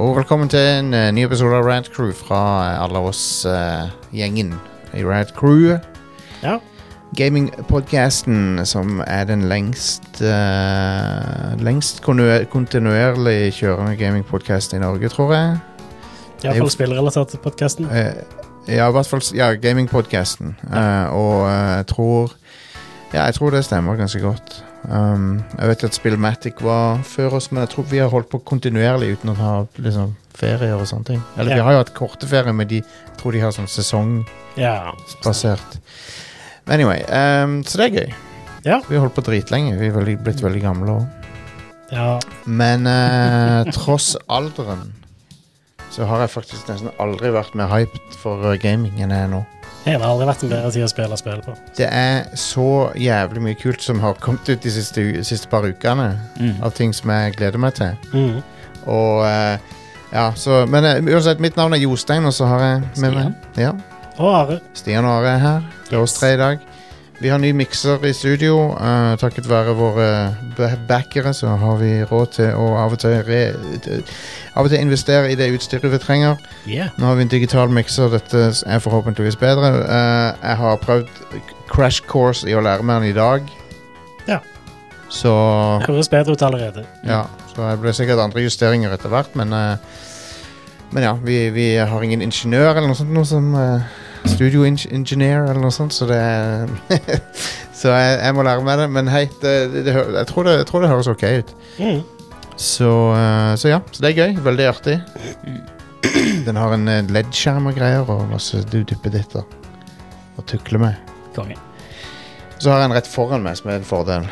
velkommen til en eh, ny episode av Rant Crew fra eh, alle oss eh, gjengen i Rant Crew. Ja. Gamingpodcasten som er den lengst eh, lengst konue- kontinuerlig kjørende gamingpodcasten i Norge, tror jeg. Iallfall spillrelatert til podkasten. Eh, ja, i hvert fall s- ja, gamingpodcasten. Eh, og eh, jeg tror Ja, jeg tror det stemmer ganske godt. Um, jeg vet at Spillmatic var før oss, men jeg tror vi har holdt på kontinuerlig uten å ha liksom, ferier og sånne ting. Eller vi Ja. har jo hatt korte ferier, men de jeg tror de har sånn sesongbasert. Ja. Men Anyway, um, så det er gøy. Ja. Vi har holdt på dritlenge. Vi er veldig, blitt veldig gamle òg. ja. Men eh, tross alderen så har jeg faktisk nesten aldri vært mer hyped for eh, gaming enn jeg er nå. Det har aldri vært en bedre tid å spille spill på. Det er så jævlig mye kult som har kommet ut de siste, u- siste par ukene. Av ting som jeg gleder meg til. Mhm. Og eh, ja, så Men eh, uansett, mitt navn er Jostein, og så har jeg med meg ja, Og Are. Stian og Are er her. Det er oss tre i dag. Vi har ny mikser i studio. eh, takket være våre ba- backere så har vi råd til å av og til, re, t- av og til investere i det utstyret vi trenger. Yeah. Nå har vi en digital mikser, dette er forhåpentligvis bedre. Eh, jeg har prøvd crash course i å lære meg den i dag. Ja. Så Høres bedre ut allerede. ja, så det blir sikkert andre justeringer etter hvert, men eh, Men ja, vi, vi har ingen ingeniør eller noe sånt, noe som eh, Studio eng- engineer eller noe sånt, så det er Så jeg, jeg må lære meg det, men hei, det, det, det, hø- jeg, tror det, jeg tror det høres ok ut. Mhm. Så, eh, så ja, så det er gøy. Veldig artig. Den har en eh, LED-skjerm og greier og masse du- duppeditter å tukle med. Konge. Så har jeg en rett foran meg, som er en fordel.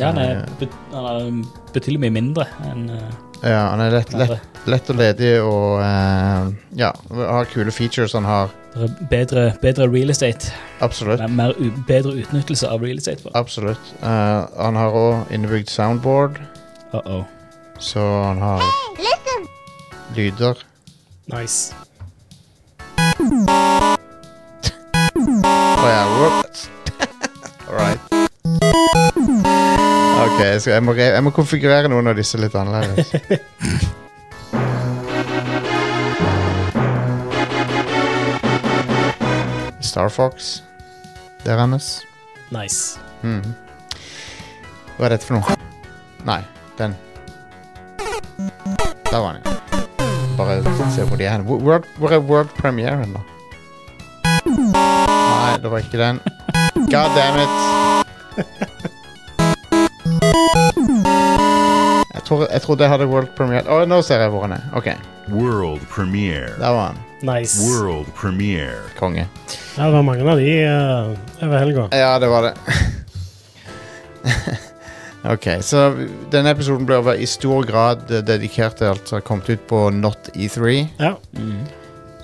Ja, han er, bet- han er um, betydelig mye mindre enn eh, Ja, Han er lett, den lett, andre. lett og ledig og eh, ja, har kule features. Han har Det er bedre, bedre real estate. absolutt. Det er mer u bedre utnyttelse av real estate. Bare. Absolutt. Eh, han har òg innebygd soundboard, Uh -oh. så han har lyder. Nice. Oh, ja. whoops. All right. Ok, jeg, skal, jeg, må re jeg må konfigurere noen av disse litt annerledes. Star Fox. Det er hennes. Nice. Mhm. Hva er dette for noe? Nei, den. Der var den. ja. Bare se hvor de er hen. Hvor- Hvor, hvor er world-premieren, da? Nei, det var ikke den. God damn it! Jeg tror, jeg tror det hadde world-premiere. Å, nå ser jeg hvor han er. OK, World premiere. der var han. Nice. World premiere. Konge. Ja, det var mange av de eh, over helga. Ja, det var det. ok, så denne episoden ble over i stor grad eh, dedikert til alt som har kommet ut på Not E3. Ja.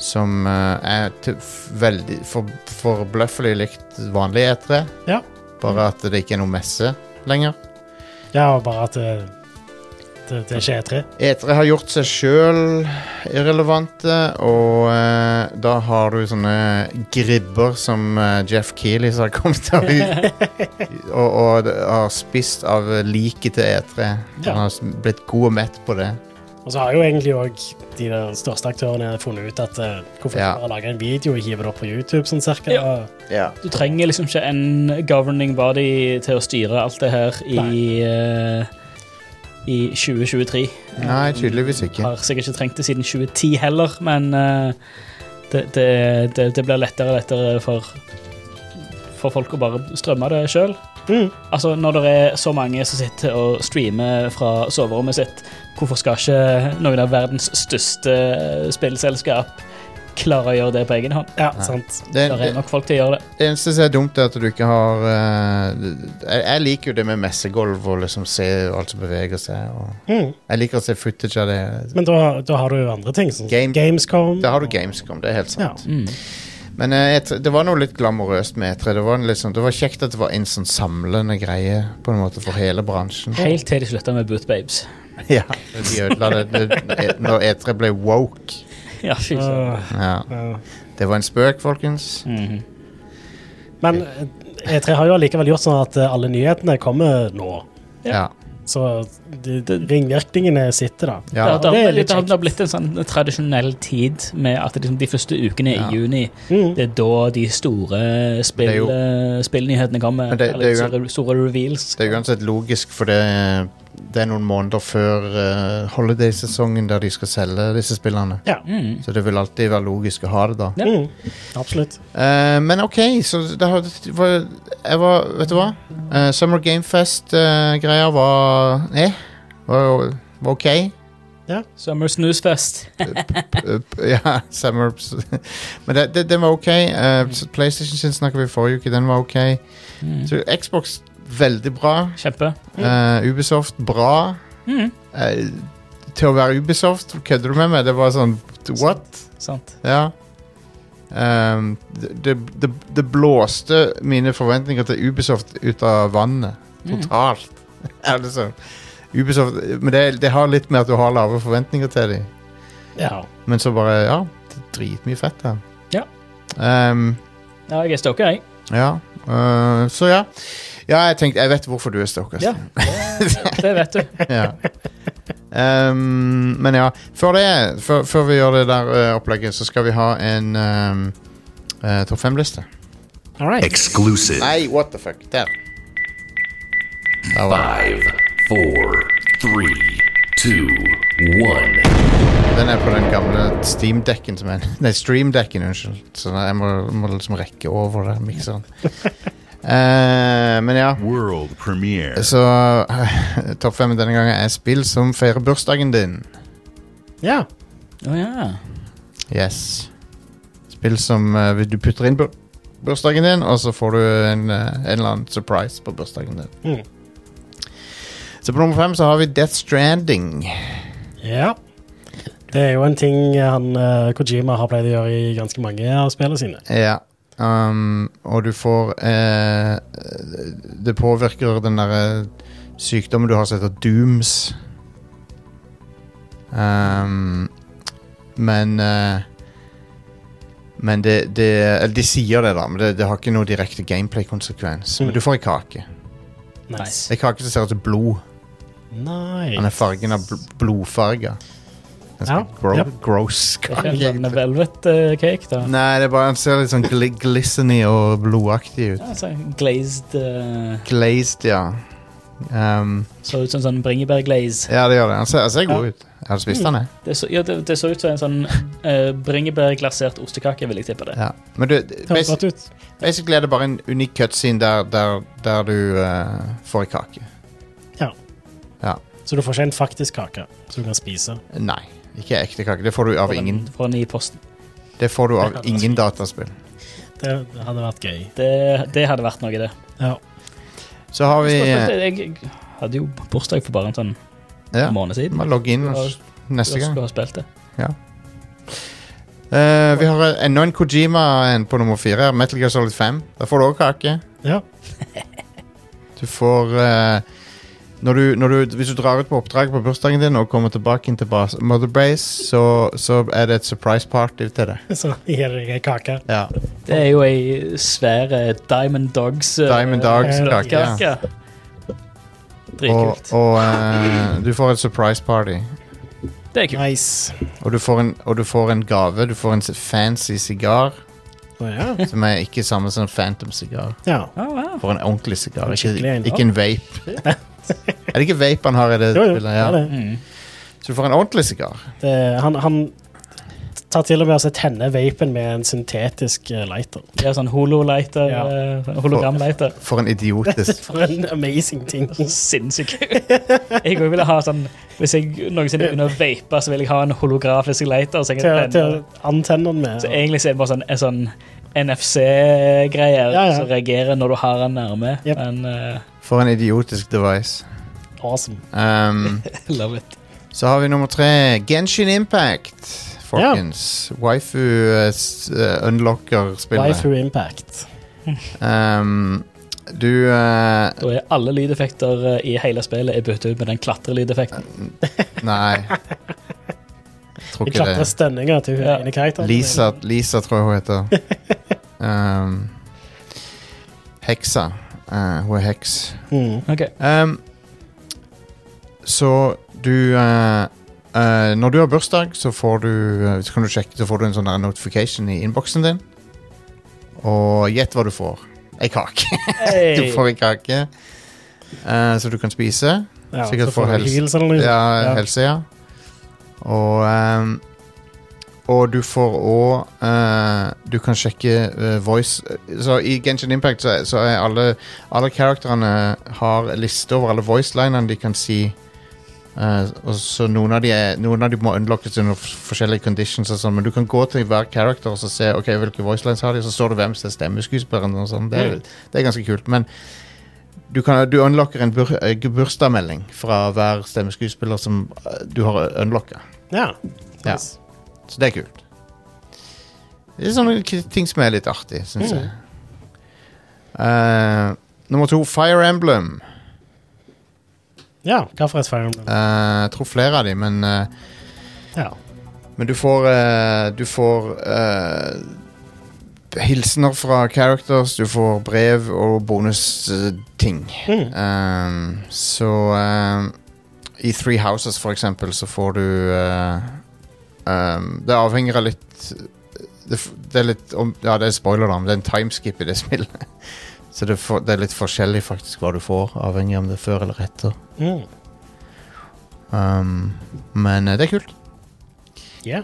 Som eh, er til f- veldig for, forbløffelig likt vanlig E3. Ja. Bare at det ikke er noe messe lenger. ja, og bare at det, det, det ikke er tre. E3 E har gjort seg sjøl irrelevante, og eh, da har du sånne gribber som eh, Jeff Keeley som har kommet av i, og, og det- har spist av liket til E3. Ja. Han har s- blitt god og mett på det. Og så har jo egentlig òg de der største aktørene funnet ut at eh, hvorfor Ja. ikke bare lage en video og hive det opp på YouTube, sånn cirka. Ja. Du trenger liksom ikke en governing body til å styre alt det her i, eh, i 2023. Nei, tydeligvis ikke. Har sikkert ikke trengt det siden 2010 heller, men eh, det, det, det, det blir lettere og lettere for, for folk å bare strømme det sjøl. Mhm. Altså, når det er så mange som sitter og streamer fra soverommet sitt, hvorfor skal ikke noen av verdens største spillselskap klare å gjøre det på egen hånd? Ja, sant. Det, Det det, er nok folk til å gjøre det. det eneste som er dumt, er at du ikke har eh, jeg, jeg liker jo det med messegulv og liksom se alt som beveger seg. Og Mhm. jeg liker å se footage av det. Men da, da har du jo andre ting, sånn som Game- Gamescom. Da har du Gamescom, det er helt sant. Ja. Mm. Men eh, E3 det var noe litt glamorøst med E3. Det var, en litt sånn- det var kjekt at det var en sånn samlende greie på en måte for hele bransjen. Helt til de slutta med Boot Babes. ja, De ødela det, det e- når E3 ble woke. Ja, fy søren. Øh, Ja. ja. Det var en spøk, folkens. Mhm. E Men eh, E3 har jo allikevel gjort sånn at eh, alle nyhetene kommer nå. Ja. Ja. Så de, de, ringvirkningene sitter, da. Ja. det, har- det er litt det, har- det har kjekt. blitt en sånn tradisjonell tid med at liksom de første ukene Ja. i juni Mm. Det er da de store spill, Det er jo- eh, spillnyhetene kommer. Men det- eller det er jo- store, store reveals. Det er uansett logisk, for det, det er noen måneder før eh, holiday-sesongen der de skal selge disse spillene. Ja. Mm. Så det vil alltid være logisk å ha det da. Ja. Mm. Absolutt. Eh, men OK, så det har, det var, jeg var Vet du hva? Eh, Summer Game Fest-greia var eh, var, var OK. Summer Snooze Fest. Eh, p- ja, Summer Men det, det, den var OK. Eh, PlayStation sin snakket vi forrige uke, den var OK. Mm. Så Xbox, veldig bra. Kjempe. Eh, Ubisoft, bra. Mm. Eh, til å være Ubisoft, kødder du med meg? Det var sånn What? Sant. Ja. Ehm, det, det- det, det blåste mine forventninger til Ubisoft ut av vannet. Mm. Totalt. Er det sånn? Ubisoft, men det, det har litt med at du har lave forventninger til dem. Ja. Men så bare Ja, det er dritmye fett her. Ja. Ehm, Ja, jeg er stoker, jeg. ja. eh, så ja. Ja, jeg tenkte Jeg vet hvorfor du er stokkers. Ja. Det vet du. ja. Ehm, men ja, før, det, før, før vi gjør det der eh, opplegget, så skal vi ha en um, topp fem-liste. All right. Exclusive. Nei, what the fuck. Der. Der var Five, four, three, two, one. den. Den er på den gamle Steam-dekken som er Nei, Stream-dekken, unnskyld. Så jeg må, må liksom rekke over den mikseren. Eh, men ja. World premiere. Så eh, topp fem denne gangen er spill som feirer bursdagen din. Ja. Å ja. Yes. Spill som eh, du putter inn bur bursdagen din, og så får du en, eh, en eller annen surprise på bursdagen din. Mm. Så på nummer fem så har vi Death Stranding. ja. Det er jo en ting han, eh, Kojima har pleid å gjøre i ganske mange av spillene sine. Ja. Um, og du får eh, Det påvirker den derre sykdommen du har som heter dooms. Um, men eh, Men det, det Eller de sier det, da, men det, det har ikke noe direkte gameplay-konsekvens. Mm. Men du får ei kake. Nice. Ei kake som ser ut som blod. Den Nice. er fargen av bl blodfarga. Ganske Ja, gro ja. gross Det er ikke kake. en velvet eh, cake, da. Nei, det er bare, den ser litt sånn gli glisseny og blodaktig ut. Ja, så glazed eh, Glazed, ja. Ehm, Så ut som en sånn bringebærglaze. ja, det gjør det. Han ser, han ser god ut. Jeg hadde spist den, jeg. Det så, ja, det, det så ut som en sånn eh, bringebærglasert ostekake, vil jeg tippe det. Ja. Men du, Det høres basi- godt ut. basically er det bare en unik cutscene der, der, der du eh, får en kake. Ja. Ja. Så du får ikke en faktisk kake som du kan spise. Nei, ikke ekte kake. Det får du av Får den- ingen, Får den i posten. det får du Det av hadde vært ingen fint. dataspill. Det hadde vært gøy. Det, det hadde vært noe, det. Ja. Så har vi eh, Jeg, jeg hadde jo bursdag for bare en sånn Ja, måned siden. må logge inn og s- neste Skulle- gang. Skulle ha spilt det. Eh, vi har eh, enda en Kojima en på nummer fire. her, Metal Gear Solid 5. Der får du òg kake. Ja. Du får eh, når du, når du, Hvis du drar ut på oppdrag på bursdagen din og kommer tilbake inn til bas- Mother Base, så, så er det et surprise party til deg. Så gir det deg en kake. Ja. Det er jo ei svær eh, Diamond Dogs eh, Diamond Dogs-kake. Ja. kake. Og, Dritkult. og eh, du får et surprise party. Det er kult. Nice. Og du får en, og du får en gave. Du får en s- fancy sigar, Å ja. som er ikke samme som en Phantom-sigar. ja. Ah, wow. Du får en ordentlig sigar, ikke, Skikkelig en. ikke en vape. er det ikke vape han har i det Jo, jo. spillet? det er Ja. det. Mm. Så du får en ordentlig sigar. Det, eh, han, han tar til og med og så tenner vapen med en syntetisk eh, lighter. Det er sånn hololighter. Ja. eh, Hologramlighter. For en idiotisk For en amazing ting. Sinnssykt. Jeg òg ville ha sånn Hvis jeg noensinne begynner å vape, så vil jeg ha en holografisk lighter. Så jeg Til, kan til tenne. antenner med. Så egentlig så er det bare sånn, en sånn NFC-greie Ja, ja. som reagerer når du har den nærme. Yep. Men eh, For en idiotisk device. Awesome. Um, love it. Så har vi nummer tre. Genshin Impact. Folkens. Waifu eh, s- eh, unlocker spillet. Waifu Impact. Um, du eh, Da er alle lydeffekter eh, i hele spillet er byttet ut med den klatrelydeffekten. Nei. Tror De ikke klatrer det. stønninger til ja. Ja. ene karakteren. Lisa, Lisa tror jeg hun heter. Um, heksa. Eh, hun er heks. Mm. Ok. Um, Så du eh, eh, Når du har bursdag, så får du eh, Så kan du sjekke, så får du en sånn der notification i innboksen din. Og gjett hva du får. Ei kake. Du Hey. får ei kake eh, som du kan spise. Ja, Sikkert så får for du helse. heals eller noe. Ja, Mm. Ja. helse, ja. Og ehm, Og du får òg Du kan sjekke eh, voice Så i Genshin Impact så er, så er alle Alle karakterene har liste over alle voicelinene de kan si. Eh, og så noen av, de er, noen av de må unlockes under f- forskjellige conditions, og sånn, men du kan gå til hver character og så se ok, hvilke voicelines har de, og så står det hvem som er stemmeskuespilleren. og sånn. Det, er- det er ganske kult. Men du, kan, du unlocker en bur, eh, bursdagsmelding fra hver stemmeskuespiller som eh, du har unlocka. ja. Ja. Nice. Så det er kult. Det er sånne k- ting som er litt artig, syns jeg. Eh, nummer to, Fire Emblem. ja. Hva for et Fire Emblem? Eh, jeg tror flere av de, men eh, Ja. Men du får eh, Du får eh, Hilsener fra characters Du får brev og bonusting Mm. um, Så um, I Three Houses for eksempel Så får du eh, um, Det avhenger av litt det, f- det er litt om, Ja, det er spoiler da Men det er en timeskip i det spillet Så det, får- det er litt forskjellig faktisk hva du får Avhengig av om det er før eller etter Mm. um, Men eh, det er kult Yeah.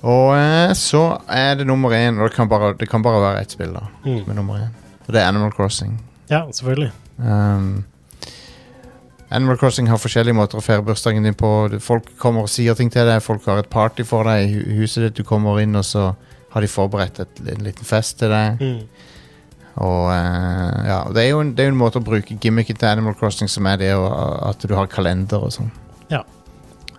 og eh, så er det nummer én, og det kan bare, det kan bare være ett spill da, Mm. med nummer én. Og det er Animal Crossing. ja, selvfølgelig. Um, Animal Crossing har forskjellige måter å feire bursdagen din på. Du- Folk kommer og sier ting til deg, folk har et party for deg i hu- huset ditt. Du kommer inn, og så har de forberedt et, en liten fest til deg. Mm. Og eh, ja, og det er jo en, det er jo en måte å bruke gimmicken til Animal Crossing som er det, og, at du har kalender og sånn. Ja.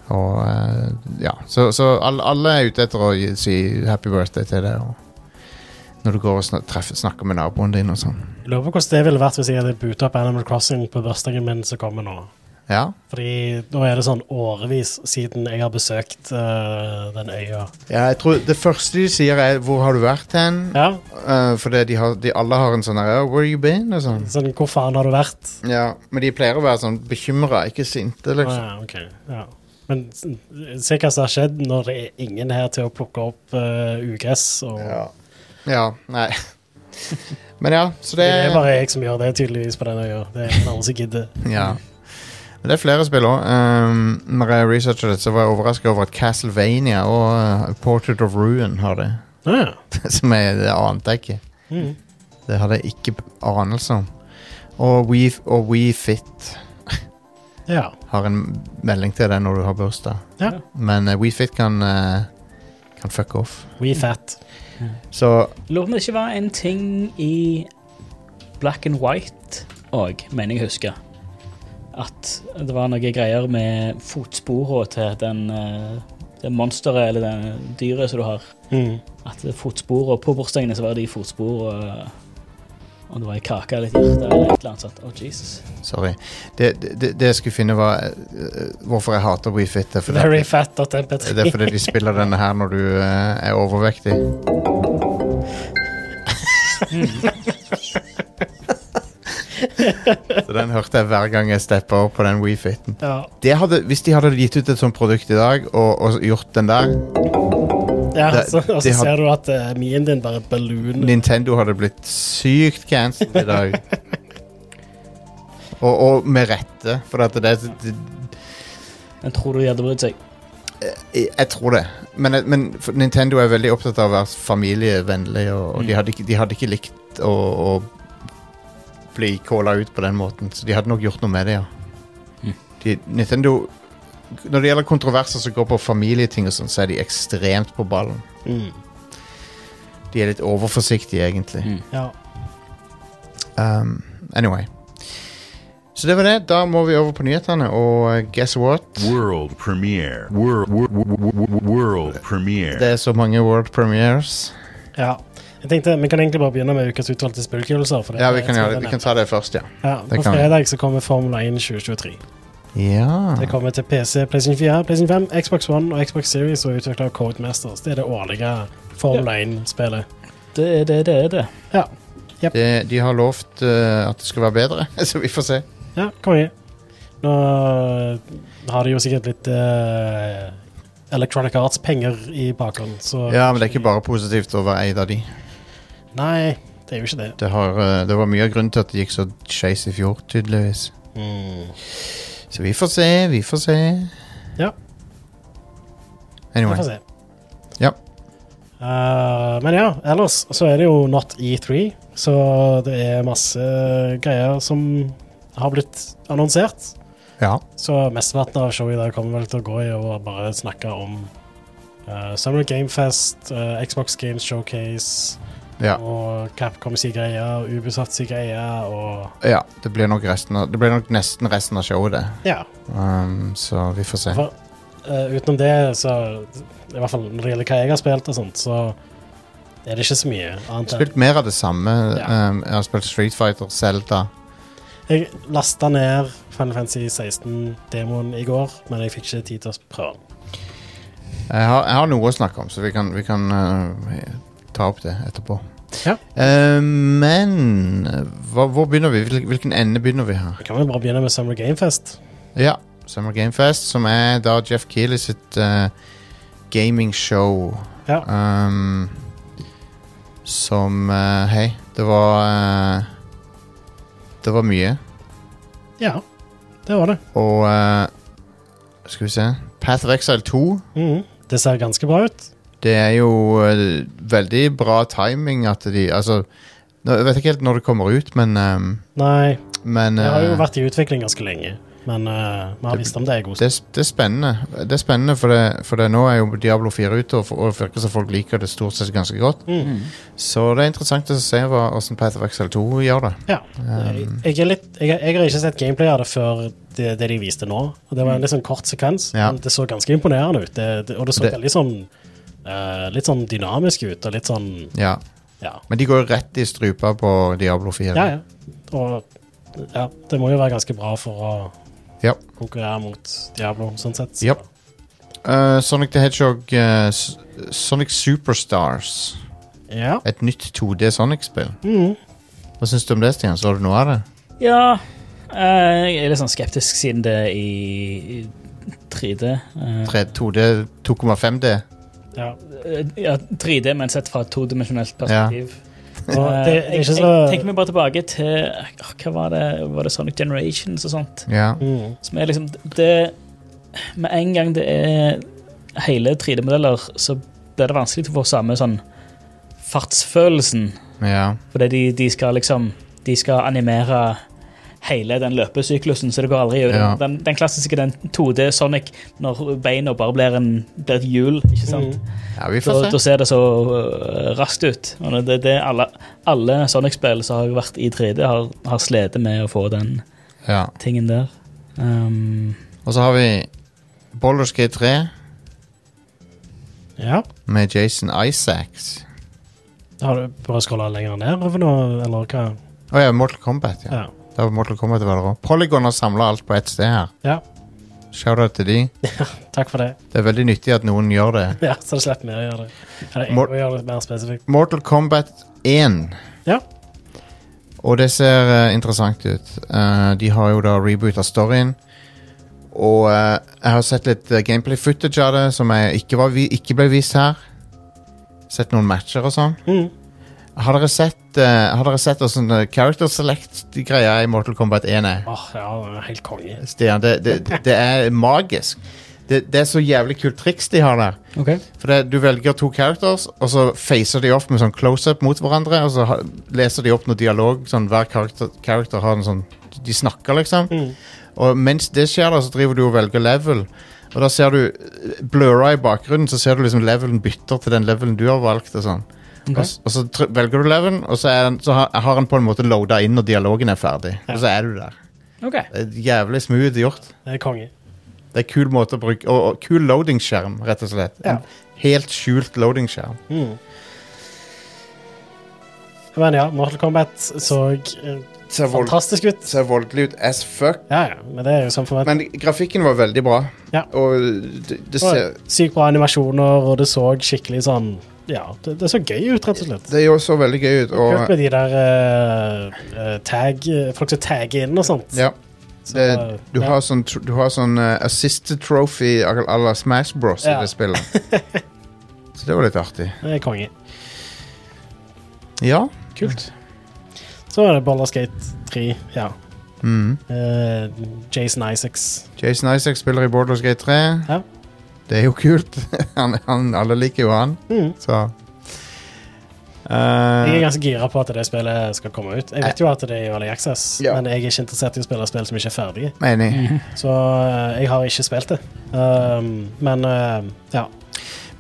Og eh, ja, så, så alle, alle er ute etter å gi- si happy birthday til deg. Og når du går og snak, treffer, snakker med naboen din og sånn. Jeg Lurer på hvordan det ville vært hvis jeg hadde boota opp Animal Crossing på bursdagen min som kommer nå. Ja, Fordi nå er det sånn årevis siden jeg har besøkt eh, den øya. ja jeg tror det første de sier er 'hvor har du vært hen?' Ja, Eh, fordi de, har, de alle har en sånn her, oh, 'where you been?' og sånn. sånn hvor faen har du vært? Ja, Men de pleier å være sånn bekymra, ikke sinte, Å liksom. ja, ok. Ja. Men s- se hva som har skjedd når det er ingen her til å plukke opp eh, ugress. Og Ja. ja nei. Men ja, så det det er bare jeg som gjør det, tydeligvis, på den øya. Det er ingen andre som gidder. Ja. Men det er flere spill òg. Um, når jeg researcha det, så var jeg overraska over at Castlevania og uh, Portrait of Ruin har det. Å ja. Som jeg, det ante jeg ikke. Mm. Det hadde jeg ikke anelse om. Og We, og We Fit ja. har en melding til deg når du har bursdag. Ja. Men uh, We Fit kan, uh, kan fuck off. We fat. Så Lurer på om det ikke var en ting i black and white òg, mener jeg å huske. At det var noen greier med fotsporene til den, eh, det monsteret eller det dyret som du har. Mm. At det er fotsporene på bursdagene så var det de fotsporene Om det var ei kake eller et hjerte eller et eller annet sånt. Å, Jesus. sorry. Det, det, det jeg skulle finne, var uh, hvorfor jeg hater We Fit. Det er fordi at- Veryfat.mp3. Det er fordi de spiller denne her når du eh, er overvektig. Så den hørte jeg hver gang jeg steppa opp på den WeFiten. Ja. Hvis de hadde gitt ut et sånt produkt i dag og, og gjort den der, Ja, Det- så, og de så har- ser du at uh, mien din bare ballooner. Nintendo hadde blitt sykt cancelled i dag. Og, og med rette, for at det, det, Men tror du de hadde brydd seg? Jeg jeg tror det. Men, men for- Nintendo er veldig opptatt av å være familievennlig, og, og de, hadde ikke, de hadde ikke likt å, å bli calla ut på den måten, så de hadde nok gjort noe med det, ja. Mm. De, Nintendo Når det gjelder kontroverser som går på familieting og sånn, så er de ekstremt på ballen. Mm. De er litt overforsiktige, egentlig. Mm. Ja. Um, anyway. Så det var det. Da må vi over på nyhetene, og eh, guess what? World premiere. World, world, world premiere. Det er så mange world premieres. ja. Jeg tenkte, Vi kan egentlig bare begynne med ukas utvalgte spillkulelser. for det- Ja, vi kan, jeg tror gjøre det. den vi er- kan ta det først, ja. Ja, det på kan vi. fredag så kommer Formula 1 2023. Ja. Det kommer til PC, PlayStation 4, PlayStation 5, Xbox One og Xbox Series og utvikla av Codemasters. Det er det årlige Formula 1-spillet. Det er det, det er det. Ja. Det, de har lovt eh, at det skal være bedre, så vi får se. ja, konge. Nå eh, har de jo sikkert litt eh, Electronic Arts-penger i bakhånd, så Ja, men det er ikke bare positivt å være eid av de. Nei, det er jo ikke det. Det, har, eh, det var mye av grunnen til at det gikk så skeis i fjor, tydeligvis. Mm. Så vi får se, vi får se. Ja. Vi Anyway. får se. Ja. Eh, men ja, ellers så er det jo Not E3, så det er masse greier som har blitt annonsert. Ja. Så mesteparten av showet i dag kommer vel til å gå i å bare snakke om eh, Summer Game Fest, eh, Xbox Games Showcase Ja. og Capcom si greier, og Ubisoft si greier og ja. Det blir nok, resten av, det blir nok nesten resten av showet, det. Ja. Um, så vi får se. For, eh, utenom det, så I hvert fall når det gjelder hva jeg har spilt og sånt, så er det ikke så mye annet enn Spilt mer av det samme. Ja. Um, jeg har spilt Street Fighter, Zelda. Jeg lasta ned Final Fantasy 16-demoen i går, men jeg fikk ikke tid til å prøve den. Jeg har, jeg har noe å snakke om, så vi kan, vi kan uh, ta opp det etterpå. Ja. Uh, men hva, hvor begynner vi? Hvil- Hvilken ende begynner vi her? Vi kan vel bare begynne med Summer Game Fest. Ja, Summer Game Fest, som er da Jeff Keeley sitt uh, gamingshow. Ja. Um, som uh, Hei, det var uh, Det var mye. Ja, det var det. Og eh, Skal vi se Path of Exile 2 Mhm. Det ser ganske bra ut. Det er jo eh, veldig bra timing at de Altså nå- Jeg vet ikke helt når det kommer ut, men ehm, Nei, Men det har jo eh, vært i utvikling ganske lenge, men eh, vi har visst om det en god stund. det, det er spennende. Det er spennende, For, det, for det, nå er jo Diablo 4 ute, og, for- og virker som folk liker det stort sett ganske godt. Mhm. Så det er interessant å se hva, hvordan Path of Exile 2 gjør det. Ja. Jeg, jeg, er litt, jeg, jeg har ikke sett gameplay av det før det, det de viste nå. Og Det var en litt sånn kort sekvens, Mm. Ja. men det så ganske imponerende ut. Det, det, og det så Det- veldig sånn eh, Litt sånn dynamisk ut, og litt sånn Ja. Ja. Men de går jo rett i strupa på Diablo 4. Ja, ja. Og ja, det må jo være ganske bra for å Ja. konkurrere mot Diablo, sånn sett. Japp. Eh, Sonic the Hedgehog eh, S- Sonic Superstars. Ja. et nytt 2D Sonic-spill. Mhm. Hva syns du om det, Stian? Så du noe av det? Ja, eh, jeg er litt sånn skeptisk siden det er i, i 3D. eh, 3, 2D, 2,5D? ja. eh, ja, 3D, men sett fra et todimensjonelt perspektiv. Og Eh, det, det er ikke jeg, så jeg tenker meg bare tilbake til åh, Hva var det? Var det Sonic Generations og sånt? Ja. Mhm. Som er liksom det Med en gang det er hele 3D-modeller, så blir det vanskelig til å få samme sånn fartsfølelsen. ja. Fordi de, de skal liksom De skal animere hele den løpesyklusen, så det går aldri ut. Ja. Den, den klassiske den 2D Sonic når beina bare blir, en, blir et hjul, ikke sant? Mhm. ja, vi Da, får da se. ser det så øh, raskt ut. Og det, det er alle, alle Sonic-spill som har vært i 3D, har, har slitt med å få den Ja. tingen der. Um, Og så har vi Boulders G3 Ja. med Jason Isaacs. Har du bare scrolla lenger nedover nå, eller hva? Å ja, Mortal Kombat. Ja. Ja. Det var Mortal Kombat det var der også. Polygon har samla alt på ett sted her. ja. Shout-out til de. Takk for det. Det er veldig nyttig at noen gjør det. Ja, så det slipper vi å gjøre det. Eller jeg Mor- må gjøre det mer spesifikt. Mortal Kombat 1. Ja. Og det ser eh, interessant ut. Eh, de har jo da reboota storyen. Og eh, jeg har sett litt eh, gameplay footage av det som jeg ikke, var vi ikke ble vist her. Sett noen matcher og sånn. Mhm. Har dere sett, eh, har dere sett åssen eh, character select-greia i Mortal Kombat 1 er? Åh, ja, det er helt konge. Stian, det, det, det er magisk. Det, det er så jævlig kult triks de har der. For det, Du velger to characters, og så facer de off med sånn close-up mot hverandre. Og så ha, leser de opp noe dialog. Sånn, hver character, character har en sånn De snakker, liksom. Og mens det skjer, da, så driver du og velger level. Og da ser du eh, blurra i bakgrunnen, så ser du liksom levelen bytter til den levelen du har valgt. Og sånn og, s- og så tr velger du levelen, og så, er den, så har, har den på en måte loada inn når dialogen er ferdig. Og så er du der. OK. Det er jævlig smooth gjort. Det er konge. Det er kul måte å bruke Og, og kul loading-skjerm, rett og slett. En Helt skjult loading-skjerm. Mhm. Men ja, Mortal Kombat så eh, Ser, vold, fantastisk ut. ser voldelig ut as fuck. Ja, ja, men det er jo som forventet. Men grafikken var veldig bra. Ja. Og det, det, ser, Sykt bra animasjoner, og det så skikkelig sånn Ja, det, det så gøy ut, rett og slett. det så veldig gøy ut. Kult Og, med de der eh, eh, tag eh, Folk som tagger inn og sånt. ja. Så, det, du, ja. har sånn, tr- du har sånn eh, assisted trophy à à la Smash Bros. Ja. i det spillet. Så det var litt artig. Det er konge. Ja. Kult. Så er det Baldur's Gate 3. Ja. Mm. Eh, Jason Isaacs. Jason Isaac spiller i Borderlands Gate 3. Ja. Det er jo kult. han, han, alle liker jo han, Mm. så Jeg er Eh, ganske gira på at det spillet skal komme ut. Jeg vet jo at det er i Early Access, Ja. men jeg er ikke interessert i å spille spill som ikke er ferdige. Enig. Så eh, jeg har ikke spilt det. Um, men eh, ja.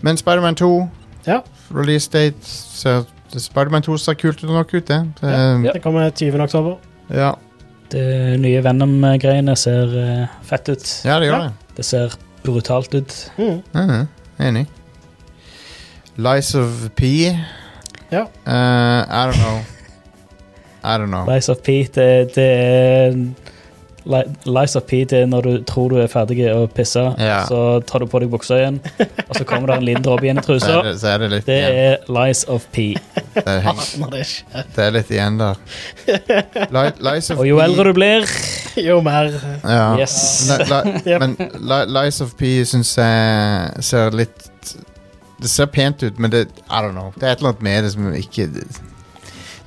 Men Spiderman 2, Ja. release date ser, Spiderman 2 ser kult ut nok ut, det. det ja. Ja. Det kommer 20. oktober. Ja. Det nye Venom-greiene ser eh, fett ut. det gjør Ja. det. Det ser brutalt ut. Mm. Mhm, Enig. Lies of P Ja. Eh, I don't know. I don't know. Lies of P, det, det er Li- Lies of P, det er når du tror du er ferdig å pisse, Ja. så tar du på deg buksa igjen, og så kommer det en liten dråpe igjen i Så er trusa. det, så er det litt Det igjen. er Lies of P. Det er, heng- Aner det ikke. det er litt igjen der. Li- Lies of Og jo P- eldre du blir Jo mer ja. Yes. Li- li- Yep. Men li, Lies of P syns jeg ser litt Det ser pent ut, men det I don't know. Det er et eller annet med det som ikke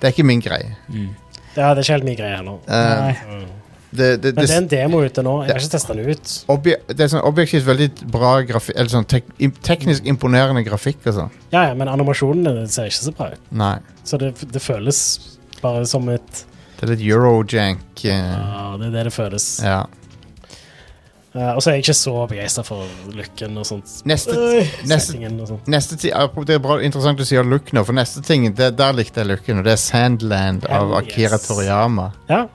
Det er ikke min greie. Ja, det er ikke helt min greie heller. Eh, Nei. det, det, Men det er det, en demo ute nå. Jeg har ikke testa den ut. obje, det er sånn objektivt veldig bra grafikk Eller sånn tek, im, teknisk imponerende grafikk og sånn. Ja, ja, Men animasjonene ser ikke så bra ut. Nei. Så det, det føles bare som et Det er litt eurojank. eh, Ja, det er det det føles. ja. Eh, og så er jeg ikke så begeistra for looken og sånt. Neste, Øh, neste, settingen og sånt. neste ti- apropos- Det er bra, interessant du sier look nå, for neste ting det, der likte jeg looken, og det er Sandland av Hell Akira yes. Toriyama. Ja,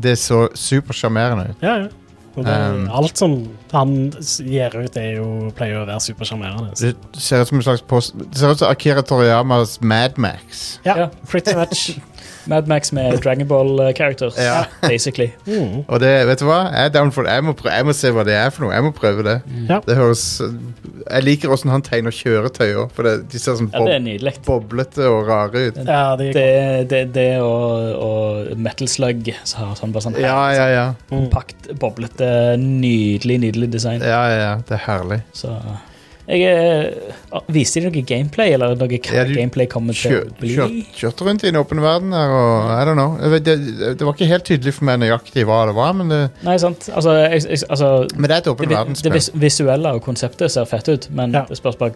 Det så supersjarmerende ut. ja, ja. Og det, Um, alt som han s- gir ut, er jo, pleier jo å være supersjarmerende. så- Det ser ut som en slags post, Det ser ut som Akira Toriyamas Madmax. Ja, Ja. pretty much. Mad Max med Dragon Ball uh, characters, Ja. basically. Mm. Og det, vet du hva? Jeg, er down for, det. jeg, må prøve, jeg må se hva det er for noe. Jeg må prøve det. Ja. Det høres Jeg liker åssen han tegner kjøretøy òg, for det, de ser sånn Ja, det er bob, nydelig. boblete og rare ut. Ja, det, Det, det, det og, og Metal Slug så har sånn bare sånn Ja, ja, ja. mm. kompakt, boblete, nydelig, nydelig design. Ja, ja, ja. Det er herlig. Så jeg eh, ah, Viste de noe gameplay, eller noe hva Ja, du gameplay kommer til Kjør- å bli? kjør- Kjørte rundt i en åpen verden her og I don't know. Jeg vet, Det, det var ikke helt tydelig for meg nøyaktig hva det var, men det, Nei, sant? Altså, jeg, jeg, altså men det er et det, åpen vi- det verdensspill. vis visuelle og konseptet ser fett ut, men Ja. det spørs bare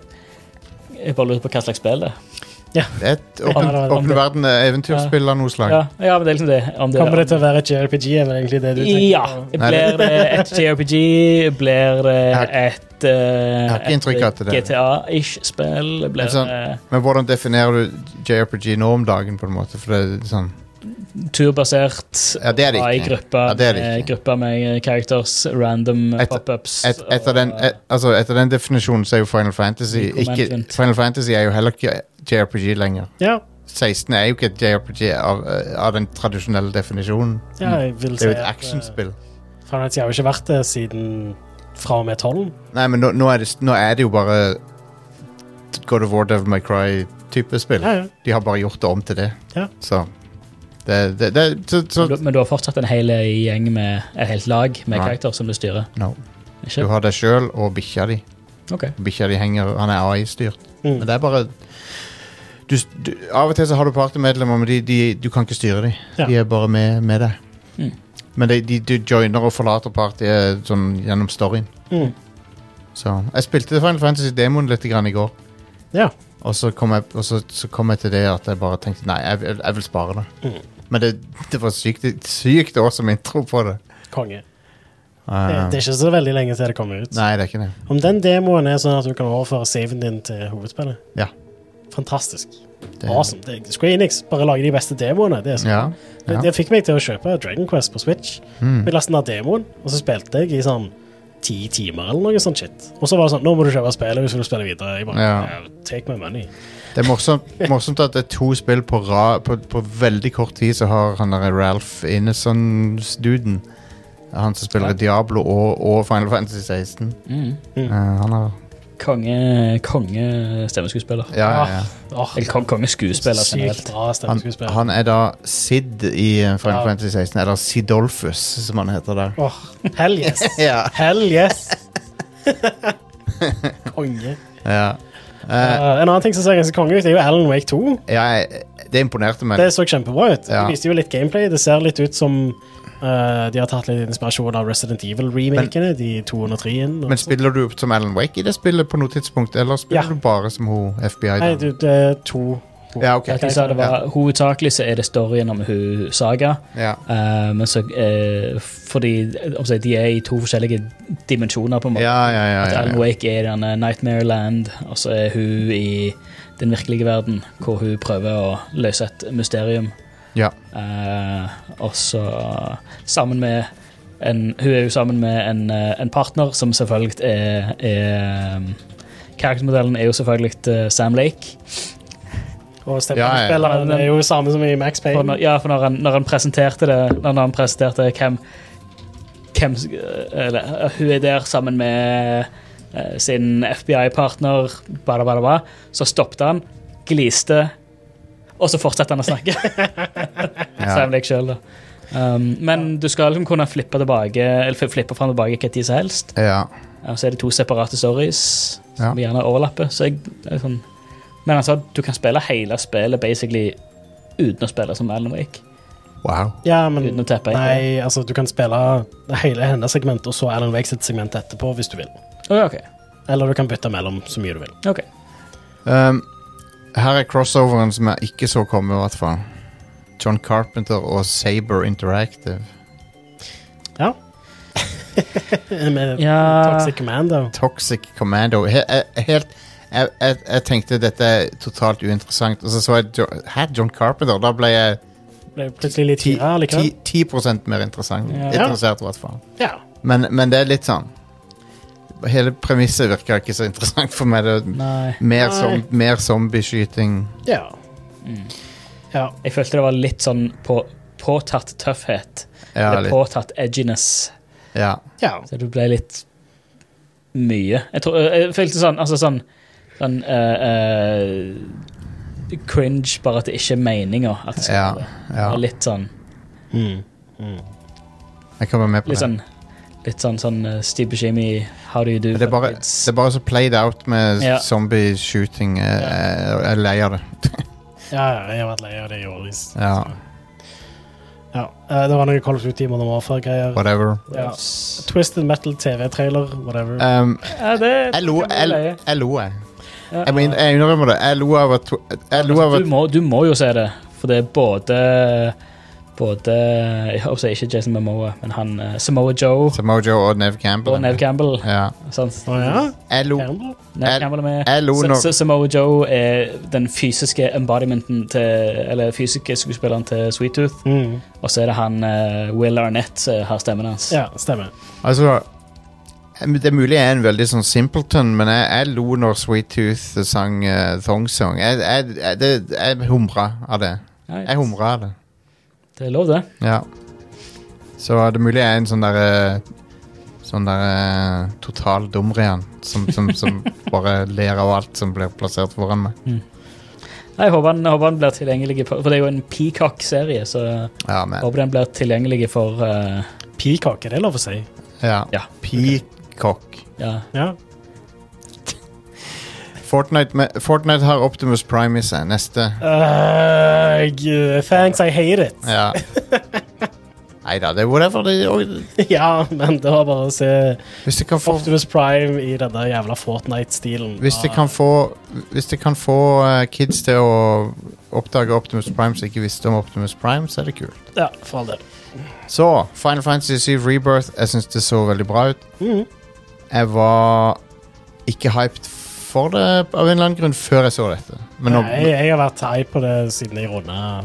Jeg bare lurer på hva slags spill det er. Det er et åpen, Ja, det var- åpen verden eh, eventyrspill av noe slag. Ja, ja, men det er liksom det. Om det Kommer det til å være et JRPG, er vel egentlig det du tenker? Ja. på? Nei, Blir det et JRPG? Blir det Jeg har- et Jeg har ikke inntrykk av at det er det. GTA-ish-spill? Men Blir det eh, sånn- Men hvordan definerer du JRPG nå om dagen, på en måte? For det er sånn turbasert? Ja, det er det AI ikke. grupper Ja, det er det med, ikke. grupper eh, med characters, random Et- pop-ups. et, etter, den, et, altså, etter den definisjonen så er jo Final Fantasy Mikro ikke, management. Final Fantasy er jo heller ikke JRPG lenger. Ja, 16 er jo ikke et JRPG av, eh, av den tradisjonelle definisjonen. ja, jeg vil Det er si jo et at, eh, actionspill. Final Fantasy har jo ikke vært det siden fra og med 12. Nei, men nå, nå, er det, nå er det jo bare God of War, Devil May Cry-type spill. Ja, ja. De har bare gjort det om til det. Ja. Så det, det, det så, Men så, du- Men du har fortsatt en hel gjeng med et helt lag med Nei. karakterer som du styrer? no. Du Ikke? har deg sjøl og bikkja di. Ok. Bikkja di henger Han er AI-styrt. Mm. Men det er bare du, du, Av og til så har du partymedlemmer, men de, de, du kan ikke styre dem. Ja. De er bare med, med deg. Mm. Men de, de, du joiner og forlater partyet sånn, gjennom storyen. Mm. Så Jeg spilte Final Fantasy-demoen litt grann i går. Ja. Og så kom, jeg, og så, så kom jeg til det at jeg bare tenkte Nei, jeg, vil- jeg vil spare det. Mm. Men det, det var sykt, sykt awesome intro på det. Konge. Uh, Det, det er ikke så veldig lenge til det kommer ut. Nei, det er ikke det. Om den demoen er sånn at du kan overføre saven din til hovedspillet Ja. Fantastisk. det Awesome. Det, Square Enix, bare lage de beste demoene. Det, er så. Ja, Det, ja. det fikk meg til å kjøpe Dragon Quest på Switch. Mm. Jeg lastet ned demoen, og så spilte jeg i sånn ti timer eller noe sånt shit. Og så var det sånn Nå må du kjøpe spillet hvis du vil spille videre. Jeg bare, Ja. "Yeah, Take my money. Det er morsomt, morsomt at det er to spill på, ra, på, på veldig kort tid, så har han der Ralph Inneson-duden Han som spiller i Diablo og, og Final Fantasy 16. Mm. Eh, han har konge, konge stemmeskuespiller. Ja, ja, Ah. ja. Åh, Eller kong, kongeskuespiller Sykt generelt. bra Han, stemmeskuespill. han er da Sid i eh, Final Ja. Fantasy 16. Eller Sidolfus, som han heter der. Åh, hell yes. Ja. Hell yes. konge. Ja. Eh, Eh, en annen ting som ser ganske konge ut, er jo Alan Wake 2. jeg, det imponerte meg. Det så kjempebra ut. Ja. De viste jo litt gameplay. Det ser litt ut som eh, de har tatt litt inspirasjon av Resident Evil-remakene. De 203-en. Men spiller du som Alan Wake i det spillet på noe tidspunkt, eller spiller Ja. du bare som hun FBI? Nei, da? du, det er to. Ja, ok. Ja, de sa det var, Hovedsakelig så er det storyen om hun Saga. Ja. eh, men så eh, Fordi eh, om å si, de er i to forskjellige dimensjoner, på en Ja, måte. ja, ja, At ja, Alan ja. Wake er i denne Nightmare Land, og så er hun i den virkelige verden, hvor hun prøver å løse et mysterium. Ja. Eh, og så sammen med en, Hun er jo sammen med en, eh, en partner som selvfølgelig er, er eh, Karaktermodellen er jo selvfølgelig eh, Sam Lake. Og Ja, ja. stemmespilleren er jo samme som i Max For når, Payne. ja, for når han, når han presenterte det Når han presenterte hvem, hvem eller, eh, Hun er der sammen med eh, sin FBI-partner, bla, bla, bla, så stoppet han, gliste, og så fortsatte han å snakke. Ja. Sam Lake selv, da. Um, men du skal liksom kunne flippe tilbake Eller fl- flippe fram og tilbake hva tid som helst. ja. Og så er det to separate stories Ja. som gjerne overlapper. Så jeg, det er sånn. Men han sa at du kan spille hele spillet basically uten å spille som Alan Wake. Wow. Ja, men Uten å tappe inn. Nei, altså, du kan spille hele hennes segment og så Alan Wake sitt segment etterpå, hvis du vil. Å, ja, ok. Eller du kan bytte mellom så mye du vil. Ok. Um, her er crossoveren som jeg ikke så komme, i hvert fall. John Carpenter og Saber Interactive. Ja. Eh, Med Ja. Toxic Commando. Toxic Commando. He, he, helt jeg, jeg, jeg tenkte dette er totalt uinteressant, og så så jeg Jo- Hæ, John Carpenter? Da ble jeg Ble plutselig litt liksom. ti- ja, likevel. ti- 10 mer interessant. Ja. Interessert, i hvert fall. Ja. Men, men det er litt sånn Hele premisset virker ikke så interessant for meg. Det er Nei. mer, Nei. som, mer zombieskyting. Ja. Mm. ja. Jeg følte det var litt sånn på, påtatt tøffhet. Ja, eller litt, påtatt edginess. ja. Ja. Så det ble litt mye. Jeg, tror, jeg følte sånn, altså sånn, sånn eh, eh, Cringe, bare at det ikke er meninga. At det skal Ja, være. ja. Og Litt sånn Mm. Jeg kan være med på Litt det. sånn, litt sånn, sånn eh, Steve Buscemi, how do you do? Men Det er bare, kids? det er bare så played out med Ja. zombie-shooting. Jeg, jeg, jeg er lei av det. ja, ja, jeg har vært lei av det i årevis. Ja, Ja. eh, Det var noen Call of Duty-timer og Warfare-greier. whatever. Ja. Twisted Metal TV-trailer, whatever. Um, ja, det jeg lo, det kan bli jeg løye. jeg lo, jeg. Ja. Jeg, mener, jeg innrømmer det. Jeg lo av at jeg lo av Altså, Du at, må, du må jo se det, for det er både Både Jeg håper å si ikke Jason Momoa, men han eh, Samoa Joe Mojo og Nev Campbell. og Nev Campbell. Ja. sant? Å ja? Jeg lo Campbell? Nev Jeg- Campbell er med. jeg lo Så- når- så Samoa Joe er den fysiske embodimenten til Eller fysiske skuespilleren til Sweet Tooth. Mm. Og så er det han eh, Will Arnett som har stemmen hans. Ja, stemmer. Altså det er mulig jeg er en veldig sånn simpleton, men jeg, jeg lo når Sweet Tooth sang eh, Thong Song. Jeg, jeg, jeg, det, jeg humra av det. Nei, Jeg humra av det. Det er lov, det. Ja. Så det er mulig jeg er en sånn der eh, Sånn der eh, total dumrian som, som, som bare ler av alt som blir plassert foran meg. Nei, Jeg håper han, jeg håper han blir tilgjengelig på, For det er jo en Peacock-serie, så jeg Ja, men håper den blir tilgjengelig for eh, Peacock, er det lov å si? Ja. Ja. Peacock. Ja. Ja. Fortnite, med, Fortnite har Optimus Prime i seg. Neste. Eh, g- thanks, I hate it. Ja. Nei da, det er whatever. Det, er jo- ja, men det var bare å se hvis det kan få Optimus Prime i denne jævla Fortnite-stilen. Hvis det kan få, hvis det kan få eh, kids til å oppdage Optimus Prime som ikke visste om Optimus Prime, så er det kult. Ja, for all del. Så Final Fantasy 7 Rebirth. Jeg syns det så veldig bra ut. Mhm. Jeg var ikke hyped for det av en eller annen grunn før jeg så dette. Men, nå, Nei, jeg har vært high på det siden jeg runda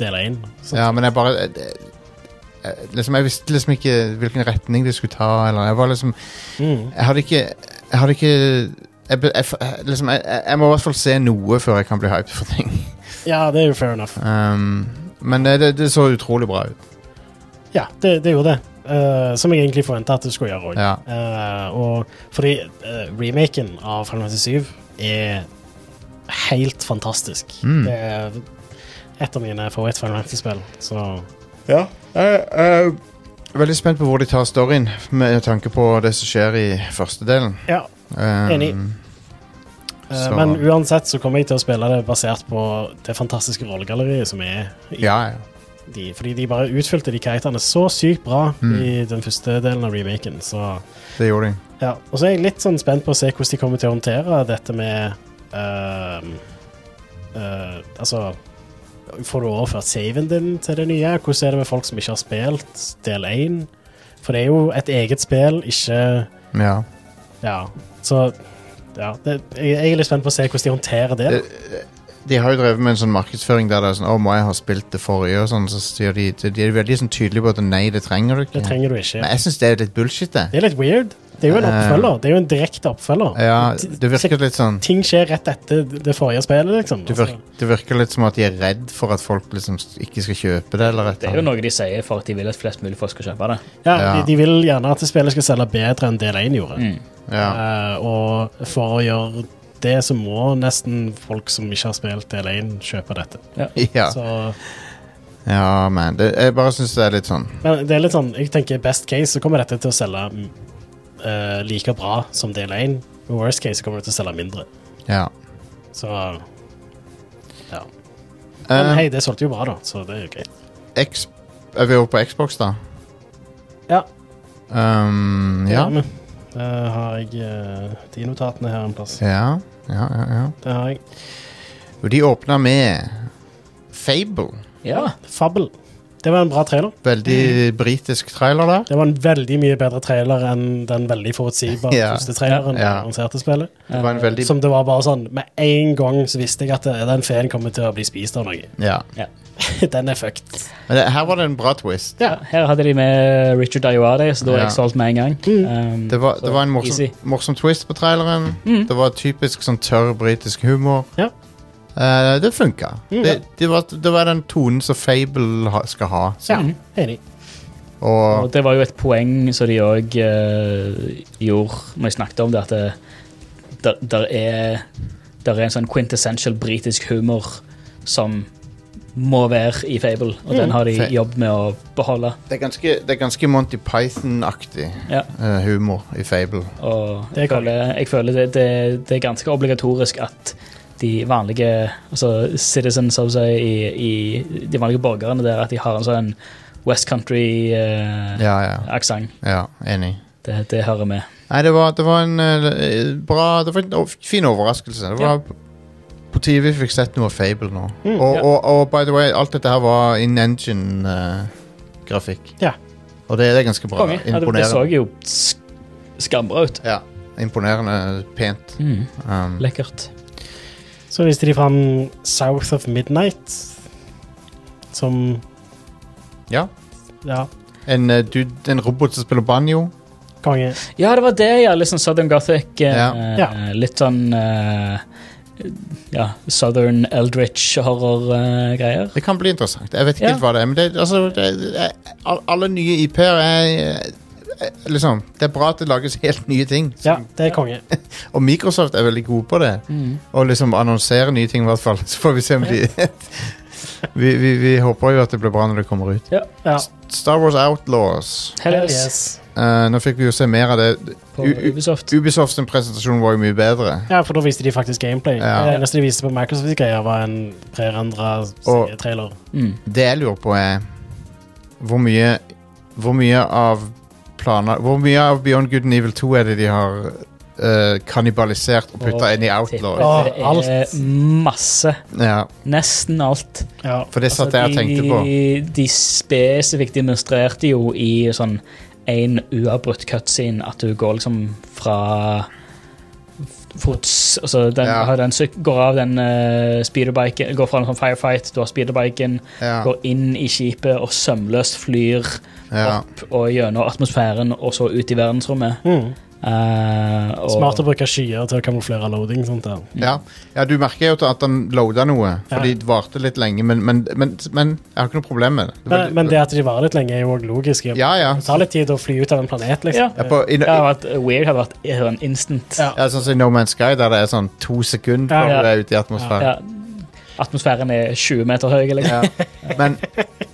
del én. Så- ja, men jeg bare jeg, jeg- liksom, Jeg visste liksom ikke hvilken retning det skulle ta. Eller, jeg var liksom Mm. Jeg hadde ikke Jeg hadde ikke jeg, be- jeg, f- liksom, jeg, jeg jeg må i hvert fall se noe før jeg kan bli hyped for ting. ja, det er jo fair enough. Um, men det, det, det så utrolig bra ut. Ja, det, det gjorde det. eh, som jeg egentlig forventa at du skulle gjøre òg. Ja. fordi eh, remaken av Final Fantasy 7 er helt fantastisk. Mm. Det er et av mine favoritt-Final Fantasy-spill, så Ja. Jeg er veldig spent på hvor de tar storyen, med tanke på det som skjer i første delen. ja. Eh, Enig. Eh, så- Men uansett så kommer jeg til å spille det basert på det fantastiske rollegalleriet som er i Ja, ja. de. Fordi de bare utfylte de karakterene så sykt bra Mm. i den første delen av remaken. Så Det gjorde de. ja. Og så er jeg litt sånn spent på å se hvordan de kommer til å håndtere dette med ehm, eh, Altså Får du overført saven din til det nye? Hvordan er det med folk som ikke har spilt del 1? For det er jo et eget spill, ikke Ja. Ja, så ja, det, Jeg jeg er litt spent på å se hvordan de håndterer det. Det- De har jo drevet med en sånn markedsføring der det er sånn Å, må jeg ha spilt det forrige? Og sånn, så sier de De er veldig sånn tydelige på at nei, det trenger du ikke. Det trenger du ikke. Men jeg syns det er litt bullshit, det. Det er litt weird. Det er jo en oppfølger. Det er jo en direkte oppfølger. Ja, Ti- det virker litt sånn Ting skjer rett etter det forrige spillet, liksom. det virker, det virker litt som at de er redd for at folk liksom ikke skal kjøpe det, eller et Det er eller jo annet. noe de sier for at de vil at flest mulig folk skal kjøpe det. Altså, ja, ja. Mm. De, de vil gjerne at spillet skal selge bedre enn del 1 gjorde. Mm. Ja. Eh, og for å gjøre det, så må nesten folk som ikke har spilt del 1, kjøpe dette. Ja. eh, Så, ja, man. Det, jeg bare syns det er litt sånn men det er litt sånn, jeg tenker best case så kommer dette til å selge mm, eh, like bra som del 1. Worst case så kommer det til å selge mindre. Ja. Så ja. Men Eh, hei, det solgte jo bra, da, så det er jo greit. X, er vi over på Xbox, da? Ja, Um, ja. Ja. Da har jeg eh, de notatene her en plass. Ja, ja, ja. ja. Det har jeg. Og de åpna med Fable. Ja, Fabel. Det var en bra trailer. Mm. Veldig britisk trailer der. Det var en veldig mye bedre trailer enn den veldig forutsigbare Ja. første traileren Ja. vi annonserte spillet. Det Eh, var en veldig Eh, Som det var bare sånn Med en gang så visste jeg at eh, den feen kommer til å bli spist av noe. Ja. den er fucked. Men det, her var det en bra twist. ja. Her hadde de med Richard Ayoade, så da er Ja. jeg solgt med en gang. Um, Mm. Det var, det var en morsom, easy. morsom twist på traileren. Det var typisk sånn tørr britisk humor. Mm. Ja. Eh, det funka. Mm, det, ja. det, var, det var den tonen som Fable ha, skal ha. Ja, enig. Og Mm. Og det var jo et poeng som de òg gjorde når jeg snakket om det, at det der, der, er, der er en sånn quintessential britisk humor som må være i Fable, og den har de Fe- jobbet med å beholde. det er ganske, det er ganske Monty Python-aktig Ja. eh, humor i Fable. Og Det er jeg føler, jeg føler det, det, det er ganske obligatorisk at de vanlige altså citizens som sier, i, i de vanlige borgerne der, at de har en sånn West Country-aksent. Ja, ja. ja enig. det, det hører med. Nei, det var, det var en eh, bra Det var en o- fin overraskelse. Det var på tide vi fikk sett noe av Fable nå. og, Mm, ja. og, og by the way, alt dette her var in engine-grafikk. Ja. Og det, det er ganske bra. Konge. Ja, det, det så Imponerende. jo sk- skambra ut. Ja, imponerende pent. Mm. Um, Lekkert. Så viste de fram South of Midnight, som ja. Ja, En, eh, dude, en robot som spiller banjo. konge. Ja, det var det, ja. Litt sånn Southern Gothic. eh, Ja. eh, Ja. Litt sånn eh, ja, Southern Eldritch eh, horror-greier. Det kan bli interessant. Jeg vet ikke Ja. helt hva det er. Men det, altså, det, det- al- alle nye IP-er er eh, Liksom, Det er bra at det lages helt nye ting. Ja, det er konge. Og Microsoft er veldig gode på det. Mm. Og liksom annonsere nye ting, i hvert fall. Så får vi se om de vi, vi, vi håper jo at det blir bra når det kommer ut. Ja. Star Wars Outlaws. Hell Hell yes. yes. Eh, nå fikk vi jo se mer av det. På U- u- Ubisoft. Ubisoft sin presentasjon var jo mye bedre. Ja, for da viste de faktisk gameplay. Ja. Det eneste de viste på Microsoft-greier, var en prerendra Og- trailer. Mm. Det jeg lurer på, er hvor mye Hvor mye av planer Hvor mye av Beyond Good and Evil 2 er det de har eh, kannibalisert og putta Åh, inn i Tipper Outlaws? Åh, det er alt. masse. Ja, Nesten alt. Ja. for det satt jeg og tenkte på. Altså, de, de spesifikt demonstrerte jo i sånn én uavbrutt cutscene at du går liksom fra fots Altså den, Ja. har den, syk- går av den eh, speederbiken Går fra en sånn firefight, du har speederbiken, Ja, går inn i skipet og sømløst flyr ja. opp og gjennom atmosfæren og så ut i verdensrommet. Mm. Eh, og, Smart å bruke skyer til å kamuflere loading. sånt der. Ja. ja, du merker jo at han loada noe, fordi Ja. det varte litt lenge, men, men, men, men jeg har ikke noe problem med det. det. var- Men, men det at de varer litt lenge, er jo òg logisk. i og med- Ja, ja. Det tar litt tid å fly ut av en planet, Ja. liksom. ja, på, i, Ja, at Weird hadde vært en instant. Ja. ja, sånn som i No Man's Sky, der det er sånn to sekunder Ja, før ja. du er ute i atmosfæren. Ja. Atmosfæren er 20 meter høy. Liksom. Ja. Men,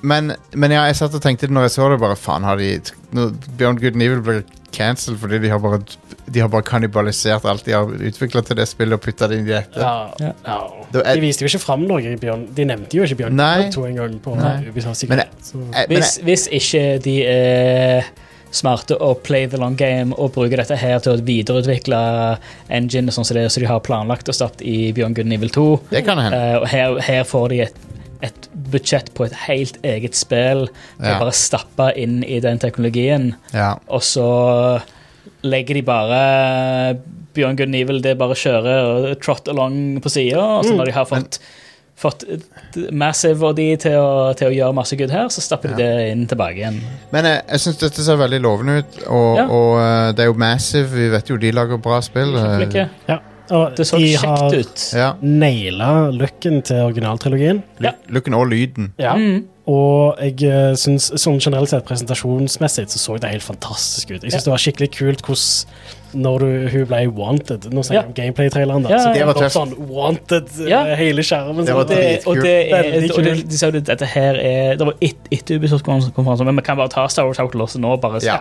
men, men ja, jeg satt og tenkte det når jeg så det, bare faen har de nå- Beyond Good and Evil blir cancelled fordi de har bare De har bare kannibalisert alt de har utvikla til det spillet og putta det inn i dette. Ja. Ja. Det var- De viste jo ikke fram noe i Bjørn. De nevnte jo ikke Bjørn Nei. Nei. to engang. på Nei. Ubisoft. Men jeg- Så- Eh, men Hvis, hvis ikke de er smarte og play the long game og bruker dette her til å videreutvikle engine sånn som det er, så de har planlagt og stappet i Bjørn Gunn Evil 2. jeg, det kan hende. Eh, og her, her får de et, et budsjett på et helt eget spill. Ja. Ja. Bare stappa inn i den teknologien. Ja. Og så legger de bare Bjørn Good and Evil, det bare kjører og trot along på sida. Og Mm. så når de har fått, fått eh, Massive og de til å, til å gjøre masse good her, så stapper de det inn tilbake igjen. Men jeg, jeg syns dette ser veldig lovende ut, og, Ja. og eh, det er jo Massive. Vi vet jo de lager bra spill. eh, Kjempeflinke. Ja. Og Det så de har kjekt ut. Ja. naila looken til originaltrilogien. Ja. Looken og lyden. Ja. Mm. Og jeg eh, syns sånn generelt sett presentasjonsmessig så så det helt fantastisk ut. Jeg syns det var skikkelig kult hvordan når du, hun ble wanted Nå snakker jeg Ja. om gameplay-traileren, da. Ja, så ja. det Det var var tøft. sånn wanted eh, Ja. hele skjermen. Det sånn. var Og det, og det er, Veldig og det, kult. de sa jo at dette her er Det var ett et Ubisoft-konferanse, men vi kan bare ta Star Wars Outlast nå. Bare Ja. ja.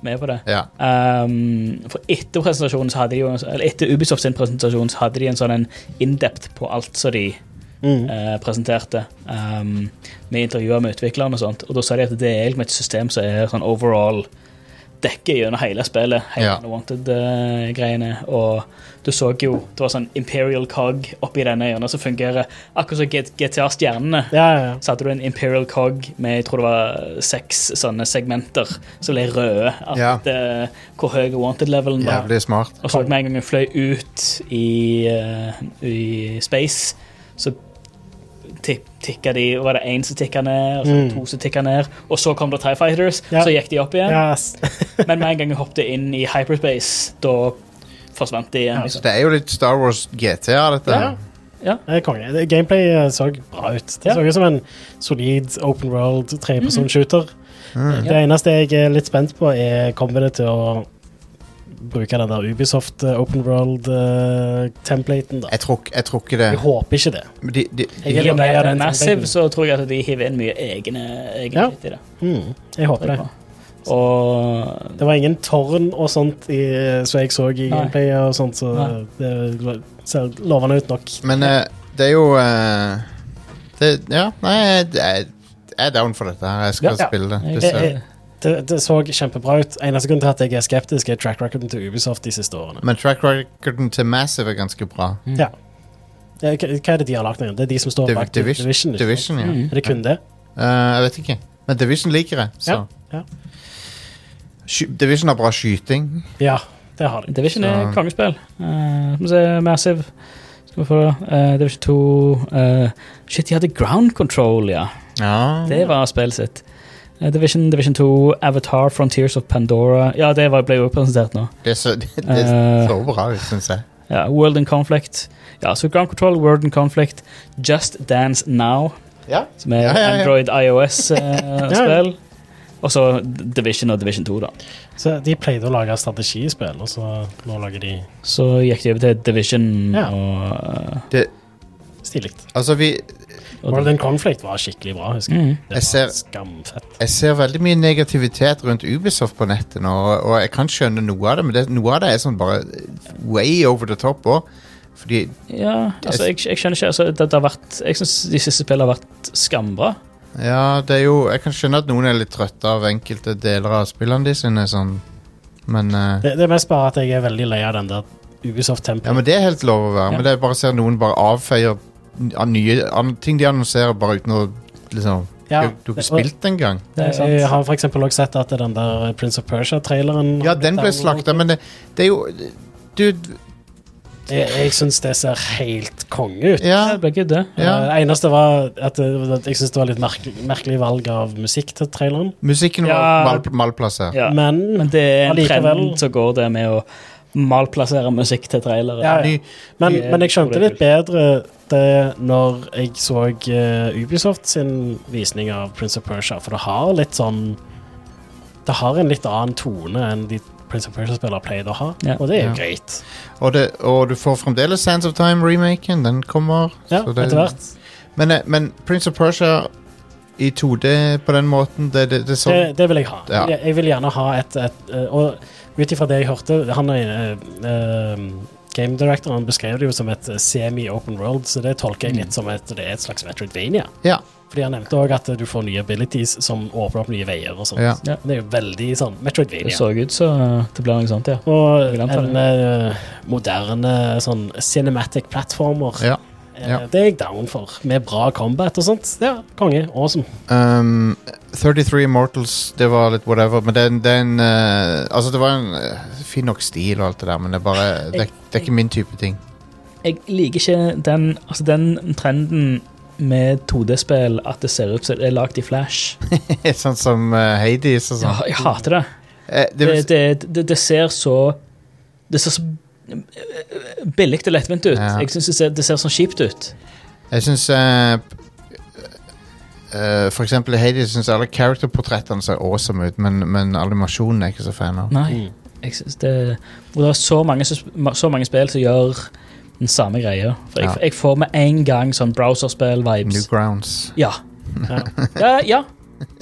med på det. Ja. Um, for etter presentasjonen så hadde de jo Eller etter Ubisoft sin presentasjon så hadde de en sånn en in-depth på alt som de Mm. eh, presenterte. Um, med intervjuer med utviklerne og sånt. Og da sa de at det er liksom et system som er sånn overall dekker gjennom hele spillet. Hele Ja. Wanted-greiene. og du så jo det var sånn Imperial Cog oppi denne hjørnet som fungerer akkurat som G- GTA-stjernene Ja, ja, ja. så hadde du en Imperial Cog med jeg tror det var seks sånne segmenter som ble røde. At, Ja. eh, hvor høy wanted-levelen var. Jævlig smart. Og så med en gang jeg fløy ut i, eh, i space, så ti- tikka de og Var det én som tikka ned, og så Mm. to som tikka ned, og så kom det Tie Fighters, Ja. så gikk de opp igjen. Ja, s- Men med en gang jeg hoppet inn i hyperspace, da forsvant de igjen. Så Liksom. det er jo litt Star Wars GTA, dette. Ja. det er konge. Det- Gameplay eh, så bra ut. Det Ja. så ut som en solid open world treperson-shooter. Det eneste jeg er litt spent på, er kommer det til å bruke den der Ubisoft eh, open world-templaten, da. Jeg tror ikke- jeg tror ikke det. Jeg håper ikke det. De, de, Jeg I er og med lei av det er den Massive, templaten. så tror jeg at de hiver inn mye egne, egne Ja. dritt i det. Hmm. Mm, jeg håper det. Og Det var ingen tårn og sånt i, eh, som jeg så i gameplay, og sånt, så Nei. det lo- ser lovende ut nok. Men eh, det er jo eh, det, Ja, nei, jeg, jeg jeg er down for dette her. Jeg skal Ja. spille det. Jeg- det Eh, ser. eh, Det, det så kjempebra ut. Eneste grunn til at jeg er skeptisk, er track recorden til Ubisoft de siste årene. Men track recorden til Massive er ganske bra. Ja. Eh, Hva hva er det de har lagt ned? Det er de som står Div bak Division, Division. liksom. ikke sant? Division ja. Mm. Er det kun det? Eh, jeg vet ikke. Men Division liker jeg. Så. Ja. Ja. Sky- Division har bra skyting. ja, det har de. Division er Så- kongespill. Eh, Skal vi se Massive. Skal vi få eh, Division 2 eh, Shit, de hadde Ground Control, ja. Ja. Det var spillet sitt. Eh, Division, Division 2, Avatar, Frontiers of Pandora Ja, det var, ble jo presentert nå. Det, så, det, det Eh. så bra ut, syns jeg. Ja, World in Conflict. Ja, så Ground Control, World in Conflict, Just Dance Now, Ja. som er Ja, ja, ja. Android IOS-spill. og så Division og Division 2, da. Så de pleide å lage strategispill, og så nå lager de Så gikk de over til Division Ja. og, eh, Det, stilig. altså, vi og World in Conflict var skikkelig bra, husker jeg. Mhm. Det Jeg var ser- skamfett. Jeg ser veldig mye negativitet rundt Ubisoft på nettet nå, og- og jeg kan skjønne noe av det, men det, noe av det er sånn bare way over the top òg. Fordi Ja, altså, jeg, jeg skjønner ikke. Altså, det, det har vært, jeg syns de siste spillene har vært skambra. Ja, det er jo Jeg kan skjønne at noen er litt trøtte av enkelte deler av spillene de sine, sånn. Men eh, Det, det er mest bare at jeg er veldig lei av den der Ja, men Ubisoft-tempelet. det er helt lov å være. Ja. Men det er bare ser noen bare avfeier n- av nye an, ting de annonserer, bare uten å liksom Ja, Du, du har det- ikke spilt den engang. Det er sant. Jeg har for eksempel også sett at den der Prince of Persia-traileren Ja, den ble slakta, men det, det er jo Dude Jeg, jeg syns det ser helt konge ut. Ja, Det blir good, det. ja. Eh, Det eneste var at det- at jeg syns det var litt merkelig, merkelig valg av musikk til traileren. Musikken var Ja. mal, malplassert. Ja. Men, Men, det er en Allikevel. trend som går det med å malplassere musikk til trailere. Ja, ja. Ny- Men, Det er- men jeg skjønte det er litt bedre det når jeg så eh, Ubisoft sin visning av Prince of Persia, for det har litt sånn Det har en litt annen tone enn de Prince of Persia-spillere pleide å ha, Ja. og det er jo Ja. greit. Og, det, og du får fremdeles Sands of Time-remaken. Den kommer. Ja, så det- etter hvert. Men, eh, men Prince of Persia i 2D på den måten, det, det, det er Det, sånn det vil jeg ha. Ja. Jeg, jeg vil gjerne ha et, et eh, Og ut ifra det jeg hørte Han er eh, eh, Game directoren beskrev det jo som et semi-open world, så det tolker jeg litt som et, det er et slags Metroidvania. Ja. Fordi han nevnte òg at du får nye abilities som åpner opp nye veier og sånt. Ja. Ja. Det er jo veldig sånn Det Metroidvania. så ut som det blir noe sånt, ja. Og Jeg vil anta en eh, moderne sånn cinematic platformer. ja. Eh, ja. Det er jeg down for, med bra combat og sånt. Ja, konge. Awesome. Um, 33 Immortals, det var litt whatever, men den, den eh, Altså, det var en eh, fin nok stil og alt det der, men det er bare Det, er- det er ikke min type ting. Jeg liker ikke den, altså den trenden med 2D-spill at det ser ut som det er lagd i flash. sånn som eh, Hades og Ja, sånn. jeg hater det. Eh, det Det, vil si- det, det, det ser så Det ser så billig og lettvint ut. Ja. Jeg syns det, ser- det ser så kjipt ut. jeg syns eh, For eksempel i Hades syns alle characterportrettene ser awesome ut, men, men animasjonen er jeg ikke så fan av. Mm. Nei. Jeg synes det, og det er så mange, som- så mange spill som gjør den samme greia. For jeg, Ja. jeg får med en gang sånn browserspill-vibes. Newgrounds. Ja. Ja. ja. Ja.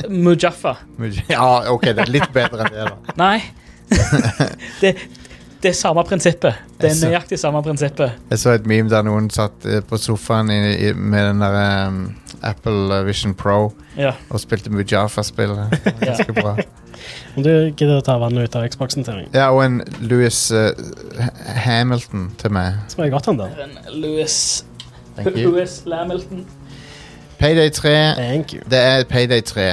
Mujaffa. Ja, OK, det er litt bedre enn det, da. Nei. det, det er samme prinsippet. Det er nøyaktig samme prinsippet. Jeg så et meme der noen satt eh, på sofaen i, i, med den der um, Apple Vision Pro Ja. og spilte Mujafa-spillet. Det var Ganske bra. Om du gidder å ta vannet ut av Xboxen til meg, Ja, og en Louis eh, Ha- Hamilton til meg. så må jeg godt ha den der. Men Louis Thank you. Eh. Louis Lamilton. Payday 3. Thank you. Det er Payday 3.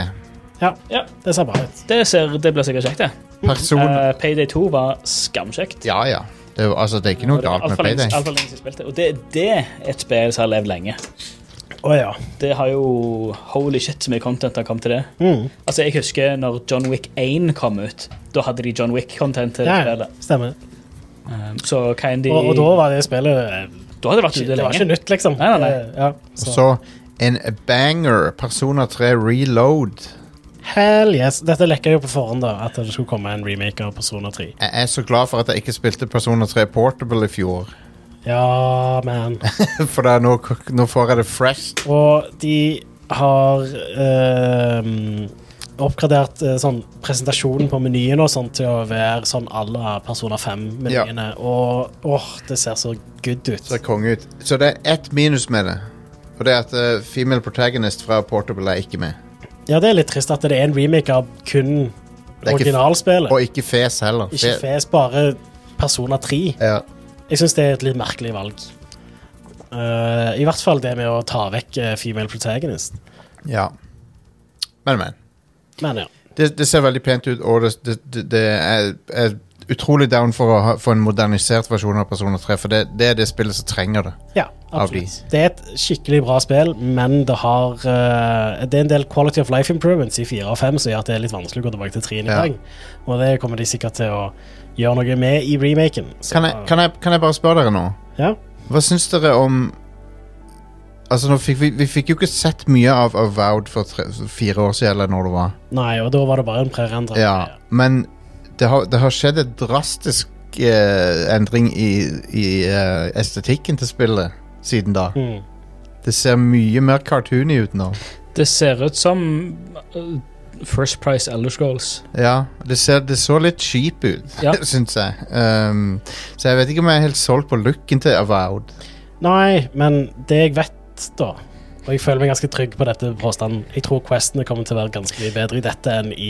Ja, Ja, det ser bra ut. det, ser, det blir sikkert kjekt, det. Person... Eh, Payday 2 var skamkjekt. Ja, ja. Det, er- altså, det er ikke noe galt med Altfor lenge, Payday. alt for lenge siden jeg spilte. Og det, det er et spill som har levd lenge. Å ja. Det har jo Holy shit, så mye content har kommet til det. Mm. Altså, Jeg husker når John Wick 1 kom ut. Da hadde de John Wick-content til ja. ja, spillet. Stemmer. Um, så Kindy Og, og da var det spillet eh, da hadde det vært ute Det var ikke lenge. nytt, liksom. Nei, nei, nei. Eh, Ja, Og så. så en banger. Persona 3 Reload. Hell yes. Dette lekker jo på forhånd, da, at det skulle komme en remake av Persona 3. Jeg er så glad for at jeg ikke spilte Persona 3 Portable i fjor. Ja, man. For da, nå, nå får jeg det fresh. Og de har ehm, oppgradert eh, sånn, presentasjonen på menyen og sånn til å være sånn à la Persona 5-menyene. Og åh, det ser så good ut. Ser konge ut. Så det er ett minus med det. Og det er at eh, female protagonist fra Portable er ikke med. Ja, det er litt trist at det er en remake av kun er ikke- originalspillet. Og ikke Fes heller. Ikke Fe- fes, bare Persona 3. Ja. Jeg syns det er et litt merkelig valg. Eh, I hvert fall det med å ta vekk eh, female protagonist. ja. Men, men. Men ja. Det, det ser veldig pent ut, og det, det, det, det er, er utrolig down for å ha, få en modernisert versjon av Persona 3, for det, det er det spillet som trenger det. Ja, Av absolutt. Det er et skikkelig bra spill, men det har eh, Det er en del quality of life improvements i 4 og 5 som gjør at det er litt vanskelig å gå tilbake til 3 i Ja. dag. Og det kommer de sikkert til å gjøre noe med i remaken. Så, Kan jeg, kan jeg, kan jeg bare spørre dere nå? Ja. Hva syns dere om Altså, nå fikk vi, vi fikk jo ikke sett mye av Avowed for tre, fire år siden, eller når det var. Nei, og da var det bare en prerendra. Ja, men det har, det har skjedd en drastisk eh, endring i, i eh, estetikken til spillet siden da. Mm. Det ser mye mer cartoony ut nå. Det ser ut som uh, First Price Elder Scrolls. Ja, det, ser, det så litt cheap ut, Ja. syns jeg. Um, så jeg vet ikke om jeg er helt solgt på looken til Avowed. Nei, men det jeg vet, da og jeg føler meg ganske trygg på dette påstanden. Jeg tror questene kommer til å være ganske mye bedre i dette enn i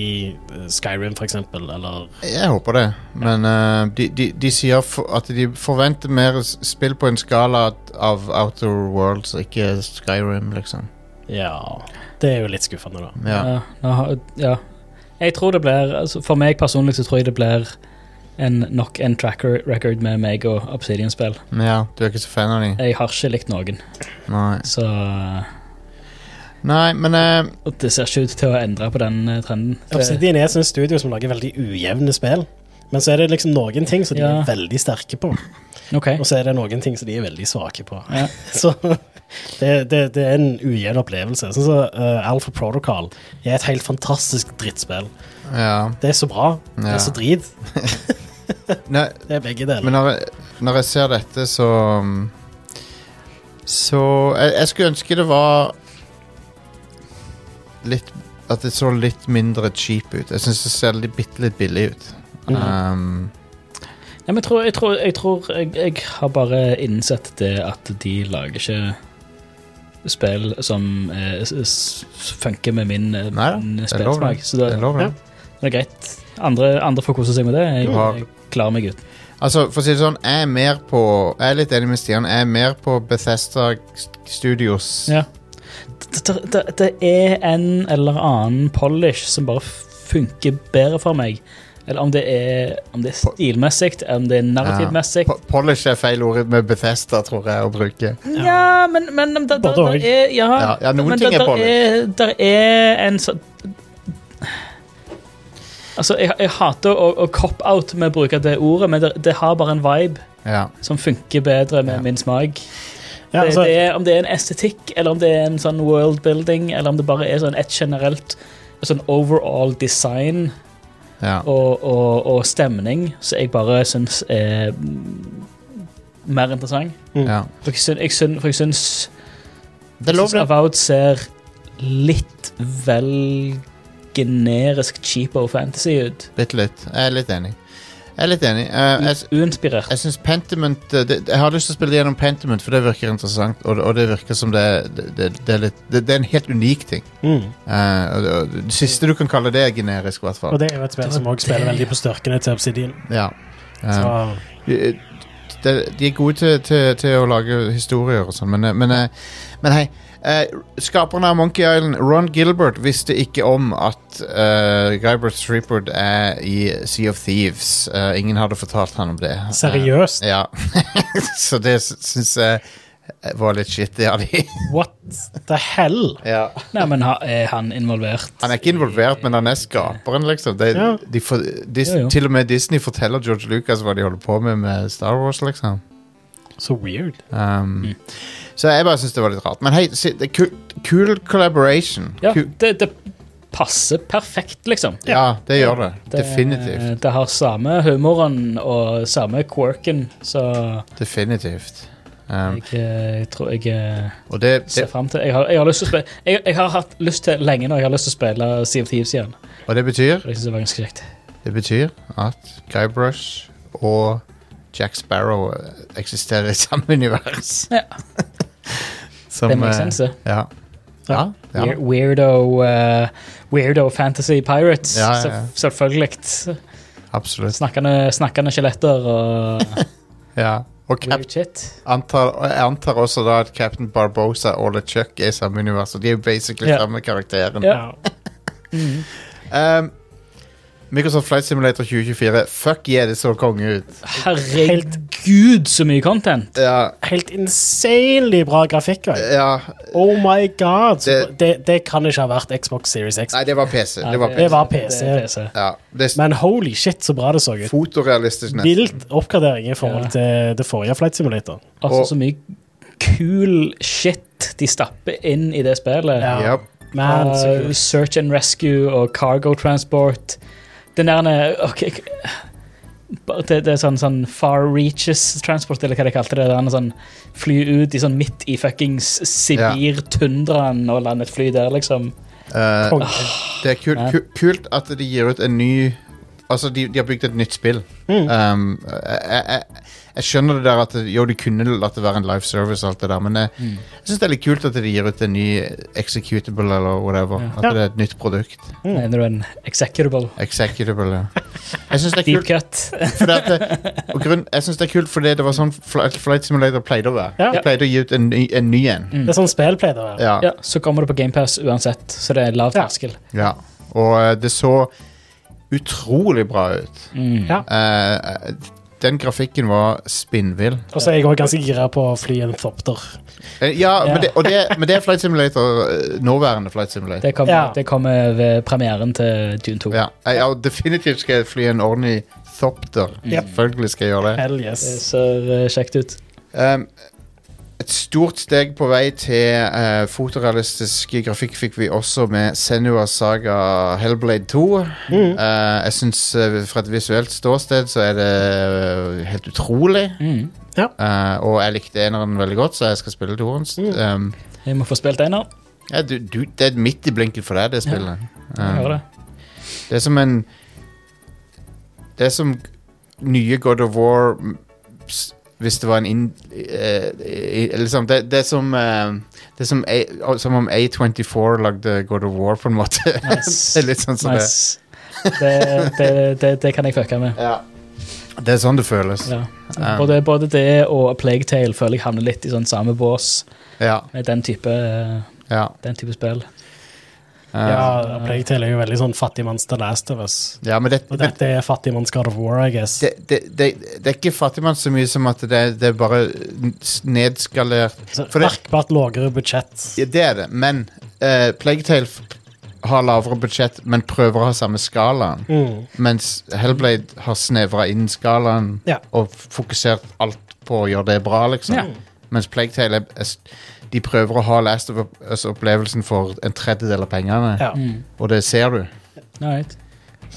eh, Skyrim, for eksempel, eller Jeg håper det, men uh, de, de, de sier for, at de forventer mer s- spill på en skala at- av Outer Worlds, ikke Skyrim, liksom. Ja. Det er jo litt skuffende, da. Ja. Ja, nå har- ja. Jeg tror det blir altså For meg personlig så tror jeg det blir en nok en tracker record med meg og Obsidian-spill. Ja, du er ikke så fan av de? Jeg har ikke likt noen, Nei. så uh, Nei, men eh, og det ser ikke ut til å endre på den eh, trenden. Det, Obsidian er et sånt studio som lager veldig ujevne spill. Men så er det liksom noen ting som de Ja. er veldig sterke på, ok, og så er det noen ting som de er veldig svake på. Ja. Så det, det, det er en ujevn opplevelse. Sånn som eh, Alpha Protocol er et helt fantastisk drittspill. Ja. Det er så bra. Det Ja. er så drit. Nei, Det er begge deler. men når jeg, når jeg ser dette, så mm, Så jeg, jeg skulle ønske det var litt At det så litt mindre cheap ut. Jeg syns det ser litt, bitte litt billig ut. Mhm. Um, Nei, men jeg tror, jeg, tror, jeg, tror jeg, jeg har bare innsett det at de lager ikke spill som eh, s- s- funker med min, eh, Nei da, min det er lov, spillsmak. det. Så det, jeg lover det. det er greit. Andre, andre får kose seg med det. Jeg, Du har- jeg klarer meg uten. Altså, for å si det sånn, jeg er mer på Jeg er litt enig med Stian. Jeg er mer på Bethesda Studios. Ja. Det, det- det, det er en eller annen polish som bare funker bedre for meg. Eller om det er, om det er Po- stilmessig, om det er eh, narrativmessig. Po- Polish er feil ord med Bethesda, tror jeg, å bruke. Ja, men, men der, der, Både der og. er Ja, Ja, ja, noen men ting der, er der polish. er, der er en sånn Altså, jeg, jeg hater å, å cop-out med å bruke det ordet, men det, det har bare en vibe Ja. som funker bedre med Ja. min smak. Ja, det, altså, det er, om det er en estetikk, eller om det er en sånn world building, eller om det bare er sånn et generelt et sånn overall design ja. og, og, og stemning som jeg bare syns er mm, mer interessant. ja. For jeg syns, jeg syns, for jeg syns, Det er jeg lov, det. syns Avowed ser litt vel generisk cheapo fantasy ut. Bitte litt. Jeg er litt enig. Jeg er litt enig. Eh, jeg, s- Uinspirert. jeg syns Pentiment eh, det, Jeg har lyst til å spille gjennom Pentiment, for det virker interessant, og, det- og det virker som det, det, det, det er litt det, det er en helt unik ting. mm. Eh, og, det- og det siste du kan kalle det, er generisk, i hvert Og fall. det er jo et spill som også spiller veldig på styrkene til Obsidian. Ja. Eh, Så, de, de er gode til, til, til å lage historier og sånn, men, eh, men, eh, men hei. eh, skaperen av Monkey Island, Ron Gilbert, visste ikke om at uh, Guybert Streepwood er i Sea of Thieves. Eh, ingen hadde fortalt han om det. seriøst. Eh, ja. Så det syns jeg var litt shit, det av de. What the hell? ja. Nei, men ha- er han involvert? Han er ikke involvert, men han er skaperen, liksom. De, Ja. de for, Dis, Jo, jo. Til og med Disney forteller George Lucas hva de holder på med med Star Wars, liksom. Så weird. Um, Så jeg bare syns det var litt rart. Men hei, si- det er kul, kul collaboration. Ja, Ku- det, det passer perfekt, liksom. ja, det gjør det. Definitivt. Det har samme humoren og samme quirken, så Definitivt. Um, jeg eh, tror jeg eh, og det, ser det, fram til jeg har, jeg har lyst til å spille jeg, jeg har hatt lyst til lenge nå, jeg har lyst til å spille Sea of Thieves igjen. og det betyr Og jeg synes det var ganske kjekt. Det betyr at Guybrush og Jack Sparrow eh, eksisterer i samme univers. Ja. Som, Det eh, makes sense. det. Ja. Ja, ja. Weir- Weirdo, eh, weirdo fantasy pirates, Ja, ja, ja. selv- selvfølgelig. absolutt. Snakkende, snakkende skjeletter og Ja. Og Cap weird shit. antar, og jeg antar også da at Captain Barbosa og LeChuck er i samme univers. Og de er jo basically Ja. samme karakteren. Ja. Um, Microsoft Flight Simulator 2024. Fuck yeah, det så konge ut. Herregud, så mye content! Ja, Helt insanely bra grafikk. også. ja Oh my god. Så Det- det, det kan ikke ha vært Xbox Series X. Nei, det var PC. Det var det PC. var PC. Det er PC. Ja, det er Men holy shit, så bra det så ut. fotorealistisk nesten. Vilt oppgradering i forhold Ja. til det forrige Flight Simulator. Altså Og- så mye kul shit de stapper inn i det spillet. Ja. Yep. Man, så Uh, kult. search and rescue og cargo transport. Den der ok, k- bare det, det er sånn, sånn far reaches transport, eller hva de kalte det. Den, sånn, fly ut i sånn midt i fuckings Sibir-tundraen og lande et fly der, liksom. Eh, Konge. det er kult, Ja. ku- kult at de gir ut en ny Altså, de, de har bygd et nytt spill. Um, jeg, jeg, jeg- jeg skjønner det der at jo, de kunne latt det være en live service, og alt det der, men jeg, Mm. jeg syns det er litt kult at de gir ut en ny executable eller whatever. At Ja. det er et nytt produkt. Mener du en executable Executable, ja. Jeg syns det er deep kult. cut? Fordi at det, og grunn, jeg synes det er kult fordi det var sånn Flight, flight Simulator pleide å være. Ja. De pleide å gi ut en ny en. Ny en. Det er sånn spill pleier det å være. Ja, Ja, så kommer det på GamePass uansett, så det er lav Ja. terskel. ja. Og eh, det så utrolig bra ut. Mm. Ja. Eh, den grafikken var spinnvill. Og så er jeg òg ganske gira på å fly en thopter. Eh, ja, Ja. Men, det, og det, men det er Flight Simulator. eh, Nåværende Flight Simulator. Det kommer Ja. det kommer ved premieren til Dune 2. Ja, jeg, ja, definitivt skal jeg fly en ordentlig thopter. Yep. Selvfølgelig skal jeg gjøre det. Hell Det yes. ser eh, kjekt ut. Ehm, et stort steg på vei til eh, fotorealistisk grafikk fikk vi også med Senua Saga Hellblade 2. Mm. Eh, jeg syns fra et visuelt ståsted så er det eh, helt utrolig. Mm. Eh, og jeg likte eneren veldig godt, så jeg skal spille toeren. Mm. Ehm, Jeg må få spilt Einar. ja, du, du, det er midt i blinken for deg, det spillet. Jeg Ehm, hører det. det er som en Det er som nye God of War m, s- Hvis det var en inn... eh, eh, liksom, det, det er som eh, Det er som, A, å, som om A24 lagde God of War, på en måte. Nice. det er litt sånn som nice. det. Det, det, det. kan jeg fucke med. det. Ja. Det er sånn det føles. Ja. Um. Både, både det og A Plague Tale føler jeg havner litt i sånn samme bås Ja. med den type, eh, ja. den type spill. Eh, Ja, Playtale er jo veldig sånn fattigmanns The Last of Us. ja, men det, Og dette er fattigmanns God of War, I guess. det, det, det, det er ikke fattigmann så mye som at det, det er bare s- nedskalert Så for det- Merkbart lavere budsjett. Ja, det er det, men uh, Plaguetale har lavere budsjett, men prøver å ha samme skalaen. Mm. Mens Hellblade har snevra inn skalaen Ja. og f- fokusert alt på å gjøre det bra, liksom. Ja. Mens Plaguetale er, er, s- de prøver å ha Last of Us-opplevelsen for en tredjedel av pengene, Ja. Mm. og det ser du. Alright.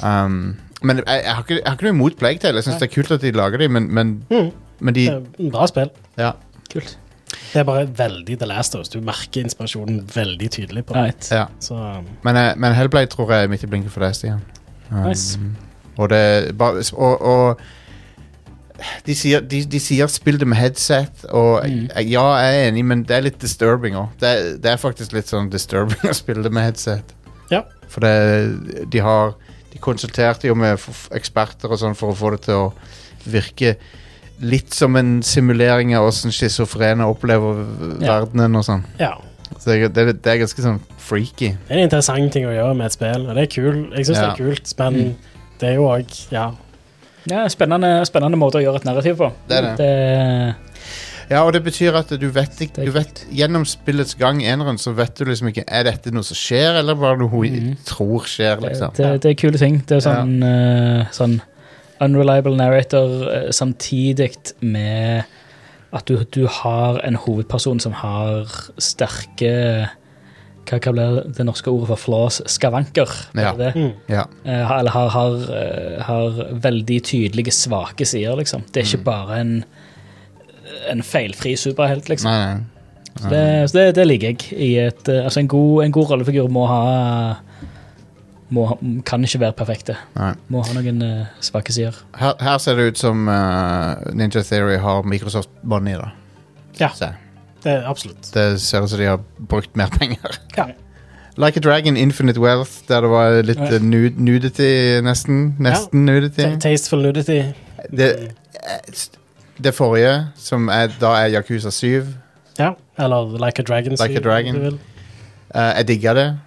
Um, men jeg, jeg, har ikke, jeg har ikke noe imot Plaguetale. Jeg syns det er kult at de lager dem, men, men, Mm. men de Det er Bra spill. ja. Kult. Det er bare veldig The Last of Us. Du merker inspirasjonen veldig tydelig på det. Alright. ja. Så Men, eh, men Hellblade tror jeg er midt i blinken for deg, Stian. Um, Nice. Og det bare- Og, og de sier, de, de sier 'spill det med headset', og Mm. jeg- ja, jeg er enig, men det er litt disturbing òg. Det, er- det er faktisk litt sånn disturbing å spille det med headset. Ja. For det, de har De konsulterte jo med f- eksperter og sånn for å få det til å virke litt som en simulering av åssen schizofrene opplever v- Ja. verdenen og sånn. ja. Så det, det, det er ganske sånn freaky. Det er en interessant ting å gjøre med et spill, og det er kul. Jeg syns det Ja. Mm. er kult, men det er jo òg Ja. Ja, spennende, spennende måte å gjøre et narrativ på. Det er det. Ja, og det betyr at du vet ikke er du vet, Gjennom spillets gang eneren så vet du liksom ikke Er dette noe som skjer, eller bare noe hun Mhm. tror skjer, Det, liksom. det, det er kule ting. Det er sånn, eh, sånn unreliable narrator eh, samtidig med at du, du har en hovedperson som har sterke hva, hva blir det norske ordet for flaws? Skavanker. er Ja. det det? Mm. Ja. Eh, har- eller har, har, eh, har veldig tydelige svake sider, liksom. Det er ikke bare en, en feilfri superhelt, liksom. Nei, nei. Så det, så det, det liker jeg. I et, eh, altså en, god, en god rollefigur må ha, må ha Kan ikke være perfekte. nei. Må ha noen eh, svake sider. Her, her ser det ut som eh, Ninja Theory har Microsoft Money, da. Ja. Så Det er absolutt. det ser ut som de har brukt mer penger. Ja. Like a Dragon, Infinite Wealth, der det var litt Ja. eh, nu- nudity, nesten. Nesten nudity. Så Tasteful nudity. Det, eh, det forrige, som er, da er Yakuza 7. Ja. Eller Like a Dragon. Like a sier Dragon. du vil. Eh, jeg digger det.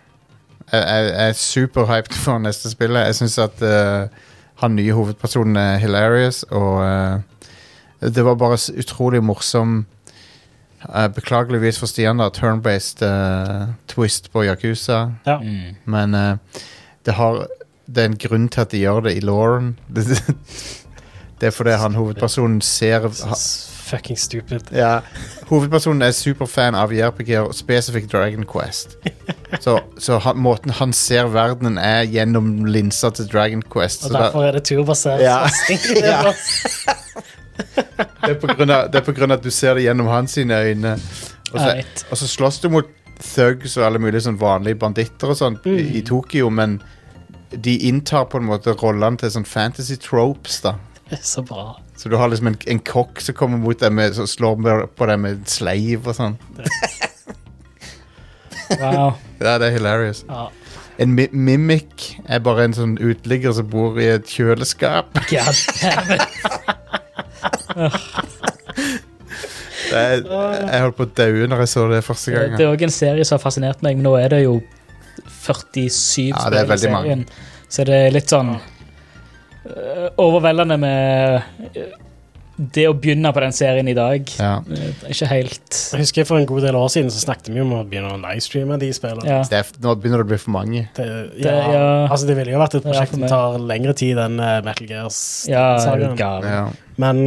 Jeg, jeg, jeg er superhyped for neste spill. Jeg syns at eh, han nye hovedpersonen er hilarious, og eh, det var bare s- utrolig morsom eh, Beklageligvis for Stian, da, turn-based eh, twist på Yakuza, Ja. Mm. men eh, det har det er en grunn til at de gjør det i Lauren. Det, det, det er fordi han hovedpersonen ser ha, S- Fucking stupid. ja. Hovedpersonen er superfan av JRPG og spesifikt Dragon Quest. Så, så han, måten han ser verdenen er gjennom linsa til Dragon Quest. Og Så da, derfor er det turbasert. Ja. satsing. Det er Ja. bra. det, er på grunn av, det er på grunn av at du ser det gjennom hans sine øyne. Og så, Alright. og så slåss du mot thugs og alle mulige sånn vanlige banditter og sånn i, Mm. i Tokyo, men de inntar på en måte rollene til sånn fantasy tropes, da. Det er Så bra. Så du har liksom en, en kokk som kommer mot deg med, som slår med- på deg med sleiv og sånn. Wow. Ja, det er hilarious. Ja. En mi mimik er bare en sånn uteligger som bor i et kjøleskap. God damn it. Det er, jeg holdt på å daue når jeg så det første Det gang. det er òg en serie som har fascinert meg, men nå er det jo 47 Ja, det er spill i veldig mange. serien. Så det er litt sånn eh, overveldende med eh, det å begynne på den serien i dag. Ja, Eh, Ikke helt Jeg husker For en god del år siden så snakket vi om å begynne å livestreame de spillene. Ja. det er, f- Nå begynner det å bli for mange. Det, ja, ja. Altså, det ville jo vært et Ja, prosjekt for som meg. tar lengre tid enn eh, Metal Ja, er du Gears-sagaen. gal. Ja. Men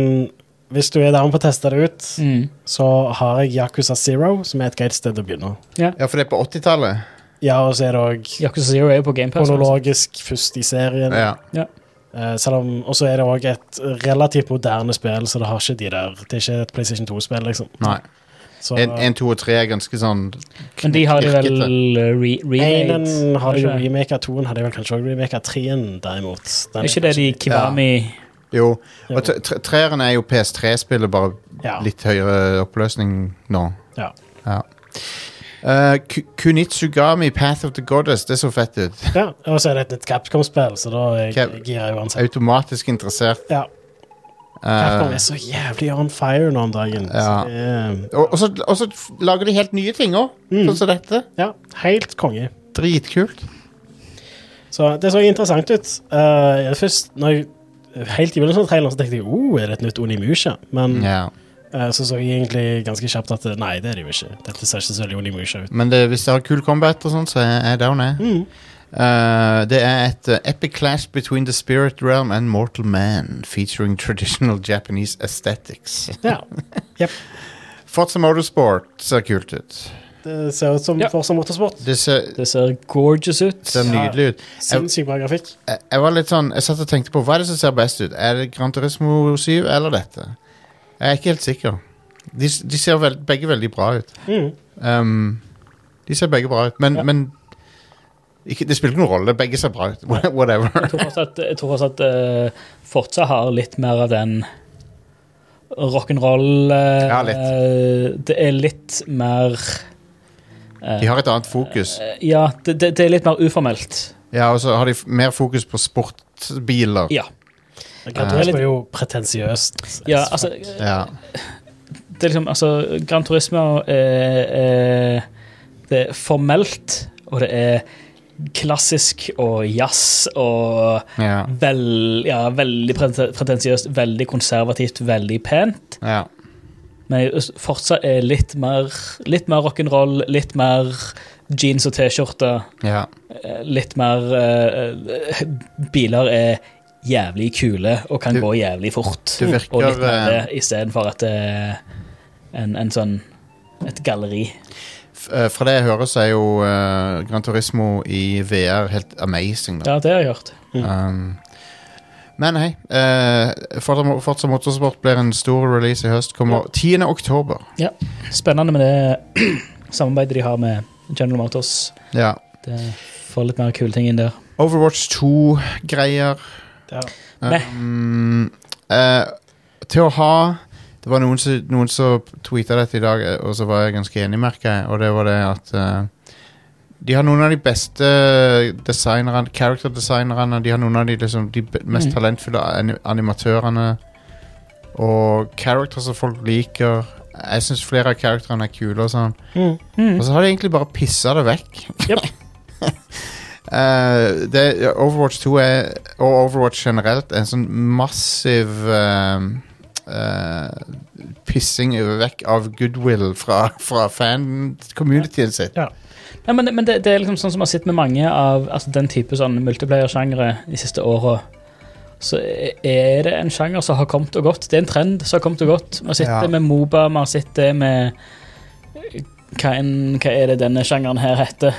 hvis du er down på å teste det ut, Mm. så har jeg Yakuza Zero, som er et greit sted å begynne. ja, for det er på 80-tallet. Ja, og så er det òg Yakuza Zero er jo på GamePass. kronologisk først i serien. Ja. Eh, selv om, og så er det òg et relativt moderne spill, så det har ikke de der Det er ikke et PlayStation 2-spill, liksom. Nei. Så, 1, 2 og 3 er ganske sånn Men de har jo vel knirkete. eh, re remade. Einen har de jo ikke det? remaka, toen hadde de vel kanskje òg remaka, treen derimot. Den Er ikke det de Kiwami Jo. Jo. Og tre- tre- treeren er jo PS3-spillet, bare Ja. litt høyere oppløsning nå. Ja. Ja. Eh, Ku- Kunitsugami, Path of the Goddess, det så fett ut. ja. Og så er det et nytt Capcom-spill, så da er jeg Cap- gira uansett. Automatisk interessert. Ja. Capcom Uh, er så jævlig on fire nå om dagen. Ja. Så det er- og, og, så, og så f- lager de helt nye ting òg, sånn som dette. ja, helt konge. Dritkult. Så det så interessant ut. Eh, først, når jeg, helt i begynnelsen av traileren så tenkte jeg oh, er det et nytt Onimusha? Men Ja. eh, så så jeg egentlig ganske kjapt at eh, nei, det er det jo ikke. Dette ser ikke så veldig Onimusha ut. Men det, hvis det har kul combat og sånn, så er jeg down, jeg. Mm. Eh, det er et eh, epic clash between the spirit realm and mortal man, featuring traditional Japanese aesthetics. Ja. Forza Motorsport ser kult ut. Det ser ut som Ja. Forza Motorsport. Det ser, Det ser gorgeous ut. ser nydelig ut. Sinnssykt bra grafikk. Jeg, jeg var litt sånn, jeg satt og tenkte på hva er det som ser best ut. Er det Gran Turismo 7 eller dette? Jeg er ikke helt sikker. De, s- de ser vel, begge veldig bra ut. Mm. Um, de ser begge bra ut, men, Ja. men ikke, det spiller ikke noen rolle. Begge ser bra ut. Whatever. Jeg tror fortsatt at, jeg tror fortsatt at eh, Forza har litt mer av den rock'n'roll eh, Ja, litt. eh, Det er litt mer eh, De har et annet fokus. eh, Ja, det, det, det er litt mer uformelt. Ja, Og så har de f- mer fokus på sportbiler. Ja. Gran Turismo er jo pretensiøst. ja altså, Ja. det er liksom, altså, Gran Turismo er, er, det er formelt, og det er klassisk og jazz og Ja. vel, ja, veldig preten- pretensiøst, veldig konservativt, veldig pent. ja. Men fortsatt er litt mer, litt mer rock'n'roll, litt mer jeans og T-skjorte, ja. eh, litt mer eh, eh, Biler er jævlig kule og kan Du- gå jævlig fort. du virker, og litt mer det eh, istedenfor at det er en, en sånn et galleri. F- eh, Fra det jeg hører, så er jo eh, Gran Turismo i VR helt amazing. Da. Ja, Mm. det har jeg hørt. Um, men hei, eh, Forza Mo- Forza Motorsport blir en stor release i høst. Kommer 10. oktober. Spennende med det samarbeidet de har med General Motors. Ja. Det får litt mer kule ting inn der. Overwatch 2-greier. Ja. Meh. Um, eh, til å ha Det var noen som, noen som tweeta dette i dag, eh, og så var jeg ganske enig, merker jeg. Og det var det at eh, de har noen av de beste designerne, character-designerne. De har noen av de, liksom, de be- mest Mhm. talentfulle ani- animatørene. Og character som folk liker. Jeg syns flere av characterne er kule. og sånn Mm. og så har de egentlig bare pissa det vekk. Yep. Eh, det, Overwatch 2 er, og Overwatch generelt er en sånn massiv eh, eh, pissing vekk av goodwill fra, fra fan-communityen sitt. Ja. Nei, men men det, det er liksom sånn som jeg har sett med mange av altså, den type sånn multiplayer-sjangere de siste åra. Så e-, er det en sjanger som har kommet og gått. Det er en trend som har kommet og gått. Vi har sett Ja. det med Moba, vi har sett det med eh, hva, en, hva er det denne sjangeren her heter?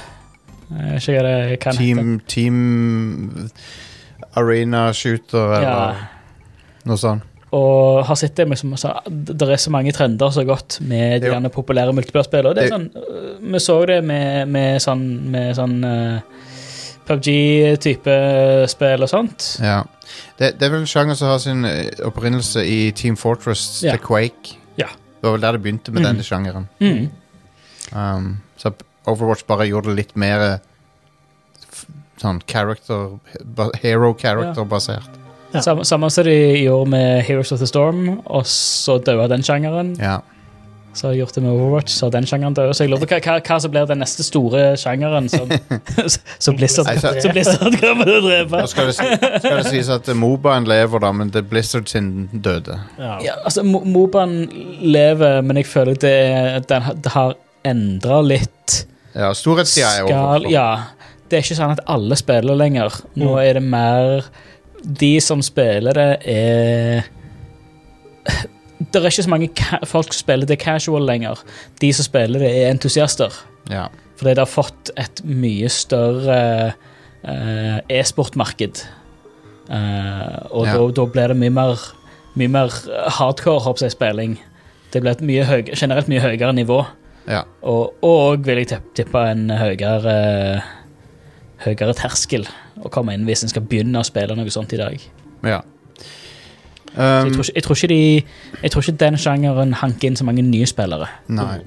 Jeg vet ikke hva det kan hete. Team, team Arena Shooter eller Ja. noe sånt. Og har sett det med som, altså, Det er så mange trender som har gått med de Jo. gjerne populære multiplierspillene. Og det er Det- sånn, øh, vi så det med, med sånn, med sånn øh, PubG-type spill og sånt. Ja. Det, det er vel en sjanger som har sin eh, opprinnelse i Team Fortress Ja. til Quake. Ja. Det var vel der det begynte med Mhm. denne sjangeren. Mm. Um, så Overwatch bare gjorde det litt mer eh, f- sånn character ba- Hero character basert. Ja. Samme, samme som de gjorde med Heroes of the Storm, og så døde den sjangeren. Ja. Så har jeg gjort det med Overwatch, så den sjangeren dør. Så jeg lurer på hva, hva, hva som blir den neste store sjangeren som, som Blizzard, Nei, så- som Blizzard kommer til å drepe. Nå skal det, si- skal det sies at eh, Mobaen lever, da, men det er Blizzard sin døde. Ja. Ja, altså, Mo- Moban lever, men jeg føler det, den har- det har endra litt Ja, Storhetstida er skal over. Ja. Det er ikke sånn at alle spiller lenger. Nå er det mer De som spiller det, er Det er ikke så mange ka folk som spiller det casual lenger. De som spiller det, er entusiaster. Ja. Fordi det har fått et mye større eh, e-sportmarked. Eh, og Ja. da, da blir det mye mer, mye mer hardcore håper jeg, spilling. Det blir et mye høy, generelt mye høyere nivå. Ja. Og, og vil jeg tipp- tippe en høyere Høyere terskel å komme inn hvis en skal begynne å spille noe sånt i dag. Så ja. jeg, Um, tror ikke, jeg, tror ikke de, jeg tror ikke den sjangeren hanker inn så mange nye spillere. nei.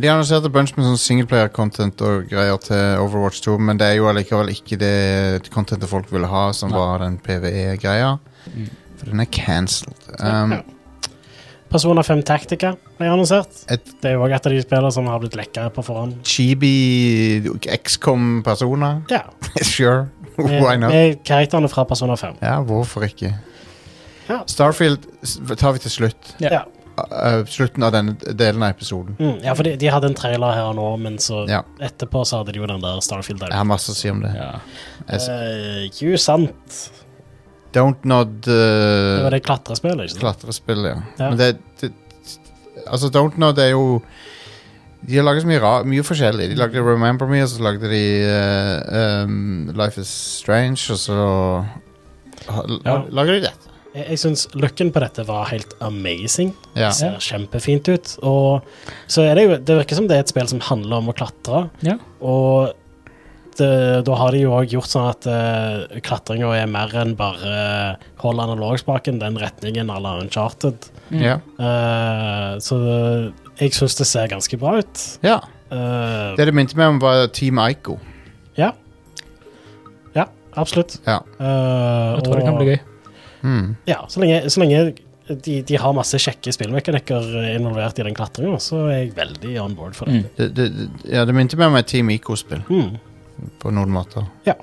De annonserte bunch med sånn singleplayer-content og greier til Overwatch 2, men det er jo allikevel ikke det contentet folk ville ha, som Nei. var den PVE-greia. For den er cancelled. Um, Ja. Persona 5 Tactica ble annonsert. Et- Det er jo også et av de spillene som har blitt lekka på forhånd. Chibi XCOM-personer? Ja, sure. Why med, not? med karakterene fra Persona 5. Ja, hvorfor ikke? Ja. Starfield s- tar vi til slutt. Ja. Ja, Uh, slutten av denne delen av episoden. mm, ja for de, de hadde en trailer her nå, men så Ja. etterpå så hadde de jo den der Starfield der. Jeg har masse å si om det. Ja. Jeg s- Eh, jo, sant. Don't Nod Det uh, var det klatrespillet, ikke sant? Klatrespill, ja. Ja. Men det, det Altså, Don't Nod er jo De har laget så mye, ra mye forskjellig. De lagde Remember Me, og så lagde de uh, um, Life Is Strange, og så ha- Ja. lager de dette. Jeg, jeg syns looken på dette var helt amazing. Ja. Det ser kjempefint ut. Og så er det jo Det virker som det er et spill som handler om å klatre. Ja. Og det, da har de jo òg gjort sånn at uh, klatringa er mer enn bare eh, hold analogspaken, den retningen à la uncharted. Ja. Eh, så jeg syns det ser ganske bra ut. ja. Eh, Det det minte meg om, var Team Ico. ja. Ja, absolutt. Ja. Eh, Jeg tror det kan og- bli gøy. Mm. Ja, så lenge, så lenge de, de har masse kjekke spillmekanikker involvert i den klatringa, så er jeg veldig on board for det. Det, det, det, ja, det minte meg om et Team Ico-spill. Mm. på noen måter. Ja.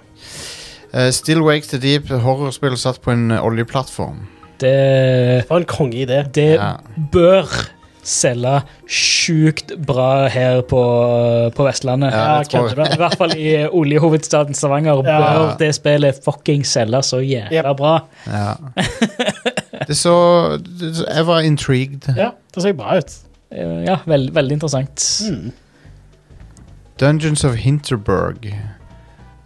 Eh, Still Wakes the Deep, horrorspill satt på en eh, oljeplattform. Det, Det var en kongeidé. det Ja. bør selge sjukt bra her på, på Vestlandet. Ja, det tror jeg. I hvert fall i oljehovedstaden Stavanger Ja. bør det spillet fucking selge så jævla Yep. bra. Ja. det så det, så- Jeg var intrigued. Ja, det ser bra ut. Eh, Ja, veld, veldig interessant. Mm. Dungeons of Hinterberg.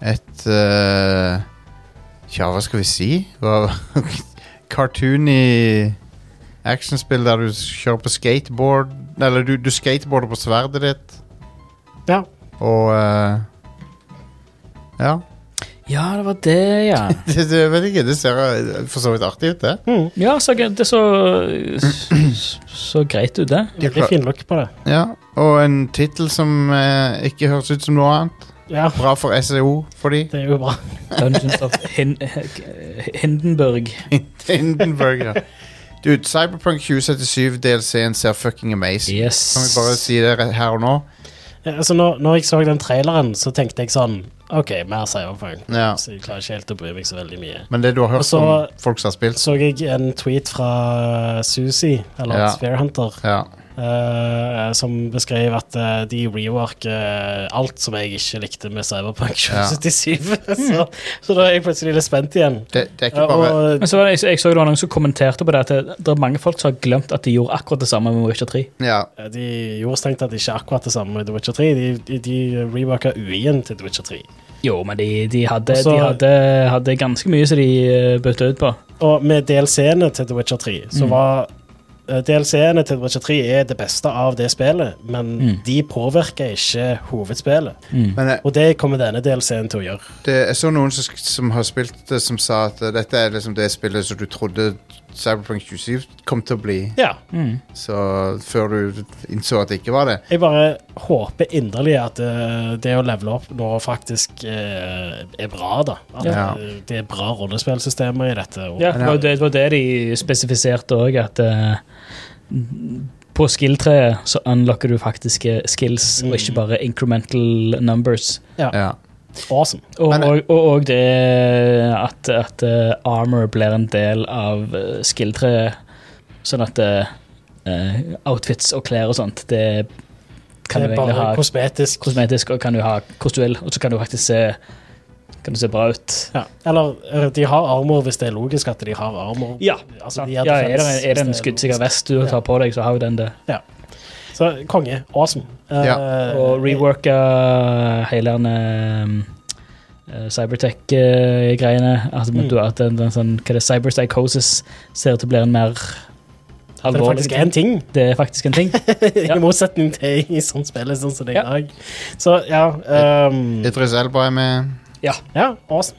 Et eh, Tja, hva skal vi si? Hva- Cartoony actionspill der du kjører på skateboard Eller du, du skateboarder på sverdet ditt, Ja. og eh, Ja. Ja, det var det, ja. Det, det, vet ikke, det ser eh, for så vidt artig ut, det. Mm. Ja, så, gre- det så, så, så greit ut, det. De har Veldig klart- fin look på det. Ja, og en tittel som eh, ikke høres ut som noe annet. Ja, Bra for SEO for de. det er jo bra. Dungeons of liksom sånn Hin Hindenburg. Hindenburg, ja. Dude, Cyberpunk 2077 DLC-en ser fucking amazing. Yes. Kan vi bare si det rett her og nå? Ja, Altså, når, når jeg så den traileren, så tenkte jeg sånn OK, mer Cyberpunk. Ja. Så jeg klarer ikke helt å bry meg så veldig mye. Men det du har hørt Og så- om folk som har spilt Så jeg en tweet fra Susi, eller Ja. Spearhunter, Ja. eh, som beskrev at eh, de reworker eh, alt som jeg ikke likte med Cyberpunk 2077. så, så da er jeg plutselig litt spent igjen. Det, det er Ja, ikke bare og Men så var det, jeg, jeg så det var noen som kommenterte på det at det, det er mange folk som har glemt at de gjorde akkurat det samme med Witcher 3. Ja. eh, de gjorde strengt tatt ikke akkurat det samme med The Witcher 3. De, de, de reworka UI-en til The Witcher 3. Jo, men de, de, hadde, Og så- de hadde, hadde ganske mye som de uh, bøtte ut på. Og med DLC-ene til The Witcher 3, så var eh, DLC-ene til The Witcher 3 er det beste av det spillet, men de påvirker ikke hovedspillet. Men jeg, Og det kommer denne DLC-en til å gjøre. det, jeg så noen som, sk- som har spilt det, som sa at eh, dette er liksom det spillet som du trodde Cyberpunk 27 kom til å bli, Ja. så før du innså at det ikke var det. Jeg bare håper inderlig at eh, det å levele opp nå faktisk eh, er bra, da. At Ja. eh, det er bra rollespillsystemer i dette. Og, Ja, det var, det, det var det de spesifiserte òg, at eh, På skill-treet så unlocker du faktiske skills, Mm. og ikke bare incremental numbers. Ja. Awesome. Og, Men- og, og, og det at, at eh, armor blir en del av eh, skill-treet. Sånn at eh, eh, outfits og klær og sånt, det kan det du er egentlig ha bare kosmetisk. kosmetisk, og kan du ha hvordan du vil, og så kan du faktisk se kan du se bra ut. Ja. Eller eh, de har armor hvis det er logisk at de har armor. Ja, Altså, de ja er er, det en, defense er det hvis en det er skuddsikker logisk. vest du tar på deg, så har jo den det. Så konge. Awesome. Eh, Og reworka hele den ehm, eh, cybertech-greiene. At, Mm. du- at den, den sånn, hva er det, cyberpsychosis ser ut til å bli en mer Det er alvorlig faktisk en ting, Det er faktisk en ting. Ja. i motsetning til i sånt spill sånn som det er Ja. i dag. Så ja ehm, Idris Elba er med. Ja, awesome.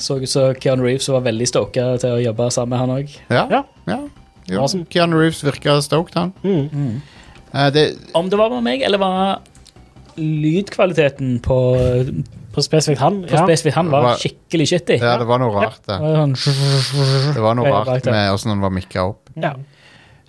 Så så Keanu Reeves var veldig stoka til å jobbe sammen med han òg. Ja. Ja. ja. Jo, Awesome. Keanu Reeves virker stoked, han. Mm. Eh, det, Om det var med meg, eller var lydkvaliteten på, På spesifikt han. på ja. spesifikt han var Hva- skikkelig shitty. ja, det var noe rart, det. Det var sånn Det var noe Ja, rart bak der. med åssen den var mikka opp. ja.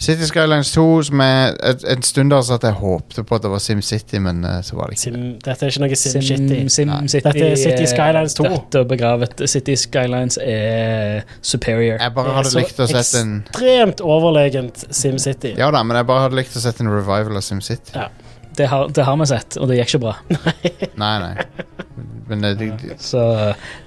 City Skylines 2, som er et, en stund der satt jeg håpte på at det var SimCity, men eh, så var det ikke. Sim, dette er ikke noe Sim, sim-shitty. Sim Nei. City, Dette er City eh, Skylines 2. Dødt og begravet. City Skylines er superior. Jeg bare hadde likt å sett en Ekstremt overlegent SimCity. Ja da, men jeg bare hadde likt å sett en revival av SimCity. Det har, det har vi sett, og det gikk ikke bra. Nei, nei. Men eh, det, det, det- Så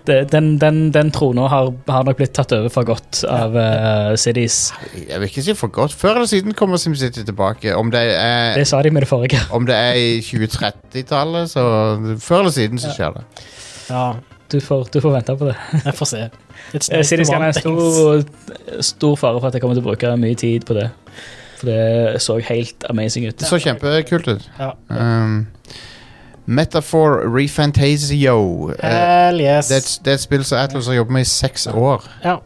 det, den, den, den trona har, har nok blitt tatt over for godt av eh, Cities. jeg vil ikke si for godt. Før eller siden kommer SimCity tilbake. Om det er, Det sa de med det forrige. om det er i 2030-tallet, så Før eller siden så skjer det. Ja, Du får, du får vente på det. jeg får se. It's Eh, nice Cities to want Skylines things. 2 Stor fare for at jeg kommer til å bruke mye tid på det. For det så helt amazing ut. Det så kjempekult ut. Ja. Um, Metaphor Refantasio. Eh, Hell yes. det, er et, det er et spill som Atlas har jobbet med i seks år. Ja.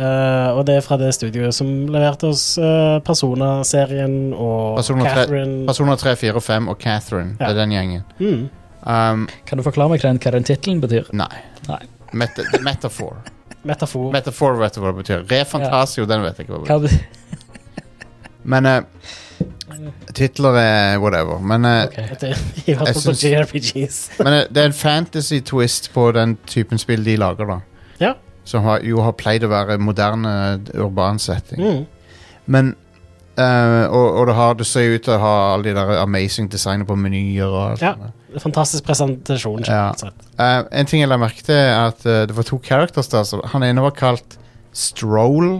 Eh, og det er fra det studioet som leverte oss eh, Persona-serien og Persona tre- Catherine. Personer 3, 4 og 5 og Catherine. Det er den gjengen. Mm. Um, Kan du forklare meg hva den, hva den tittelen betyr? nei. Nei. Meta metaphor. Metafor. Metafor vet du hva det betyr. Refantasio, den vet jeg ikke hva det betyr. Hva, be- Men eh, Mm. Titler er whatever. Men, eh, Ok. Dette er I hvert Jeg fall på syns- JRPGs. men eh, det er en fantasy twist på den typen spill de lager, da. Ja. Som har, jo har pleid å være moderne eh, urban setting. Mm. Men eh, og, og det, har, det ser jo ut til å ha alle de der amazing designene på menyer og alt Ja. sånt. Fantastisk presentasjon. Ja. generelt sett. Eh, en ting jeg la merke til, er at eh, det var to characters der. Så han ene var kalt Stroll,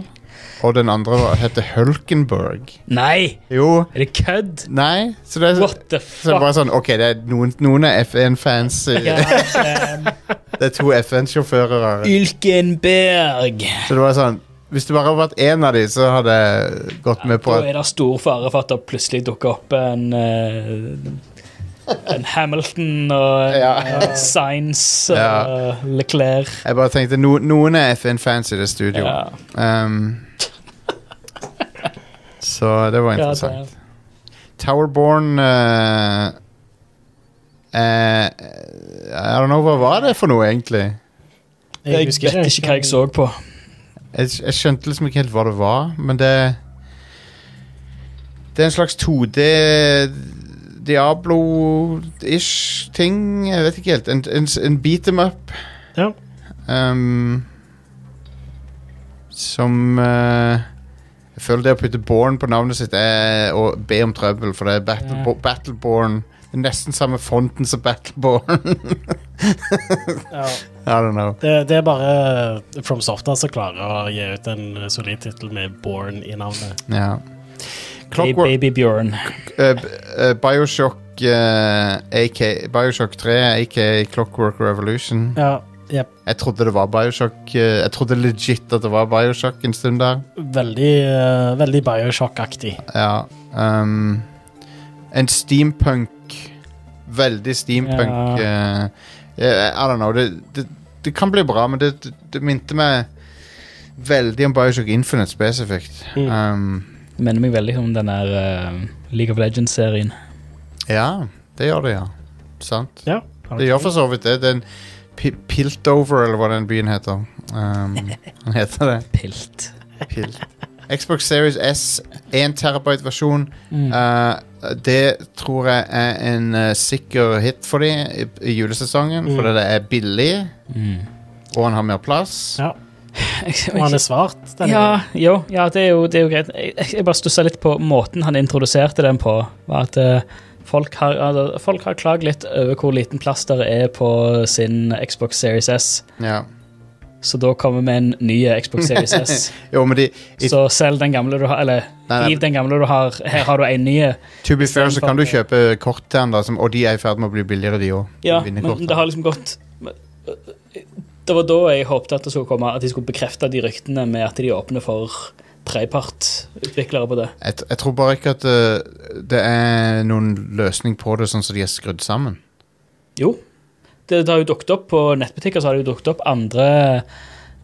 og den andre var- heter Hulkenberg. Nei! Jo, Er det kødd? nei Så det er, What the så det er fuck? bare sånn OK, det er noen, noen er FN-fans. eh, Det er to FN-sjåfører her. Ylkenberg! Så det var sånn Hvis det bare hadde vært én av dem, så hadde jeg gått med på Da at er det stor fare for at det plutselig dukker opp en eh, En Hamilton og en Ja. eh, Sainz og Ja. Leclerc. Jeg bare tenkte no, noen er FN-fans i det studioet. Ja. Um, så det var Ja, interessant. det, Towerborn eh, eh, I don't know, hva var det for noe, egentlig? jeg vet ikke hva jeg så på. Jeg, jeg skjønte liksom ikke helt hva det var, men det Det er en slags 2D Diablo-ish ting. Jeg vet ikke helt. En, en, en beat them up. Ja. Um, som eh, Jeg føler det å putte Born på navnet sitt er å be om trøbbel, for det er battle, Ja. Bo- Battleborn. Det er nesten samme fonten som Battleborn. Ja. I don't know. Det, det er bare From Software som klarer å gi ut en eh, solid tittel med Born i navnet. Ja. Hey, Clockwork Baby Bjørn. Eh, b- eh, Bioshock eh, AK, Bioshock 3, aka Clockwork Revolution. Ja, jep. Jeg trodde det var Bioshock eh, Jeg trodde legit at det var Bioshock en stund der. Veldig, eh, veldig Bioshock-aktig. Ja. ehm, en steampunk Veldig steampunk. eh, eh, I don't know. Det, det, det kan bli bra, men det, det, det minte meg veldig om Bioshock Infinite spesifikt. Mm. Ehm, Minner meg veldig om den der eh, League of Legends-serien. ja, det gjør det, ja. Sant. Ja. Det gjør for så vidt det. Den Pi- Piltover, eller hva den byen heter. Um, han heter det. Pilt. Pilt. Xbox Series S 1 terabyte versjon Mm. eh, Det tror jeg er en eh, sikker hit for dem i, i julesesongen, Mm. fordi det er billig, og han har mer plass. Ja. Og han er svart. denne Ja, jo, ja det, er jo, det er jo greit. Jeg, jeg bare stussa litt på måten han introduserte den på. var at eh, Folk har, altså, folk har klagd litt over hvor liten plass der er på sin Xbox Series S. Ja. Så da kommer vi med en ny Xbox Series S. Jo, men de, i, Så selg den gamle du har, eller Nei, nei. giv den gamle du har. Her har du en ny. to be fair så for- kan du kjøpe kort til han, da, som, og de er i ferd med å bli billigere, de òg. Ja, men det har liksom gått Det var da jeg håpte at det skulle komme At de skulle bekrefte de ryktene med at de åpner for trepartutviklere på det. Jeg, t- jeg tror bare ikke at eh, det er noen løsning på det, sånn som de er skrudd sammen. Jo. Det, det har jo dukket opp på nettbutikker, så har det jo dukket opp andre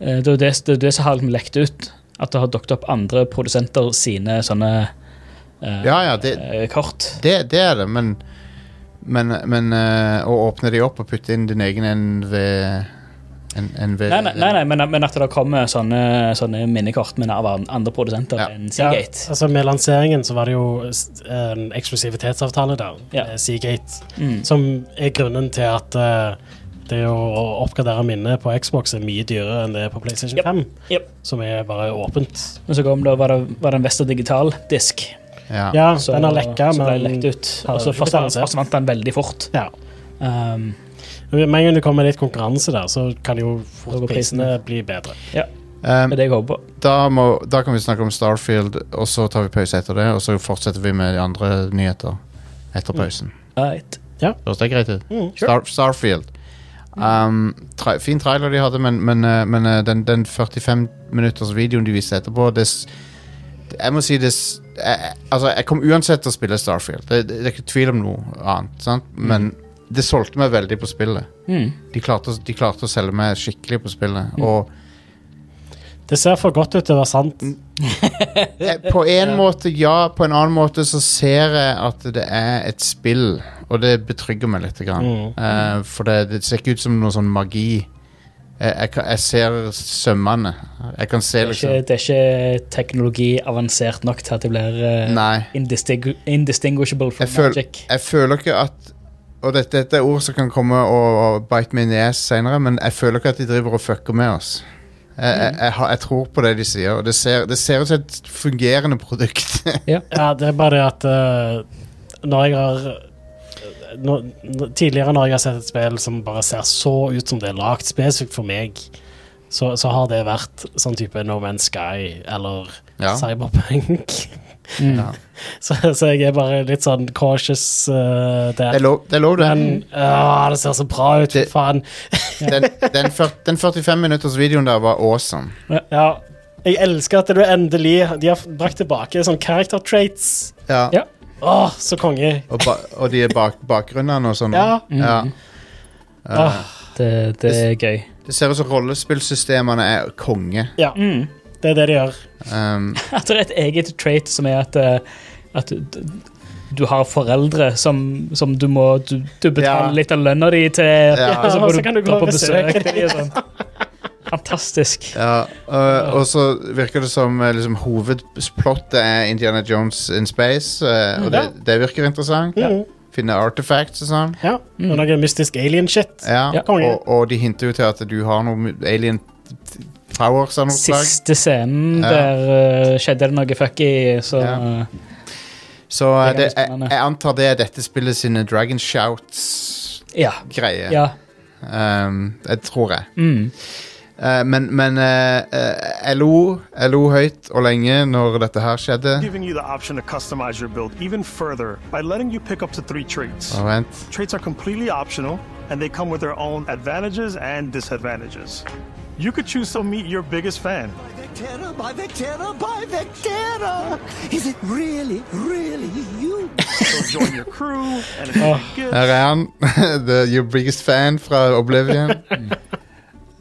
eh, Det er jo det, det, er det som har liksom lekt ut. At det har dukket opp andre produsenter sine sånne eh, Ja, ja, det, eh, kort. det, det er det, men men, men eh, å åpne de opp og putte inn din egen NV... En, NV Nei, nei, nei, nei men, men at det kommer sånne, sånne minnekort men av an- andre produsenter Ja. enn Ja, Seagate. altså Med lanseringen så var det jo s- en eksklusivitetsavtale der, Ja. med Seagate, Mm. som er grunnen til at eh, det å å oppgradere minnet på Xbox er mye dyrere enn det er på PlayStation Yep. 5, Yep. som er bare åpent. Men så kom det, var det, var det en Vesta Digital-disk. Ja. Ja, Så- den har lekka, så ble den men lekt ut. har Og ikke så blitt forsvant, annonsert. forsvant den veldig fort. ja. Um, Men Med en gang det kommer litt konkurranse der, så kan jo Da går fort prisene bli bedre. Um, det er det jeg håper på. da, må, da kan vi snakke om Starfield, og så tar vi pause etter det. Og så fortsetter vi med de andre nyheter etter pausen. Right. Høres det greit ut? Mm. Star, Starfield. Um, tra fin trailer de hadde, men, men, eh, men eh, den, den 45 minutters videoen de viste etterpå det, s- Jeg må si det s- jeg, jeg- Altså, jeg kom uansett til å spille Starfield. Det, det, det er ikke tvil om noe annet. Sant? Men det solgte meg veldig på spillet. Mm. De klarte, å- de klarte å selge meg skikkelig på spillet. Og Det ser for godt ut til å være sant. Mm. Eh, På en måte ja, på en annen måte så ser jeg at det er et spill, og det betrygger meg litt. Grann. Mm. Mm. Eh, for det, det ser ikke ut som noe sånn magi. Jeg, jeg, kan- jeg ser sømmene. Jeg kan se Det, er ikke, liksom det er ikke teknologi avansert nok til at det blir eh, Nei. indistingu indistinguishable from Jeg føler, magic. jeg føler ikke at Og dette, dette er ord som kan komme og, og bite meg i nes senere, men jeg føler ikke at de driver og fucker med oss. Jeg, Mm. jeg, jeg, har- jeg tror på det de sier, og det ser, det ser ut som et fungerende produkt. Ja, det er bare det at eh, når jeg har eh, nå- nå- Tidligere når jeg har sett et spill som bare ser så ut som det er lagd spesifikt for meg, så, så har det vært sånn type No Man's Sky eller Ja. Cyberpunk. Mm. Ja. Så, så jeg er bare litt sånn cautious eh, Det er der. lov, det. Er lov, det. Men ah, det ser så bra ut, Det- for faen. den, den, fyr- den 45 minutters videoen der var awesome. Ja. Jeg elsker at du endelig De har brakt tilbake sånn character traits. Ja. Ja. Åh, så konge. Og, ba og de bak bakgrunnene og sånn. Ja. Ja. Åh, Det, det er gøy. Det ser ut som rollespillsystemene er konge. ja. Det er det de gjør. Um, Mm. At det er et eget trait som er at, eh, at du- du har foreldre som, som du må Du, du betaler Ja. litt av lønna di til, Ja, og så og må så du kan du gå dra og på besøke besøk. dem og sånn. Fantastisk. ja. og, og så virker det som eh, liksom, hovedplottet er Indiana Jones in space, eh, Mm. og det, det virker interessant. Mhm. Finne artifacts og sånn. Ja, og noe mystisk alien-shit. Ja. Ja. Og, og de hinter jo til at du har noe alien powers av noe slag. Siste scenen Ja. der eh, skjedde det noe fucky, så Ja. eh, Så eh, Det er liksom det, ganske jeg, spennende. jeg antar det er dette spillet sine Dragon Shouts-greie. ja. ja. Um, jeg tror jeg. Mm. Eh, men men eh, eh, jeg, lo, jeg lo høyt og lenge når dette her skjedde. giving you the option to customize your build even further by letting you pick up to three traits. Og vent. Traits are completely optional, and they come with their own advantages and disadvantages. You could choose to meet your biggest fan. Victera, by Victera, by Victera! Is it really, really you? So join your crew and exchange gifts. Her er han. The Your Biggest Fan fra Oblivion.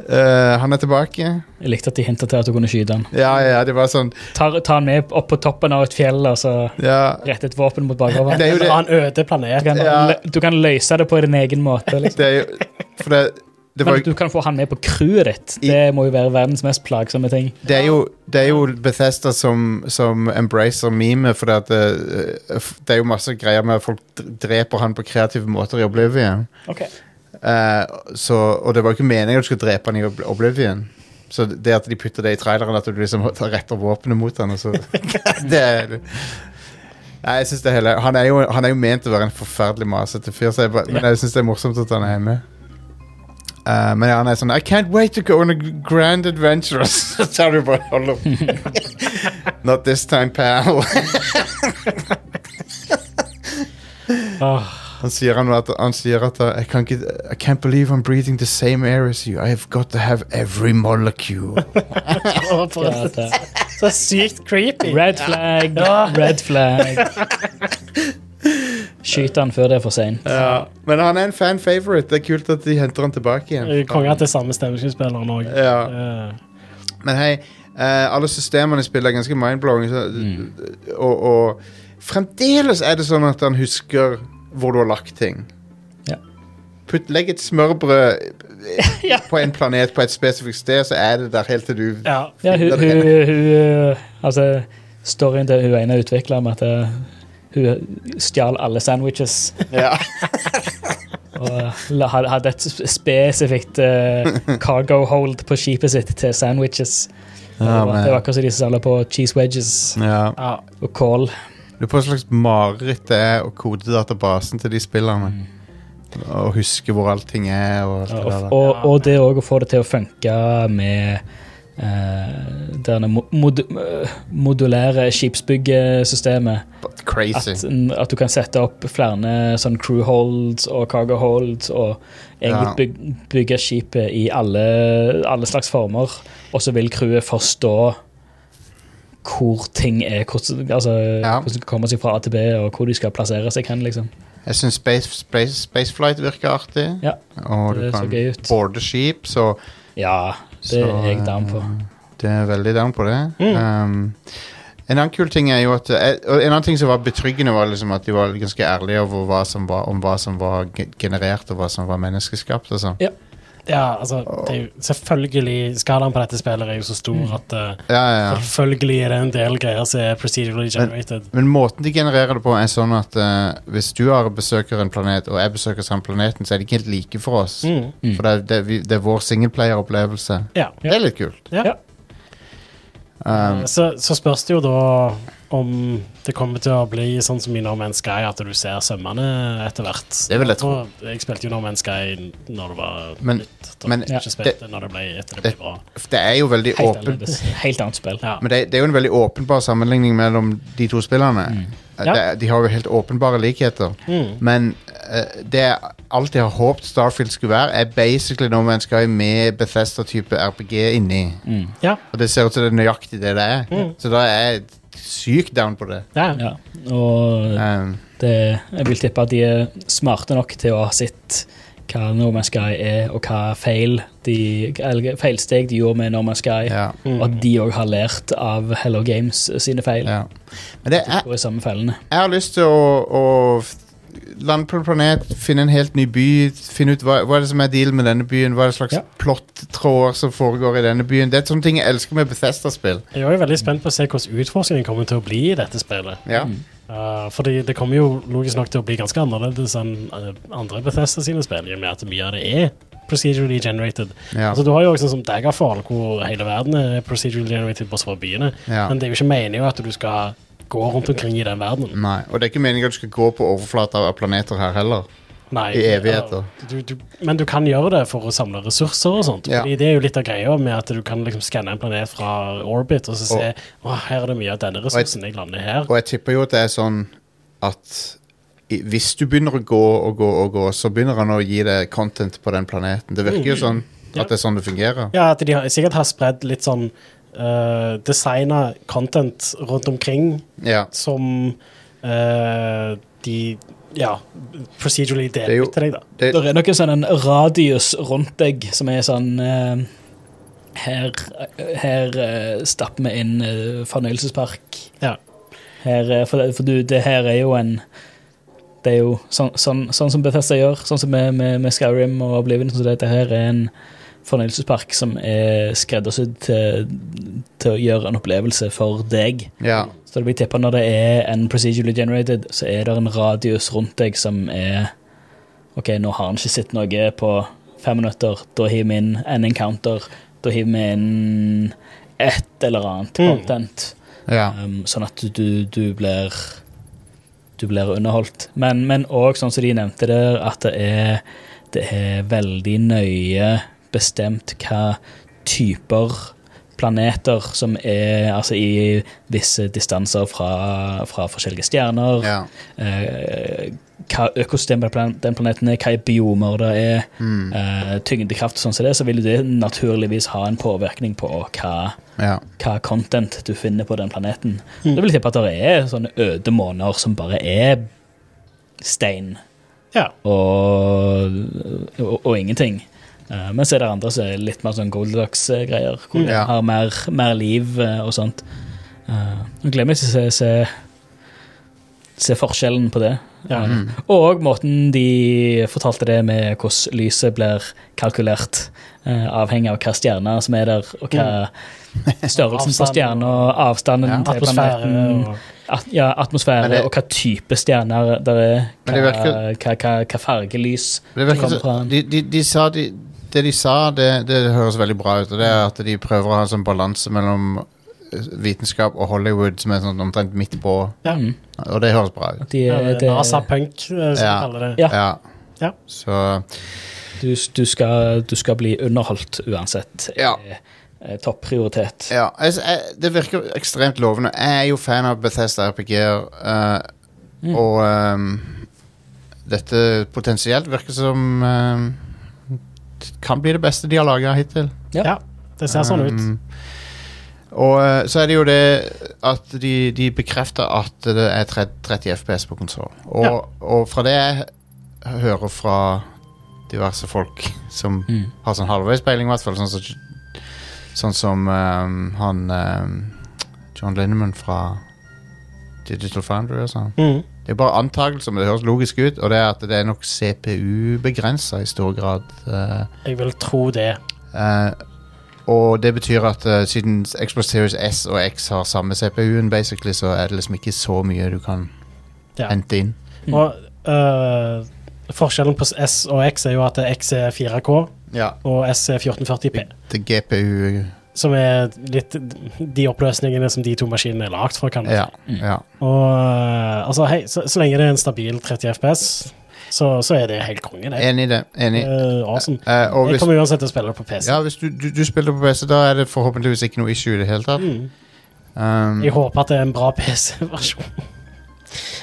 Eh, han er tilbake. Jeg likte at de hintet til at du kunne skyte han. Ja, ja, det var sånn Ta, ta han med opp på toppen av et fjell og så Ja, rette et våpen mot bakhodet. Det er jo En det- annen øde Du, planet. kan Ja. lø- du kan løse det på din egen måte. Liksom. det er jo For det det, Men var, at du kan få han med på crewet ditt, I- det må jo være verdens mest plagsomme ting. det, er jo, det er jo Bethesda som, som embracer memet, for det, eh, f- det er jo masse greier med at folk d- dreper han på kreative måter i Oblivion. Ok. Eh, så, og det var jo ikke meningen at du skulle drepe han i Ob- Oblivion. Så det at de putter det i traileren, at du liksom tar- retter våpenet mot han og så det er, Nei, jeg synes det hele han er, jo, han er jo ment til å være en forferdelig masete fyr, så jeg, bare- men jeg syns det er morsomt at han er med. Eh, men ja, han er sånn I can't wait to go on a grand adventure. Så tar du bare hold opp. Not this time, pal. Åh, Han sier, han, at, han sier at uh, I can't, get, I can't believe I'm breathing the same air as you. I have got to have every molecule. Å, for- God, det- Så sykt creepy. eh, Red flag, red flag. Skyt han før det er for seint. Men han er en fan favorite. Det er kult at de henter han tilbake igjen. Kongen til samme stemmeskuespilleren Eh, òg. Ja. Men hei, eh, alle systemene i spillet er ganske mindblowing. Så, og, og fremdeles er det sånn at han husker hvor du har lagt ting. Ja. Putt, legg et smørbrød eh, på en planet på et spesifikt sted, så er det der helt til du ja. Ja, hun, hun, hun Altså, storyen til hun ene utvikla med at eh, hun stjal alle sandwiches ja. og la- had- hadde et sp- spesifikt eh, cargo hold på skipet sitt til sandwiches. Det var det var akkurat som de som samla på cheese wedges ja. Ja. og kål. Lurer på hva slags mareritt det er å kode databasen til de spillerne. Og huske hvor allting er. Og alt det der, da. Og, og det òg å få det til å funke med eh, denne mo- mod, eh, modulære skipsbyggesystemet. Crazy. At, n- at du kan sette opp flere sånn crew holds og cargo holds, og Ja. egentlig byg, bygge skipet i alle, alle slags former. Og så vil crewet forstå hvor ting er, hvordan, altså, Ja. hvordan de skal komme seg fra A til B, og hvor de skal plassere seg hen. liksom. Jeg syns space, space, Spaceflight virker artig. Ja, og du det så kan gøy ut. boarde skip, så ja det Så, eh, er jeg down på. det er veldig down på det. Mm. Um, en annen kul ting er jo at eh, og En annen ting som var betryggende, var liksom at de var ganske ærlige over hva som var, om hva som var ge- generert, og hva som var menneskeskapt. Og sånn. Ja, altså, det er jo, selvfølgelig Skalaen på dette spillet er jo så stor at eh, ja, ja, ja. Selvfølgelig er det en del greier som er procedurally generated. Men måten de genererer det på er sånn at eh, hvis du Are, besøker en planet, og jeg besøker samme planeten, så er de ikke helt like for oss. Mm. For det er, det, er vi, det er vår singleplayer-opplevelse. Ja. Det er litt kult. Ja. Ja. Um, Så, så spørs det jo da om det kommer til å bli sånn som i No Man's Sky, at du ser sømmene etter hvert. Det vil jeg tro. Og Jeg spilte jo No Man's Sky når det var Men- nytt. Da, men- jeg ikke det- spilte når det ble etter det det, ble bra. det er jo veldig Helt åpen annerledes. Helt annet spill. Ja. Men det, det er jo en veldig åpenbar sammenligning mellom de to spillerne. Eh, Ja. Mm. Det, de har jo helt åpenbare likheter. Men eh, det er alt jeg har håpet Starfield skulle være, er basically No Man's Sky med Bethesda-type RPG inni. Ja. Og det ser ut som det er nøyaktig det det er. Mm. Så da er jeg sykt down på det. Ja. Ja, og Um, det, eh, jeg vil tippe at de er smarte nok til å ha sett hva No Man's Sky er, og hva feil de, eller feilsteg de gjorde med No Man's Sky. ja, Og at de òg har lært av Hello Games sine feil. ja. Men det, jeg, Og i samme fellene. jeg har lyst til å, å f- lande på en planet, finne en helt ny by, finne ut hva, hva er det som er dealen med denne byen, hva er det slags Ja. plottråder som foregår i denne byen. Det er sånne ting jeg elsker med Bethesda-spill. Jeg er jo veldig spent på å se hvordan utforskningen kommer til å bli i dette spillet. Ja. Uh, fordi det kommer jo logisk nok til å bli ganske annerledes enn eh, andre Bethesda sine spill, i og med at mye av det er procedurally generated. Ja. Altså, du har jo også sånn som Daggerfall, hvor hele verden er procedurally generated, bortsett fra byene. Ja. Men det er jo ikke meningen at du skal gå rundt omkring i den verdenen. Nei, og det er ikke meningen at du skal gå på overflata av planeter her heller. Nei, I evigheter. ja, Du, du, men du kan gjøre det for å samle ressurser og sånt. Ja. Fordi det er jo litt av greia med at du kan liksom skanne en planet fra orbit og så se Og- Å, her er det mye av denne ressursen. Jeg lander her. Og jeg tipper jo at det er sånn at i- hvis du begynner å gå og gå og gå, så begynner han å gi deg content på den planeten. Det virker jo sånn Ja. at det er sånn det fungerer. Ja, at de har, sikkert har spredd litt sånn uh, designa content rundt omkring Ja. som eh, de Ja, procedurally Det er deler jo- ut til deg, da. Det, Det er nok en sånn en radius rundt deg som er sånn eh, Her, her eh, stapper vi inn eh, fornøyelsespark. Ja. Her, eh, for det, for du, det her er jo en Det er jo sånn, sånn, sånn som Bethesda gjør, sånn som med, med, med Skyrim og Oblivion. Så dette her er en fornøyelsespark som er skreddersydd til, til å gjøre en opplevelse for deg. Ja. Så det blir tippa når det er en procedurally generated, så er det en radius rundt deg som er OK, nå har han ikke sett noe på fem minutter. Da hiver vi inn en encounter. Da hiver vi inn et eller annet content. ja. Um, sånn at du, du blir du blir underholdt. Men, men også sånn som de nevnte der, at det er, det er veldig nøye bestemt hva typer planeter som er altså i visse distanser fra, fra forskjellige stjerner. ja. Eh, hva økosystem på plan- den planeten er, hva biomer det er, Mm. eh, tyngdekraft og sånn som det, så vil det naturligvis ha en påvirkning på hva ja. hva content du finner på den planeten. Det vil tippe at det er sånne øde måneder som bare er stein Ja. og, og, og ingenting. Eh, Men så er det andre som er litt mer sånn Goldilocks-greier, hvor det Ja. har mer, mer liv eh, og sånt. Eh, Nå glemmer jeg ikke å se, se, se forskjellen på det. Ja. Eh, Og måten de fortalte det med hvordan lyset blir kalkulert, eh, avhengig av hva stjerna som er der, og hva størrelsen på Avstand stjerna, avstanden Mm. Ja. til Atmosfære planeten, og at, ja, atmosfære Men det- og hva type stjerner der er, Men hva, det virker- hva, hva, hva fargelys Men Det virker som kommer fra så, den. de, de, de sa de, Det de sa, det, det høres veldig bra ut. Og det er at de prøver å ha en sånn balanse mellom eh, vitenskap og Hollywood som er sånn omtrent midt på. Ja. Mm. Og det høres bra ut. At de, eh, det, NASA-punk, eh, som de Ja. kaller det. Ja. Ja. Så du, du, skal, du skal bli underholdt uansett. Ja. Eh, eh, Topprioritet. Ja, altså, jeg, det virker ekstremt lovende. Jeg er jo fan av Bethesda RPG-er, eh, Mm. og ehm, dette potensielt virker som ehm, kan bli det beste de har laga hittil. Ja. Ja, det ser sånn ut. Um, og eh, så er det jo det at de, de bekrefter at det er tre- 30 FPS på konsoll. Og, Ja. og fra det jeg hører fra diverse folk som Mm. har sånn halvveispeiling, i hvert fall, sånn, som- sånn som ehm, han ehm, John Linneman fra Digital Foundry og sånn. Mm. Det er bare antakelser, men det høres logisk ut, og det er at det er nok CPU-begrensa i stor grad. eh, Jeg vil tro det. Eh, og det betyr at eh, siden Xbox Series S og X har samme CPU-en, basically, så er det liksom ikke så mye du kan Ja. hente inn. Mm. Og eh, forskjellen på S og X er jo at X er 4K, Ja. og S er 1440P. Til GPU Som er litt de oppløsningene som de to maskinene er lagd for, kan du Ja. si. Mm. ja. Og eh, altså, hei, så, så lenge det er en stabil 30 FPS, så, så er det helt konge, det. Enig i det. Enig. Eh, awesome. Eh, og Jeg hvis, kommer uansett til å spille det på PC. ja, hvis du, du, du spiller på PC, da er det forhåpentligvis ikke noe issue i det hele tatt. Mm. Um, Jeg håper at det er en bra PC-versjon.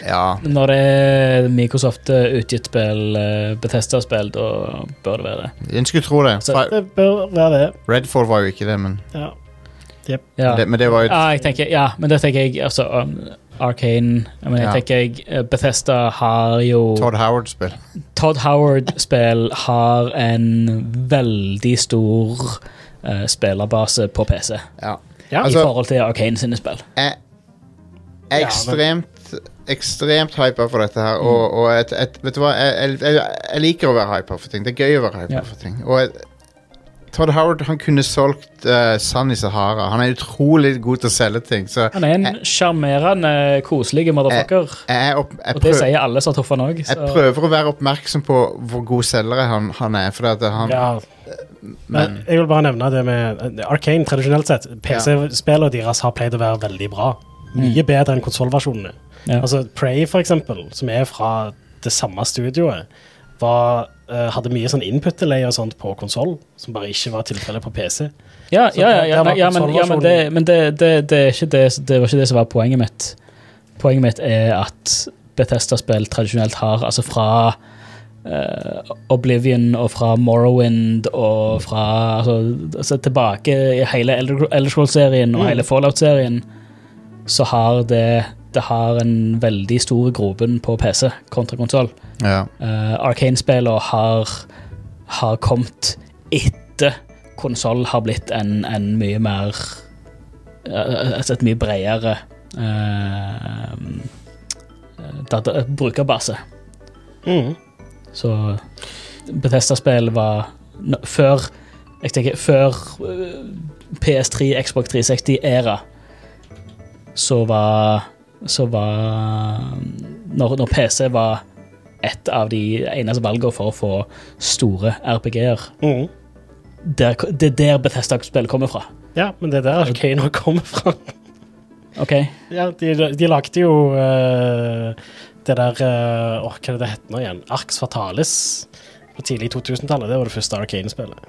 ja. Når det er Microsoft-utgitt spill, eh, Bethesda-spill, da bør det være det. En skulle tro det. Så- Fra- Det bør være det. Redfall var jo ikke det, men Ja. Ja. det, men det var jo Ja, jeg tenker, ja, men det tenker jeg altså, um, Arcane jeg mener, jeg Ja. tenker jeg, eh, Bethesda har jo Todd Howard-spill. Todd Howard-spill har en veldig stor eh, spillerbase på PC Ja. Ja. i Altså, forhold til Arcane sine spill. jeg er ekstremt ekstremt hypa for dette her. Og, og et, et, vet du hva, jeg, jeg, jeg jeg liker å være hypa for ting. Det er gøy å være hypa Ja. for ting. Og jeg, Todd Howard han kunne solgt eh, sand i Sahara. Han er utrolig god til å selge ting. Så jeg, Han er en sjarmerende, koselig motherfucker. er opp, jeg, Og det prøv, sier alle som har truffet han òg. jeg prøver å være oppmerksom på hvor god selger han, han er. For at han, Ja. Men jeg vil bare nevne det med Arcane tradisjonelt sett. PC-spillene deres har pleid å være veldig bra. Mm. Mye bedre enn konsollversjonene. Ja. Altså Prey, for eksempel, som er fra det samme studioet, var, eh, hadde mye sånn input-delay og sånt på konsoll, som bare ikke var tilfellet på PC. Ja, Så ja, der- ja, der ja, var men- ja, men, ja men, det, men det, det, det, er ikke det, det var ikke det som var poenget mitt. Poenget mitt er at Bethesda-spill tradisjonelt har altså fra eh, Oblivion og fra Morrowind og fra altså, altså tilbake i hele Elderscroll-serien og Mm. hele Fallout-serien, så har det det har en veldig stor grobunn på PC kontra konsoll. Ja. Uh, Arcane-spillene har, har kommet etter konsoll har blitt en, en mye mer eh, Altså et mye bredere eh, data- brukerbase. Mm. Så Bethesda-spill var n- før Jeg tenker før øh, PS3, Xbox 360-æra, så var Så var når, når PC var et av de eneste valgene for å få store RPG-er. Mm. Der, det er der Bethesda-spill kommer fra. Ja, men det er der Arcana kommer fra. OK? Ja, de, de lagde jo eh, det der eh, Åh, hva er det det heter nå igjen? Arx Fatalis på tidlig 2000-tallet. Det var det første Arcane-spillet.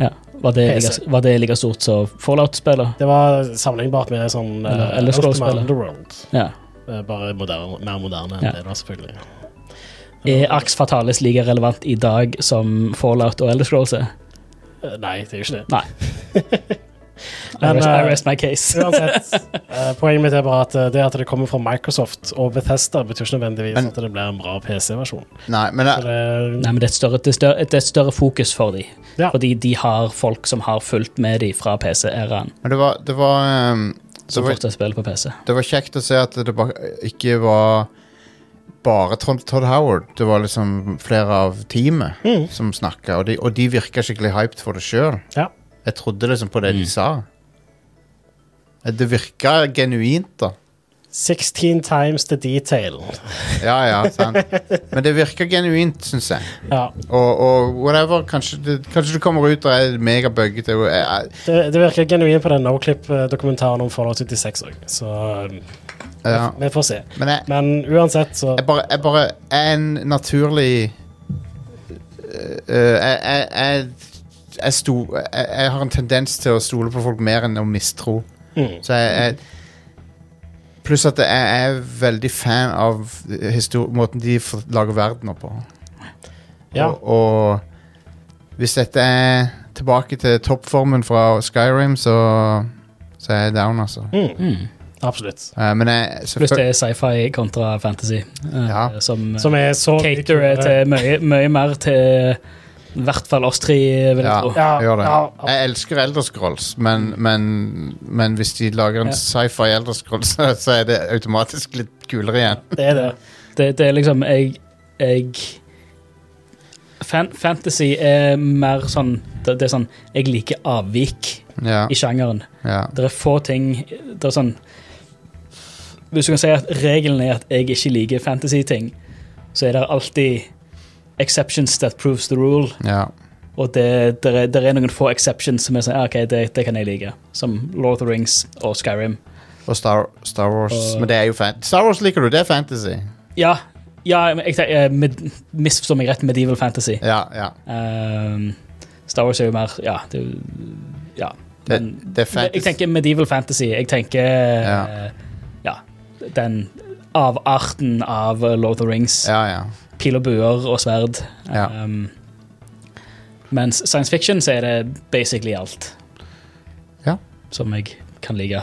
Ja. Var det, PC. like, var det like stort som Fallout-spillet? Det var sammenlignbart med sånn eh, Eller- eller Ultima Scrolls-spillet. Underworld. Ja. Eh, Bare moderne, mer moderne enn Ja. det, da, selvfølgelig. Er Ax Fatalis like relevant i dag som Fallout og Elder Scrolls er? Eh, Nei, det er jo ikke det. I Men, rest, I eh, rest my case. Uansett, eh, poenget mitt er bare at eh, det at det kommer fra Microsoft og Bethesda, betyr ikke nødvendigvis Men- at det blir en bra PC-versjon. Nei, men Så jeg, Nei, det- men det er, et større, det, er større, det er et større fokus for dem. Ja. Fordi de har folk som har fulgt med dem fra PC-æraen. men det var, det, var, ehm, det, Som var, fortsatt spiller på PC. det var kjekt å se at det ba, ikke var bare Todd, Todd Howard. Det var liksom flere av teamet som snakka, og de, og de virka skikkelig hyped for det sjøl. Ja. Jeg trodde liksom på det de sa. Eh, Det virka genuint, da. 16 times the detail. Ja, ja, sant. Men det virker genuint, syns jeg. Ja. Og, og whatever, kanskje det, kanskje det kommer ut og er megabugget. og jeg- jeg- Det, det virker genuint på den Noclip-dokumentaren om Fallout 76 òg, så um, Ja. vi får se. Men jeg, Men uansett, så jeg bare, jeg bare er en naturlig øh, jeg, jeg, jeg, jeg, sto, jeg, jeg har en tendens til å stole på folk mer enn å mistro. Mm. Så jeg, jeg Pluss at jeg er veldig fan av histor- måten de f- lager verdener på. Ja. Og, og hvis dette er tilbake til toppformen fra Skyrim, så, så er jeg down, altså. Mm. Absolutt. Eh, men jeg Pluss selvfølgelig det er sci-fi kontra fantasy. eh, Ja. Som, Som er så caterer til mye, mye mer til i hvert fall oss tre, vil jeg ja, tro. Ja, jeg gjør det. ja, ja. Jeg elsker Elderscrolls, men, men, men hvis de lager en Ja. sci-fi Elderscrolls, så er det automatisk litt kulere igjen. Det er det. Det, det er liksom Jeg, jeg fan, Fantasy er mer sånn det, det er sånn Jeg liker avvik Ja, i sjangeren. ja. Det er få ting Det er sånn Hvis du kan si at regelen er at jeg ikke liker fantasy-ting, så er det alltid exceptions that proves the rule. ja. Og det, det, er, det er noen få exceptions som er sånn, «Ah, OK, det, det kan jeg like. Som Lord of the Rings og Skyrim. Og Star, Star Wars Og- Men det er jo fan Star Wars liker du, det er fantasy. Ja, ja men jeg, tenker- eh, med, misforstår meg rett, medieval fantasy. Ja, ja. Ehm, Star Wars er jo mer Ja. Det, er jo- ja. Det, Men- det er Jeg fantasy. tenker medieval fantasy. Jeg tenker Ja. eh, ja. den avarten av eh, Lord of the Rings. Ja, ja. Pil og buer og sverd. Ja. Um, mens science fiction så er det basically alt. Ja. Som jeg kan like.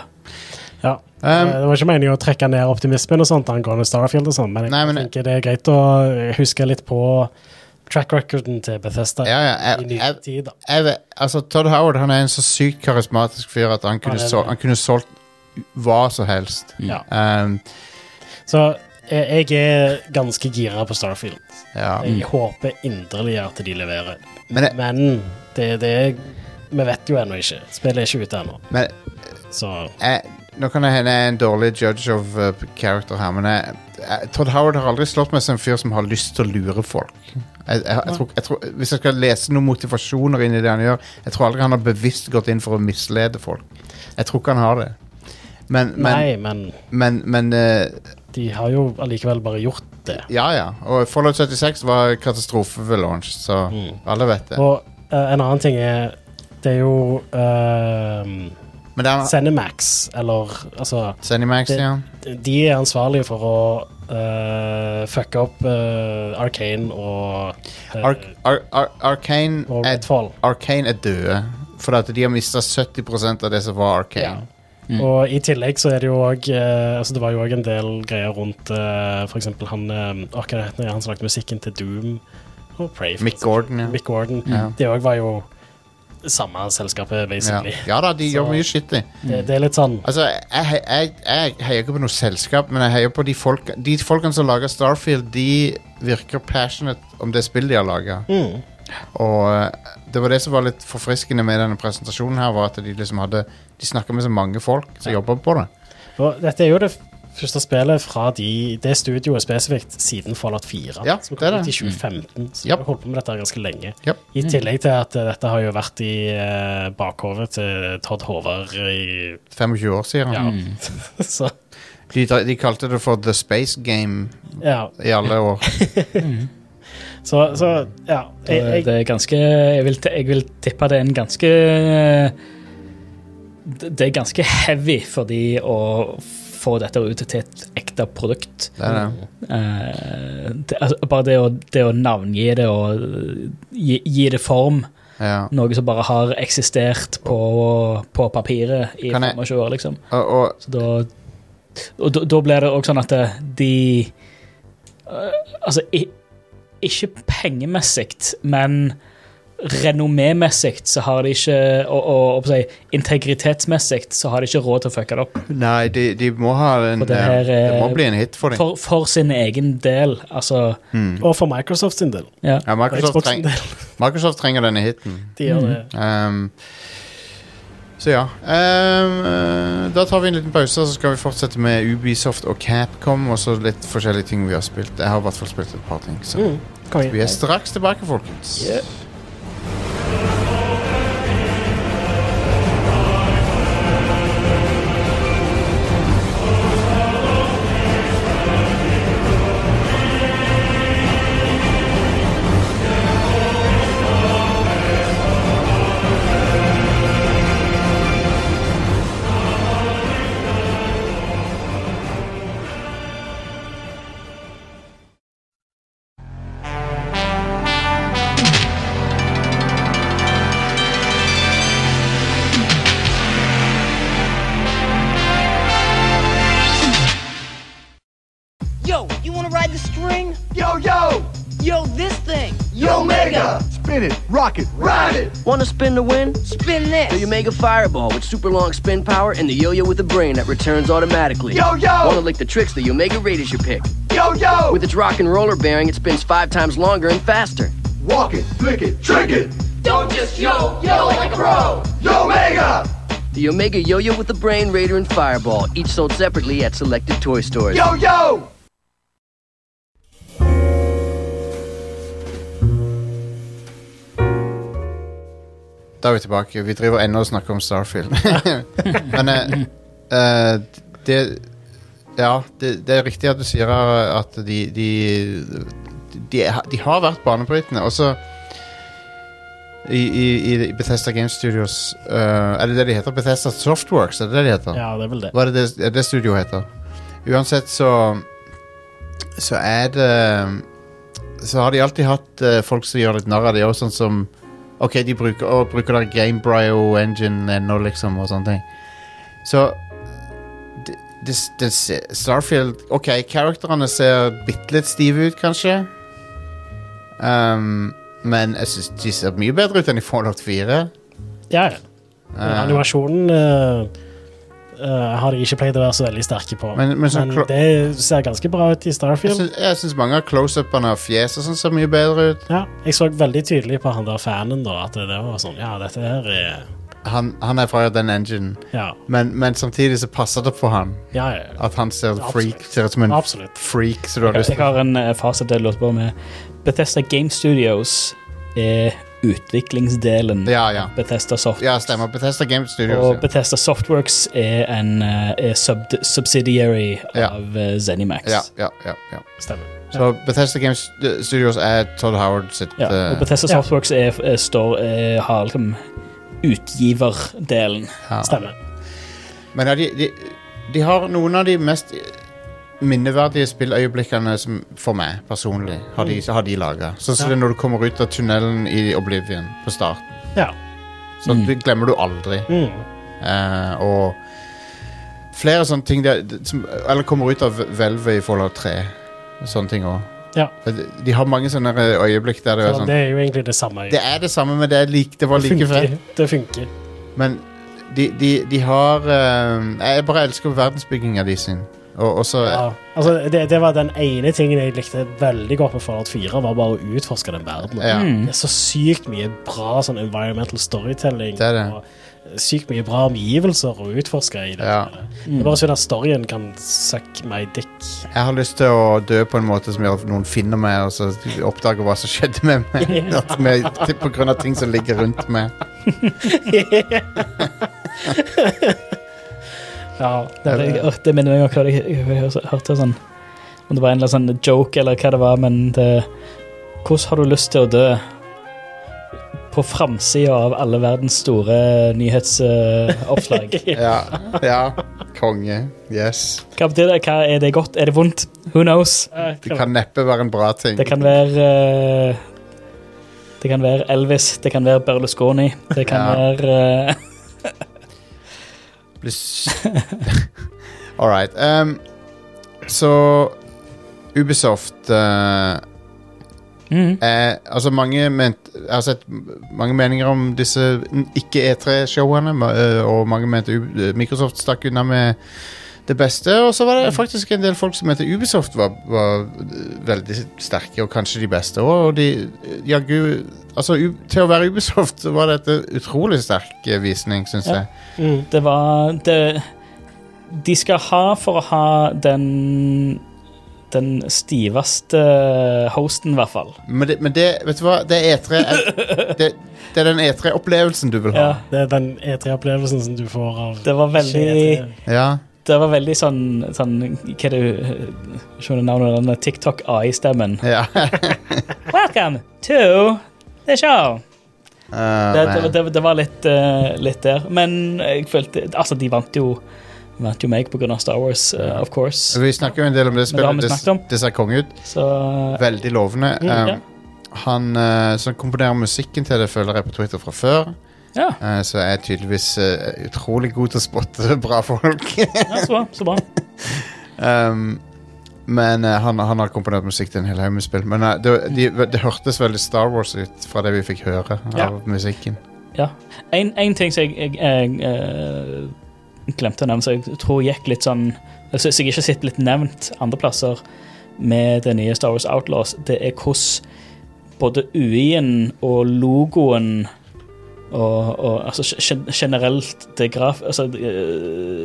Ja. Um, Eh, det var ikke meningen å trekke ned optimismen og sånt angående Starfield, og sånt, men jeg Nei, men- tenker det er greit å huske litt på track recorden til Bethesda Ja, ja, jeg- i nye jeg- tid. da. jeg vet, altså Todd Howard han er en så sykt karismatisk fyr at han kunne, det er sol, det. han kunne solgt hva som helst. Ja. Um, Så eh, jeg, jeg er ganske gira på Starfield. ja. Mm. Jeg håper inderlig at de leverer. Men Men, jeg- det, det er Vi vet jo ennå ikke. Spillet er ikke ute ennå. Men Så jeg, Eh, nå kan det hende jeg er en dårlig judge of uh, character her, men jeg, jeg, Todd Howard har aldri slått meg som en fyr som har lyst til å lure folk. Jeg, jeg, jeg, tror, jeg tror, hvis jeg skal lese noen motivasjoner inn i det han gjør Jeg tror aldri han har bevisst gått inn for å mislede folk. Jeg tror ikke han har det. Men, men, Nei, men men, men eh, de har jo allikevel bare gjort det. Ja, ja. Og Fallout 76 var katastrofe ved launch, så alle vet det. Og eh, en annen ting er Det er jo eh, Men det er, Cinemax, eller altså Zenimax, Det- ja. De er ansvarlige for å øh, fucke opp øh, Arcane og, øh, Ark, Ar- Ar- Arcane og er, Redfall. Arcane er døde. Fordi at de har mista 70 av det som var Ja. Arcane. Og i tillegg så er det jo òg altså Det var jo òg en del greier rundt uh, f.eks. han øh, Åh, hva heter han som lagde musikken til Doom og Pray? Oh, for Mick eksempel. Gordon, ja. Mick Gordon. Ja. Det òg var jo samme selskapet, Ja, basically. ja da, de gjør Så- mye shit, de. Det, det er litt sånn Altså, jeg, he- jeg, jeg heier ikke på noe selskap, men jeg heier på de, folk, de folkene som lager Starfield. De virker passionate om det spillet de har laga. Mm. Og eh, det var det som var litt forfriskende med denne presentasjonen her, var at de liksom hadde De snakka med så mange folk som jobber på det. Og dette er jo det første spillet fra de, det studioet spesifikt siden Fallout 4. Ja, som det er kom ut i det. 2015. Japp. Så vi har holdt på med dette her ganske lenge. Japp. Mm. I tillegg til at eh, dette har jo vært i eh, bakhovet til Todd Håvard i 25 år, sier ja. han. Så, De, de kalte det for The Space Game ja. i alle år. Så, så ja. Jeg, Det, jeg, det er ganske jeg vil, jeg vil tippe det er en ganske Det det er ganske heavy for de å få dette ut til et ekte produkt. Det er det. Eh, det, altså, bare det å, det å navngi det og eh, gi, gi det form, Ja. noe som bare har eksistert på, på papiret i Kan jeg- 25 år, liksom. Og, og Så da, og da, da blir det også sånn at eh, de eh, Altså, i, ikke pengemessig, men renommémessig så har de ikke Og, og, og på å si, integritetsmessig så har de ikke råd til å fucke det opp. Nei, de, de må ha en For det her eh, Det må er- bli en hit for dem. For, for sin egen del, altså. og for Microsoft sin del. Ja. Ja, Og Microsoft, Xbox sin treng, del. Microsoft trenger denne hiten. De gjør det. Ehm, så ja. Ehm, eh, da tar vi en liten pause, og så skal vi fortsette med Ubisoft og Capcom. Og så litt forskjellige ting vi har spilt. Jeg har i hvert fall spilt et par ting. Så Mm. Konge. vi er straks tilbake, folkens. Yo, you wanna ride the string? Yo, yo! Yo, this thing. Yo, Mega! Spin it, rock it, ride it! Wanna spin to win? Spin this. The Omega Fireball with super long spin power and the yo-yo with the brain that returns automatically. Yo, yo! Wanna lick the tricks? The Omega Raid is your pick. Yo, yo! With its rock and roller bearing, it spins five times longer and faster. Walk it, flick it, trick it! Don't just yo, yo like a pro! Yo, Mega! The Omega Yo-Yo with the Brain, Raider, and Fireball, each sold separately at selected toy stores. Yo, yo! Da er vi tilbake. Vi driver ennå og snakker om Starfield. Men eh, eh, det Ja, det, det er riktig at du sier her at de De, de, de har vært banebrytende. Også i, i, i Bethesda Game Studios eh, Er det det de heter? Bethesda Softworks? Er det det de heter? Ja, det er vel det. Hva er det, det- er det studioet heter? Uansett så Så er det Så har de alltid hatt eh, folk som gjør litt narr av det òg, sånn som OK, de bruker, å, bruker der GameBrio Engine ennå, liksom, og sånne ting. Så det, det, det, se- Starfield OK, karakterene ser bitte litt stive ut, kanskje. Um, men jeg syns de ser mye bedre ut enn i Fallout 4. Ja, ja. Men animasjonen eh, eh, har de ikke pleid å være så veldig sterke på. Men- men så klo- Altså- det ser ganske bra ut i Jeg Starfield. syns- Jeg syns mange av close-upene av fjes og sånn ser mye bedre ut. Ja, jeg så veldig tydelig på han der fanen da, at det var sånn, ja, dette her er han, han er fra den engine, Ja, men, men samtidig så passer det på han ja, ja. at han ser, freak, Absolutt. ser ut som en Absolutt. freak. Så du har Jeg, lyst jeg til har en eh, fasit jeg lurte på med Bethesda Game Studios er utviklingsdelen Ja, ja. av Bethesda Soft. Ja, stemmer. Bethesda Game Studios. Og Ja. Bethesda Softworks er en eh, er sub subsidiary Ja. av eh, Zenimax. Ja, ja, ja, ja. Stemmer. Så Bethesda Game Studios er Todd Howard sitt Ja, eh, og Bethesda Ja. Softworks er, er, står, er, har liksom utgiverdelen. Stemmer. Men ja, de, de, de har noen av de mest minneverdige spilløyeblikkene som, for meg personlig, har de, har de laga. Sånn som det er når du kommer ut av tunnelen i Oblivion på starten. Ja. Så det glemmer du aldri. Mm. Eh, og flere sånne ting der, som, Eller kommer ut av hvelvet i Fallout 3. Sånne ting òg. Ja. De de har mange sånne øyeblikk der det er Så sånn det er jo egentlig det samme. Det er det samme, men det er lik, det var Det like fett. funker. Det funker. Men de, de, de har eh, Jeg bare elsker verdensbygginga de sin. Og og så Ja. Altså, det, det var den ene tingen jeg likte veldig godt med Fallout 4, var bare å utforske den verdenen. Ja. Det er så sykt mye bra sånn environmental storytelling. Det er det. Og eh, sykt mye bra omgivelser å utforske i. Det, Ja. Mm. det er bare synd at storyen kan suck my dick. Jeg har lyst til å dø på en måte som gjør at noen finner meg og så oppdager hva som skjedde med meg. At med, til- på grunn av ting som ligger rundt meg. Ja. Det, det, åh, det minner meg om hva jeg, jeg, jeg hørte sånn Om det var en eller annen sånn joke eller hva det var, men det Hvordan har du lyst til å dø? På framsida av alle verdens store nyhetsoppslag. Ja. ja. Konge. Yes. hva betyr det? Hva, er det godt? Er det vondt? Who knows? Eh, Det kan neppe være en bra ting. Det kan være eh, Det kan være Elvis, det kan være Berlusconi, det kan Ja. være eh, Bli s- All right. ehm, så Ubisoft eh, Mhm. er, altså mange ment, Jeg har sett m- mange meninger om disse n- ikke-E3-showene, ma- eh, og mange mente Ub- eh, Microsoft stakk unna med det beste. Og så var Mm. det faktisk en del folk som mente Ubisoft var, var eh, veldig sterke, og kanskje de beste òg. Og de eh, jaggu Altså, U- til å være Ubisoft så var dette utrolig sterk eh, visning, syns Ja. jeg. Mm. Det var det, De skal ha for å ha den Den stiveste hosten, i hvert fall. Men det, men det vet du hva, det er E3 er- det, det er den E3-opplevelsen du vil ha. Ja, Det er den E3-opplevelsen som du får av E det var veldig E E3. Ja, Det var veldig sånn, sånn Hva er det Skjønner navnet den TikTok AI-stemmen. ja. Eh, Welcome to the show! Ah, Det, man. det, det, det var litt, eh, litt der. Men jeg følte Altså, de vant jo Vant jo meg pga. Star Wars, eh, of course. vi snakker jo en del om det Men det har spillet. vi Det, snakket om. det ser konge ut. Så eh, Veldig lovende. ja. Um, han eh, som komponerer musikken til det, følger jeg på Twitter fra før. ja, eh, så jeg er tydeligvis eh, utrolig god til å spotte bra folk. ja så bra. Så bra. um, men eh, han, han har komponert musikk til en hel haug med spill. Men eh, det, de, det hørtes veldig Star Wars ut fra det vi fikk høre Ja. av musikken. Ja. En, en ting som jeg, jeg, jeg eh, glemte å nevne, som jeg tror gikk litt sånn altså, Som jeg ikke har sett blitt nevnt andre plasser med det nye Star Wars Outlaws, det er hvordan både UI-en og logoen og, og altså gen- generelt det graf... Altså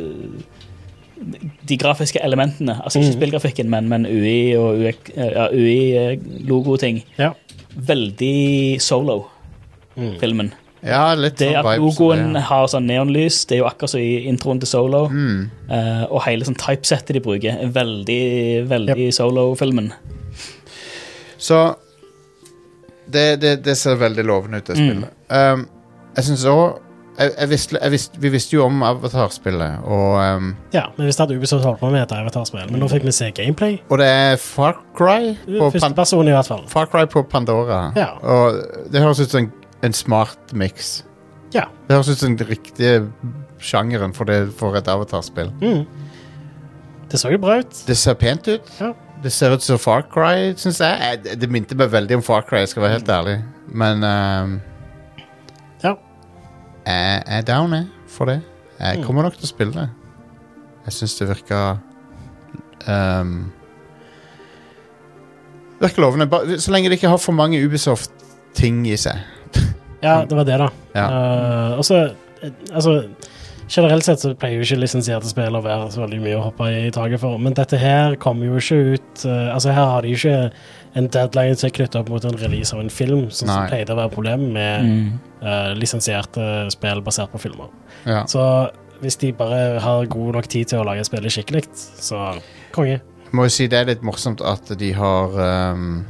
eh, de grafiske elementene, altså ikke spillgrafikken, men, men UI og UX, eh, ja, UI-logoting. Ja. Veldig solo, filmen. Ja, litt Det sånn at vibes, logoen det, har sånn neonlys, det er jo akkurat som i introen til Solo. Mm. Eh, og hele sånn typesettet de bruker, er veldig, veldig Solo-filmen. Så det, det, det ser veldig lovende ut, Mm. det spillet. Um, jeg syns òg jeg, jeg visste, jeg visste, Vi visste jo om Avatar-spillet, og, um, ja, men hvis det hadde Ubisoft holdt på med et Avatar-spill, men nå fikk vi se gameplay. og det er Far Cry på, Første Pan person, i hvert fall. Far Cry på Pandora. Ja. Og det høres ut som en, en smart mix. Ja. Det høres ut som den riktige sjangeren for, det, for et Avatar-spill. Mm. Det så jo bra ut. Det ser pent ut. Ja. Det ser ut som Far Cry, syns jeg. Eh, Det, det minte meg veldig om Far Cry, jeg skal være helt ærlig. Men um, Ja. Jeg er down jeg, for det. Jeg kommer nok til å spille det. Jeg syns det virker ehm, Virker lovende. Ba- Så lenge det ikke har for mange Ubisoft-ting i seg. Ja, det var det, da. Ja. Eh, og så, eh, altså Generelt sett så pleier jo ikke lisensierte spill å være så veldig mye å hoppe i taket for, men dette her kommer jo ikke ut eh, Altså, her har de jo ikke en deadline som er knytta opp mot en release av en film, sånn som Nei. pleide å være problemet med Mm. eh, lisensierte spill basert på filmer. Ja. Så hvis de bare har god nok tid til å lage spillet skikkelig, så konge. Jeg må jo si det er litt morsomt at de har ehm,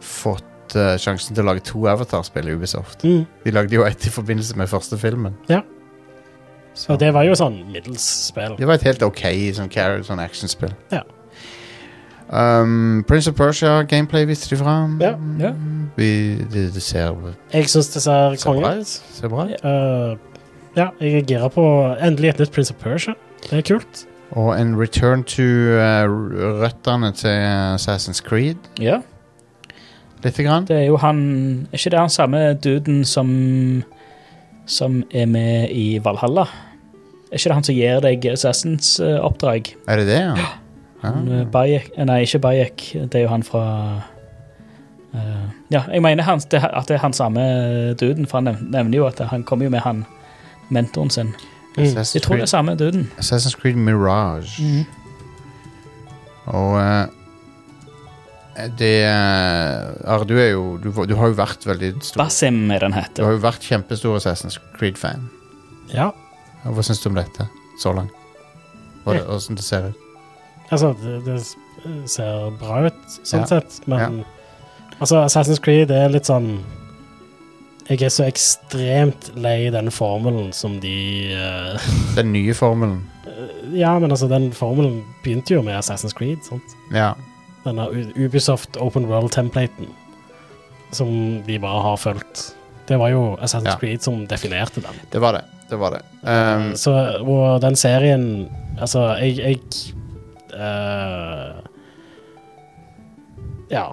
fått eh, sjansen til å lage to Avatar-spill i Ubisoft. Mm. De lagde jo ett i forbindelse med første filmen. Ja. Så det var jo sånn middels spill. Det var et helt OK sånn, car- sånn actionspill. Ja. Um, Prince of Persia-gameplay viste de fram. Ja. Ja. Vi, det, det ser Jeg syns det ser Ser konge bra ut. Ser bra ut. Eh, ja, jeg er gira på endelig et nytt Prince of Persia. Det er kult. Og en return to eh, r- røttene til Assassin's Creed, Ja, lite grann. det er jo han Er ikke det han samme duden som Som er med i Valhalla? Er ikke det han som gir deg Assassins eh, oppdrag? Er det det, ja? Han, eh, Bayek, eh, nei, ikke Bayek. Det er jo han fra eh, Ja, jeg mener han, det, at det er han samme duden, for han nev- nevner jo at han kommer jo med han mentoren sin. Assassin's, Jeg tror Creed, det er Mm-hmm. samme duden. Assassin's Creed Mirage. Og eh, det eh, Are, du er jo du, var- du har jo vært veldig stor Basim er den Du heter. har jo vært kjempestor Assassin's Creed-fan. Ja. Hva syns du om dette så langt? Hva- Hvordan det ser ut? Altså, det, det ser bra ut, sånn Ja. sett, men Altså, Assassin's Creed er litt sånn Jeg er så ekstremt lei den formelen som de eh, Den nye formelen. Ja, men altså, den formelen begynte jo med Assassin's Creed, sant? Ja. Denne U- Ubisoft Open World-templaten som de bare har fulgt. Det var jo Assassin's Ja. Creed som definerte den. Det var det. Det var det. Ehm, så, og den serien Altså, jeg, jeg eh, Ja.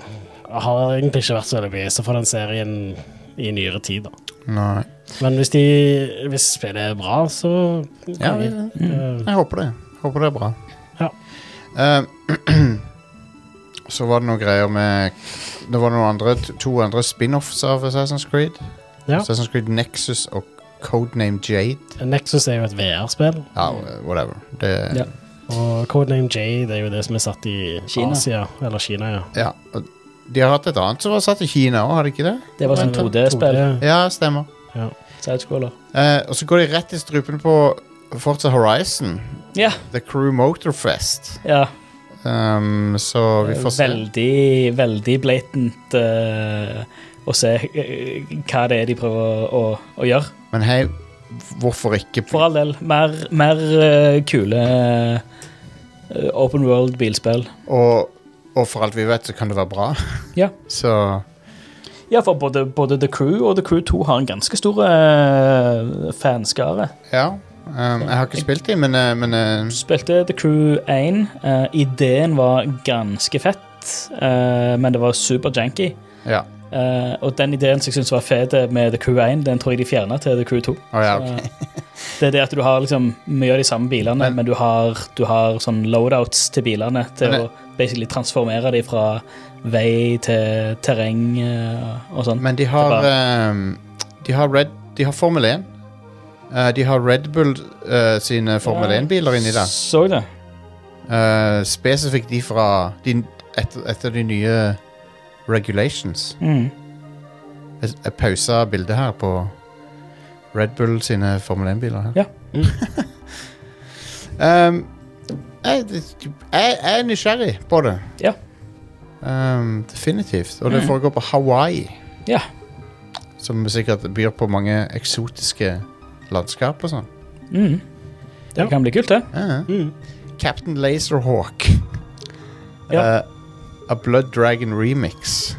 Jeg har egentlig ikke vært så veldig begeistra for den serien i nyere tid, da. nei. Men hvis, de, hvis spillet er bra, så Ja, vi. ja, Eh, Jeg håper det. Håper det er bra. Ja. Ehm, så var det noen greier med Det var noen andre, to andre spin-offs av Assassin's Creed. Ja. Assassin's Creed Nexus og Codename Jade. Eh, Nexus er jo et VR-spill, Ja, whatever. Det, Mm. Ja. og Codename J det er jo det som er satt i Kina. Asia, eller Kina, ja. ja. og De har hatt et annet som var satt i Kina òg, har de ikke det? Det var sånn 2D-spill. 2D, Ja, stemmer. Ja. Sidescroller. Eh, og så går de rett i strupen på Forza Horizon. Ja. The Crew Motorfest. ja. Ehm, så vi får se. Veldig, veldig blatant eh, å se eh, hva det er de prøver å, å gjøre. Men hei, hvorfor ikke? For all del, mer, mer eh, kule eh, open world-bilspill. Og, og for alt vi vet, så kan det være bra. Ja. Så Ja, for både, både The Crew og The Crew 2 har en ganske stor eh, fanskare. ja. Ehm, jeg har ikke spilt dem, men, eh, men eh, Spilte The Crew 1. eh, ideen var ganske fett, eh, men det var super janky. ja. Eh, og den ideen som jeg syntes var fet med The Crew 1, den tror jeg de fjerna til The Crew 2. Å ja, eh, ok. Det er det at du har liksom mye av de samme bilene, Men- men, du har, du har sånn loadouts til bilene til Men å basically transformere dem fra vei til terreng eh, og sånn. Men de Det har er ehm, De har Red De har Formel 1. Eh, de har Red Bull eh, sine Formel Ja. 1-biler inni der. Så jeg det. Eh, spesifikt de fra de, etter, etter de nye regulations. Mm. Jeg, jeg pausa bildet her på Red Bull sine Formel 1-biler. her. Ja. um, jeg, jeg, jeg er nysgjerrig på det. Ja. Um, definitivt. Og det foregår på Hawaii, ja. som sikkert byr på mange eksotiske landskap og sånn. Mm. Det Ja. kan bli kult, det. Ja. Mm, Captain Laserhawk. Ja. Eh, A Blood Dragon Remix.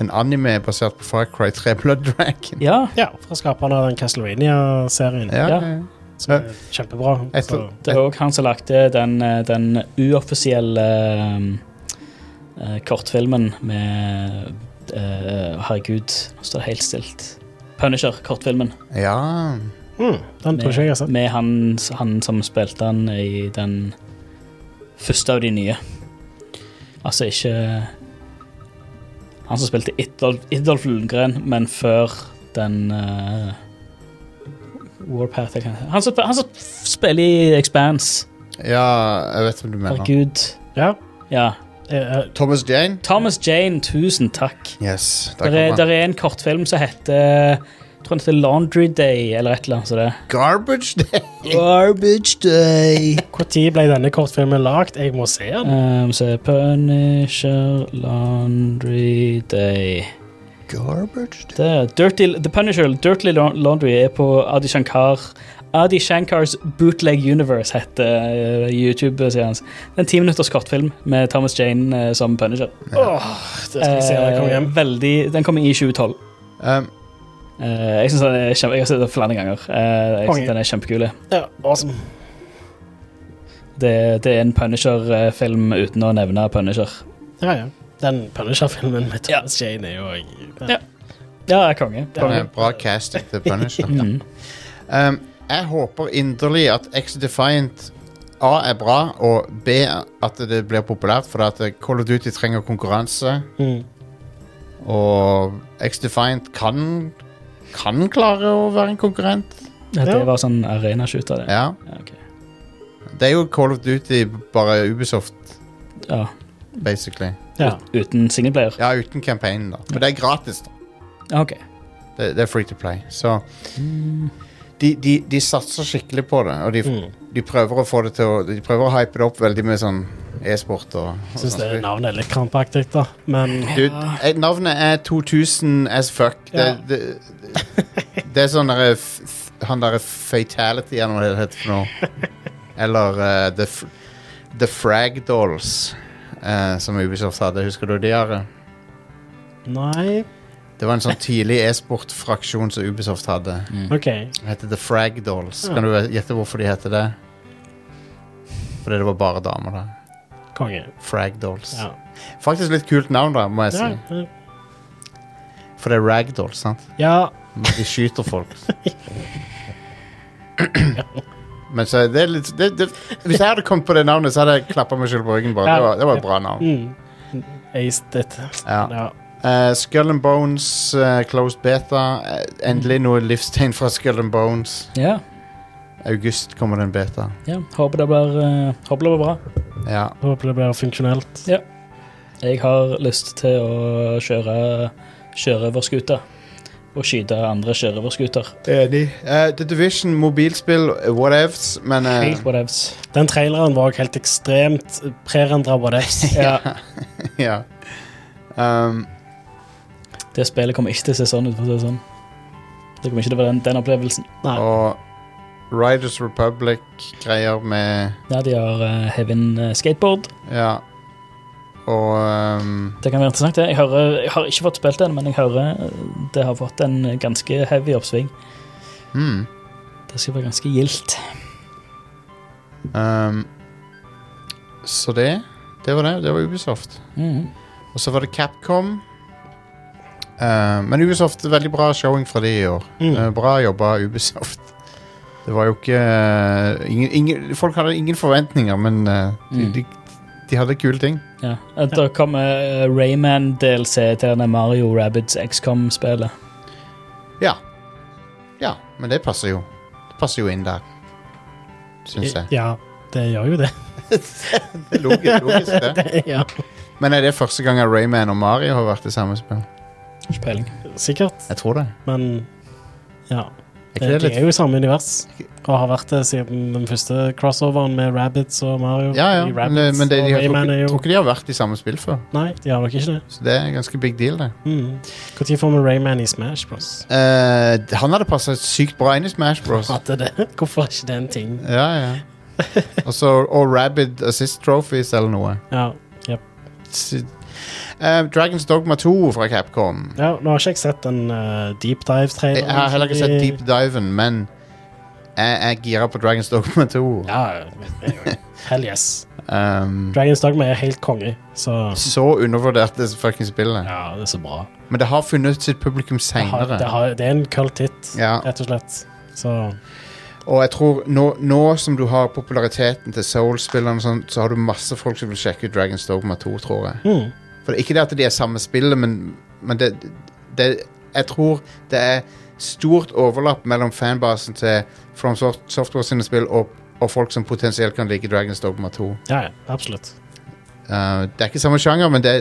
En anime basert på Far Cry 3 Blood Dragon. Ja, ja, fra skaperne av den Castlevania-serien. Ja, Ja. ja. Som er kjempebra. Jeg Så, tror- det eh, er òg han som lagde den, eh, den uoffisielle eh, kortfilmen med eh, Herregud, nå står det helt stilt. Punisher-kortfilmen. ja. mm, den tror ikke jeg har sett. Med han, han som spilte han i den første av de nye. Altså ikke Han som spilte Idolf, Idolf Lundgren, men før den eh, Warpath jeg kan- han som, han som spiller i Expanse. ja, jeg vet hva du mener. Herregud. Ja. Ja. eh, Thomas Jane? Thomas Jane, tusen takk. Yes. Der Der er, kommer der han. er en kortfilm som heter jeg tror den heter Laundry Day, eller et eller annet. Så det. Garbage Day! Garbage Day. Når ble denne kortfilmen lagd? Jeg må se den. Um, så er Punisher Laundry Day Garbage Day. Der. Dirty, The Punisher Dirty Laun- Laundry er på Adi Shankar. Adi Shankars Bootleg Universe heter eh, YouTube-serien hans. Det er En timinutters kortfilm med Thomas Jane eh, som Punisher. Det skal jeg se når jeg kommer hjem. Eh, veldig, den kommer i 2012. Um, Eh, jeg synes den er kjempe, jeg har sett den flere ganger. Eh, jeg Konge. synes den er kjempekul. Ja, awesome. Det, det er en Punisher-film uten å nevne Punisher. Ja, ja. Den Punisher-filmen med Thomas Jane er jo Ja. Ja, konge. Det er konge. eh, bra casting til Punisher. Mm. um, jeg håper inderlig at X Defiant A er bra, og B at det blir populært, for at eh, Call of Duty trenger konkurranse. Mhm. Og X Defiant kan kan klare å være en konkurrent. Ja, det Ja. var sånn arena-shooter, det. Ja. Ja, ok. Det er jo Call of Duty, bare Ubisoft, ja. basically. Ja. Uten singleplayer? Ja, uten campaignen, da. Men det er gratis, da. Ja. Ok. Det, det er free to play. Så de, de, de satser skikkelig på det, og de, de prøver å få det til å De prøver å hype det opp veldig med sånn e-sport og, og Syns sånn. det navnet er litt krampaktig, da. Men Du, eh, navnet er 2000 as fuck. Det, Ja. det, det, det er sånn derre f- f- Han derre Fatality, eller hva det heter for noe. Eller eh, the, F- the Frag Dolls, eh, som Ubisoft hadde. Husker du de, Are? nei. Det var en sånn tidlig e-sport-fraksjon som Ubisoft hadde. OK. Den heter The Frag Dolls. Kan du gjette hvorfor de heter det? Fordi det var bare damer, da. Konge. Frag Dolls. Ja. Faktisk litt kult navn, da, må jeg Ja, si. ja. For det er ragdolls, sant? ja. De skyter folk. Men så er det er litt det, det, Hvis jeg hadde kommet på det navnet, så hadde jeg klappa meg selv på ryggen. bare. Ja. Det var, det var et bra navn. Mm. Aced it. Ja. Ja. Eh, Skull and Bones, eh, Closed Beta. Eh, endelig noe livstegn fra Skull and Bones. Ja. August kommer den beta. ja. Håper det blir eh, håper det blir bra. Ja. Håper det blir funksjonelt. Jeg har lyst til å kjøre sjørøverskuter. Og skyte andre sjørøverskuter. Enig. Eh, The Division, mobilspill, eh, whatevs, men eh, Helt whatevs. Den traileren var jo helt ekstremt prerendra på det. Ja. ja. um, Det spillet kommer ikke til å se sånn ut. for å si Det sånn. Det kommer ikke til å være den, den opplevelsen. Og Riders Republic-greier med Ja, De har uh, hevet inn eh, skateboard. Ja. Og um, Det kan være interessant. det. Jeg, hører, jeg har ikke fått spilt den, men jeg hører eh, det har fått en ganske heavy oppsving. hmm, Det skal være ganske gildt. um, Så det Det var det. Det var Ubisoft. Mhm. Og så var det Capcom. Eh, men Ubisoft er veldig bra showing fra de i år. Mm. Eh, bra jobba, Ubisoft. Det var jo ikke eh, ingen, ingen, Folk hadde ingen forventninger, men eh, de, Mm. de, de hadde kule ting. Ja. At Det kommer eh, Rayman-DLC til denne Mario Rabbids XCOM-spillet. Ja. Ja, men det passer jo. Det passer jo inn der. Syns jeg. Ja, det gjør jo det. Det er logisk, logisk det. ja. Men er det første gang at Rayman og Mario har vært i samme spill? Ikke peiling. Sikkert, Jeg tror det. men ja. Er Det, ikke det det er litt jo samme univers og har vært det siden den første crossoveren med Rabbits og Mario. Ja, ja. I Men, det- Rabbids men det, de og har, Rayman tror, er ikke- jo tror ikke de har vært i samme spill før. Nei, de har nok ikke det. Så det er en ganske big deal, det. Mm. Når får vi Rayman i Smash Bros? Eh, han hadde passa sykt bra inn i Smash Bros. At det, hvorfor er ikke det en ting? Ja, ja. Og så og Rabid Assist Trophies eller noe. Ja, jep. S- eh, Dragons Dogma 2 fra Capcom. ja nå har ikke jeg sett den eh, deep dive-traileren. Jeg har heller ikke sett Deep Diven, men jeg jeg er gira på Dragons Dogma 2. Ja, jeg vet ikke. hell yes. Um, Dragons Dogma er helt konge, så så undervurdert det fucking spillet. Ja, det er så bra. Men det har funnet sitt publikum Det, har, det, seinere. har, det er en kult hit, Ja. rett og slett. Så Og jeg tror nå, nå som du har populariteten til Soul-spillerne, og sånn, så har du masse folk som vil sjekke ut Dragons Dogma 2, tror jeg. mm. For Ikke det at de er samme spillet, men, men det, det Jeg tror det er stort overlapp mellom fanbasen til From Soft- Software sine spill og, og folk som potensielt kan like Dragons Dogma 2. Ja, ja, absolutt. Uh, det er ikke samme sjanger, men det er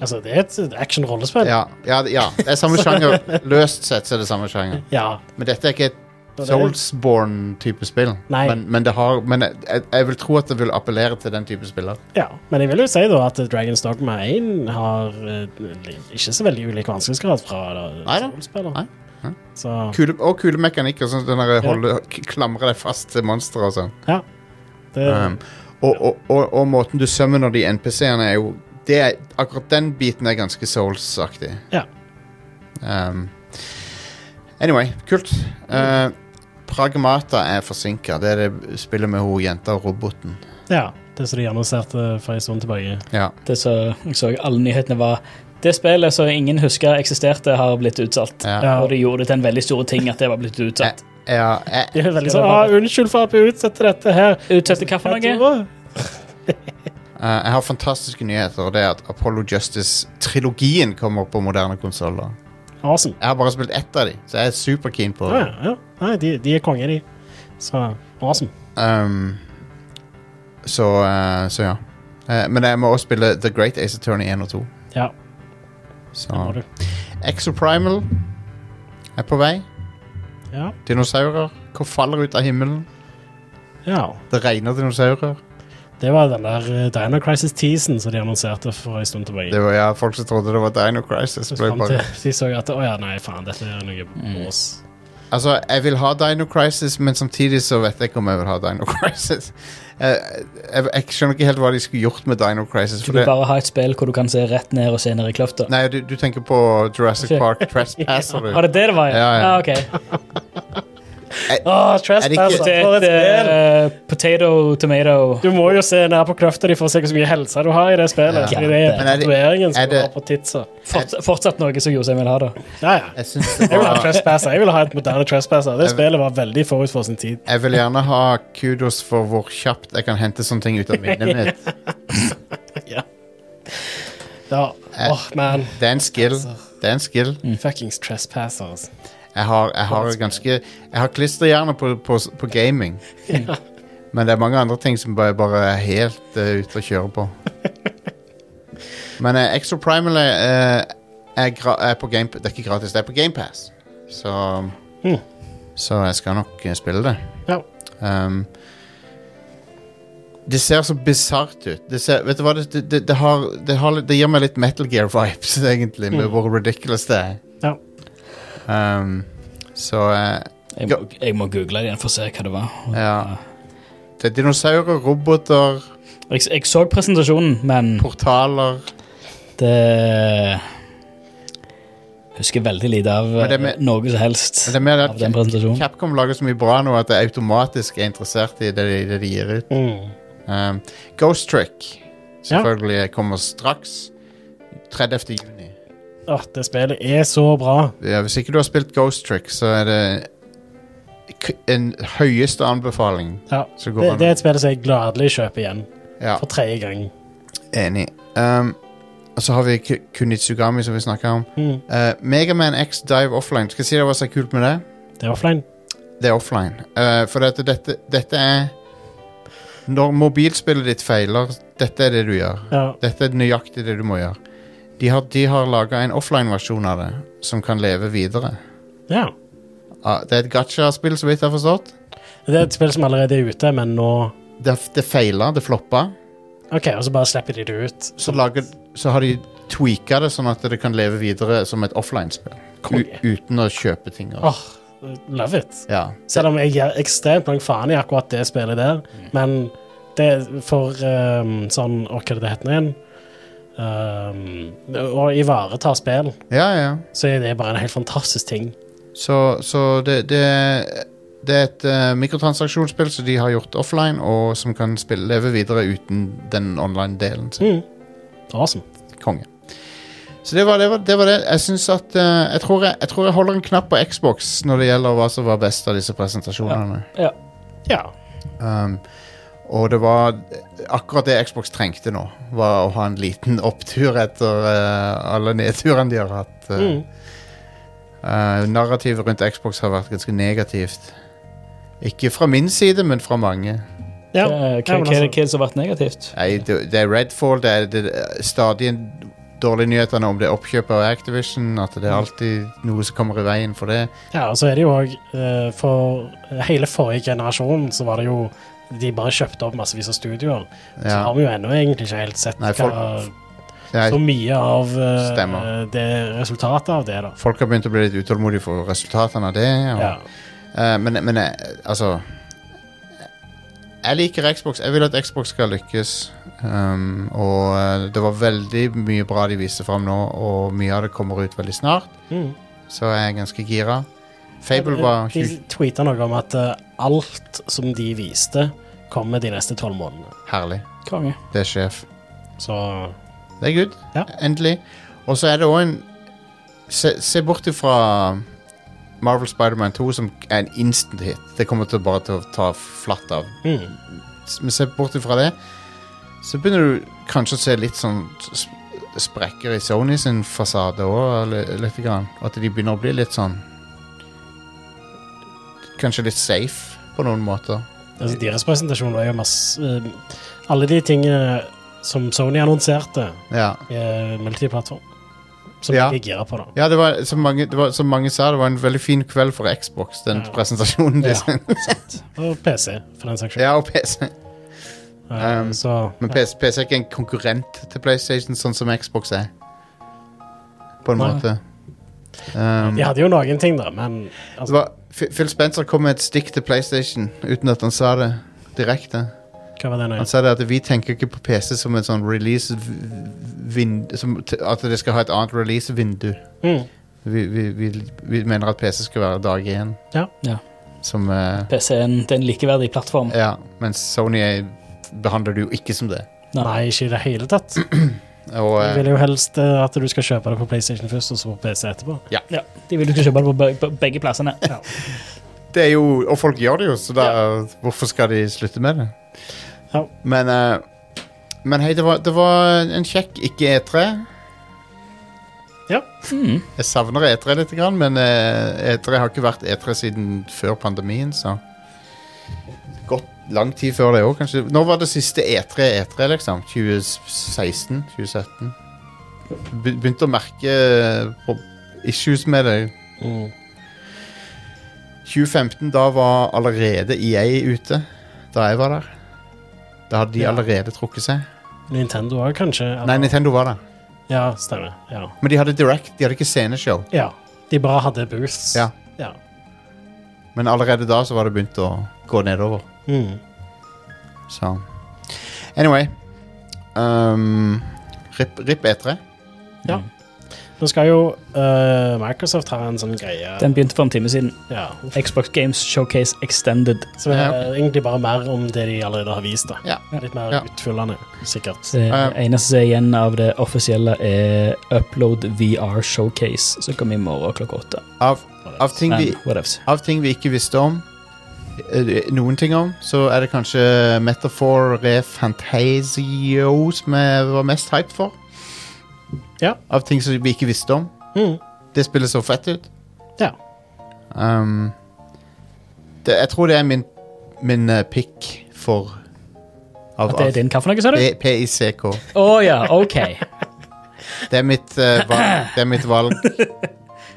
Altså, det er et action-rollespill. ja, ja, ja, det er samme sjanger. Løst sett så er det samme sjanger. Ja. Men dette er ikke et Og det er- Soulsborne-type spill. Nei. Men, men, det har, men jeg, jeg- jeg vil tro at det vil appellere til den type spiller. ja. Men jeg vil jo si da at Dragons Dogma 1 har eh, li- ikke så veldig ulik vanskelighetsgrad fra Nei da. rollespillet. Nei. Nei. Så Kule, og kule mekanikker. Sånn, den der holde, k- klamre deg fast til monstre og sånn. ja. Det, Um, og, og, og, og måten du summoner de NPC-ene er jo det er, Akkurat den biten er ganske Souls-aktig. Ja. Um, anyway, kult. Uh, Pragmata er forsinka. Det er det spillet med hun jenta og roboten. Ja, det som de annonserte for en stund tilbake. Ja. Det så, jeg så alle nyhetene var det spillet som ingen husker eksisterte, har blitt utsatt. Ja. Ja. Og de gjorde det til en veldig stor ting at det var blitt utsatt. Ja, eh, Det er veldig Skal sånn, det ah, bare- unnskyld for at vi utsetter dette her. Utsette hva for Jeg noe? tror- eh, jeg har fantastiske nyheter, og det er at Apollo Justice-trilogien kommer på moderne konsoller. Awesome. Jeg har bare spilt ett av de, så jeg er superkeen på Ja, det. ja, ja. Nei, de, de er konge, de. Så awesome. Um, så, eh, så ja. Eh, men jeg må også spille The Great Ace Attorney 1 og 2. Ja, det må Så du. Exoprimal er på vei. Ja. Dinosaurer hvor faller ut av himmelen. ja. Det regner dinosaurer. Det var den der eh, Dino Crisis-teasen som de annonserte for en stund Det tilbake. var ja, Folk som trodde det var Dino Crisis. Ble Frem til bare. de så at å ja, nei, faen, dette er noe Mm. bås. Altså, Jeg vil ha Dino Crisis, men samtidig så vet jeg ikke om jeg vil ha Dino Crisis. Eh, jeg, jeg skjønner ikke helt hva de skulle gjort med Dino Crisis. For Skal du det, bare ha et spill hvor du kan se rett ned og se ned i kløfta? nei, du, du tenker på Jurassic Ikke- Park Trespasser. Var du. det det det var? Ja, ja. ok. Er Ah, det ikke- trespasser! Potet, For et spill! eh, potato, tomato Du må jo se nær på kløfta di for å se hvor mye helse du har i det spillet. Ja. Fordi Det er Men er det- tatoveringen er som du det- har på titsa. Forts Fortsatt noe som Jostein vil ha, da. Ja, ja. Jeg, synes det Jeg vil ha var, trespasser. Jeg vil ha et moderne trespasser. Det Jeg- spillet var veldig forut for sin tid. jeg vil gjerne ha kudos for hvor kjapt jeg kan hente sånne ting ut av minnet mitt. Ja, åh, man. Det er Mm. en skill. Det er en skill. Fuckings altså. trespassers. Jeg har, jeg har ganske Jeg har klisterhjerne på, på, på gaming. Men det er mange andre ting som bare, bare er helt eh, ute å kjøre på. Men uh, Exoprimal er, eh, er, gra er på Game Det er ikke gratis, det er på GamePass. Så Mm. Så jeg skal nok eh, spille det. Ja. Um, det ser så bisart ut. Det ser, vet du hva, det, det, det, det, har, det, har, litt- det gir meg litt Metal Gear-vibes, egentlig, med hvor ridiculous det er. Ja. Um, så eh, Jeg må, jeg må google det igjen for å se hva det var. Ja. Det er dinosaurer, roboter, Jeg, jeg så presentasjonen, men portaler Altså, det Husker veldig lite av Men det eh, med- noe som helst Men det er mer av den at presentasjonen. Capcom lager så mye bra nå at jeg automatisk er interessert i det, de- det de gir ut. Mm. Um, Ghost Trick Ja. selvfølgelig kommer straks. 30. juni. Åh, det spillet er så bra. Ja, hvis ikke du har spilt Ghost Trick, så er det k- en høyeste anbefaling. Ja. Så går Det, han- det er et spill som jeg gladelig kjøper igjen. Ja, For tredje gang. enig. Um, og så har vi K- Kunitsugami, som vi snakka om. Mm. Megaman X Dive Offline. Skal jeg si deg hva som er kult med det? Det er offline. Det er offline. Eh, for dette, dette, dette er Når mobilspillet ditt feiler, dette er det du gjør. Ja. Dette er nøyaktig det du må gjøre. De har, de har laga en offline-versjon av det som kan leve videre. ja. Ah, det er et gacha-spill, så vidt jeg har forstått. Det er et spill som allerede er ute, men nå Det, det feila, det floppa. OK, og så bare slipper de det ut. Så, lager, så har de tweaka det sånn at det kan leve videre som et offline-spill. U- Konge. Uten å kjøpe ting. og- Åh, love it. Ja. Selv om jeg gir ekstremt lang faen i akkurat det spillet der, men det er for ehm, sånn Å, hva er det det heter igjen? Ehm, å ivareta spill, ja, ja. så er det bare en helt fantastisk ting. Så, så det, det, det er et eh, mikrotransaksjonsspill som de har gjort offline, og som kan spille, leve videre uten den online-delen sin. Mm. Awesome. Konge. Så det var det. Var, det, var det. Jeg syns at eh, jeg, tror jeg, jeg tror jeg holder en knapp på Xbox når det gjelder hva som var best av disse presentasjonene. Ja. Ja. Um, og det var akkurat det Xbox trengte nå, var å ha en liten opptur etter eh, alle nedturene de har hatt. eh. Mm. Eh, narrativet rundt Xbox har vært ganske negativt. Ikke fra min side, men fra mange. Ja. Eh, Ja, Hva men hva er altså- det hva er det som har vært negativt? Nei, det, det er Redfall, det er, det er stadig en- dårlige nyhetene om det oppkjøpet av Activision. At det Mm. er alltid noe som kommer i veien for det. Ja, og så er det jo òg For hele forrige generasjon så var det jo De bare kjøpte opp massevis av studioer. Så Ja. har vi jo ennå egentlig ikke helt sett Nei, folk- hva, det er, så mye av eh, Stemmer. det resultatet av det, da. folk har begynt å bli litt utålmodige for resultatene av det. Og, Ja. Eh, men, men eh, altså Jeg liker Xbox. Jeg vil at Xbox skal lykkes. Um, og eh, det var veldig mye bra de viste fram nå, og mye av det kommer ut veldig snart. Mm. Så jeg er ganske gira. Fable var Eh, De 20, tweeta noe om at eh, alt som de viste, kommer de neste tolv månedene. herlig. Konge. Det er sjef. Så Det er good. Ja. Endelig. Og så er det òg en se, se bort ifra Marvel Spider-Man 2, som er en instant hit. Det kommer til å bare til å ta flatt av. mm. S- Men se bort ifra det, så begynner du kanskje å se litt sånn sp- sprekker i Sony sin fasade òg, lite grann. At de begynner å bli litt sånn Kanskje litt safe på noen måter. altså, deres presentasjon var jo masse eh, Alle de tingene som Sony annonserte, Ja. er multiplattform. Som Ja. jeg er gira på, da. Ja, det var, som mange, det var, som mange sa, det var en veldig fin kveld for Xbox, den Ja. presentasjonen Ja. deres. Og PC, for den saks skyld. Ja, og PC. Eh, um, så Men PC, PC er ikke en konkurrent til PlayStation, sånn som Xbox er. På en Nei. måte. Um, de hadde jo noen ting, da, men det var, F- Phil Spencer kom med et stikk til PlayStation uten at han sa det direkte. hva var det nå? Han sa det at vi tenker ikke på PC som en sånn release-vind... At det skal ha et annet release-vindu. Mm. Vi, vi, vi, vi mener at PC skal være dag én. Ja. Ja. Som eh, PC er en, det er en likeverdig plattform. Ja, mens Sony er, behandler det jo ikke som det. Nei, ikke i det hele tatt. Og, Jeg eh, vil jo helst eh, at du skal kjøpe det på PlayStation først, og så på PC etterpå. Ja, de vil du skal kjøpe det på be- på begge plassene. det er jo, og folk gjør det jo, så da, hvorfor skal de slutte med det? Ja. Men, eh, men hei, det var, det var en kjekk ikke E E3. Ja. Mm. Jeg savner E3 litt, grann, men eh, E3 har ikke vært E3 siden før pandemien, så Godt lang tid før det òg, kanskje. Når var det siste E E3 E3, liksom? 2016? 2017? Be- Begynte å merke eh, prob- issues med det. Mm. 2015, da var allerede EA ute. Da jeg var der. Da hadde de Ja. allerede trukket seg. Nintendo òg, kanskje? Nei, eller- Nintendo var der. Ja, stemmer. Ja. Men de hadde Direct, de hadde ikke sceneshow. ja. De bare hadde booths. Ja. ja. Men allerede da så var det begynt å gå nedover. Mm. Så Anyway. Um, RIP, RIP E E3. ja. Mm. Nå skal jo eh, Microsoft ha en sånn greie Den begynte for en time siden. ja, Xbox Games Showcase Extended. som er Ja. egentlig bare mer om det de allerede har vist. da. Ja. Litt mer Ja. utfyllende, sikkert. Det Ja. Eh, eneste som er igjen av det offisielle, er Upload VR Showcase, som kommer i morgen klokka åtte. Av, av, ting Men vi, whatevs. av ting vi ikke visste om, eh, noen ting om, så er det kanskje Metafor Refantasio som jeg var mest hyped for. Ja. Av ting som vi ikke visste om. Mm. Det spillet så fett ut. Ja. Um, det, jeg tror det er min, min eh, pick for av, At det er din kaffe, noe, sa av du? Å P- PICK. ja, OK. Det er mitt, eh, valg, det er mitt valg.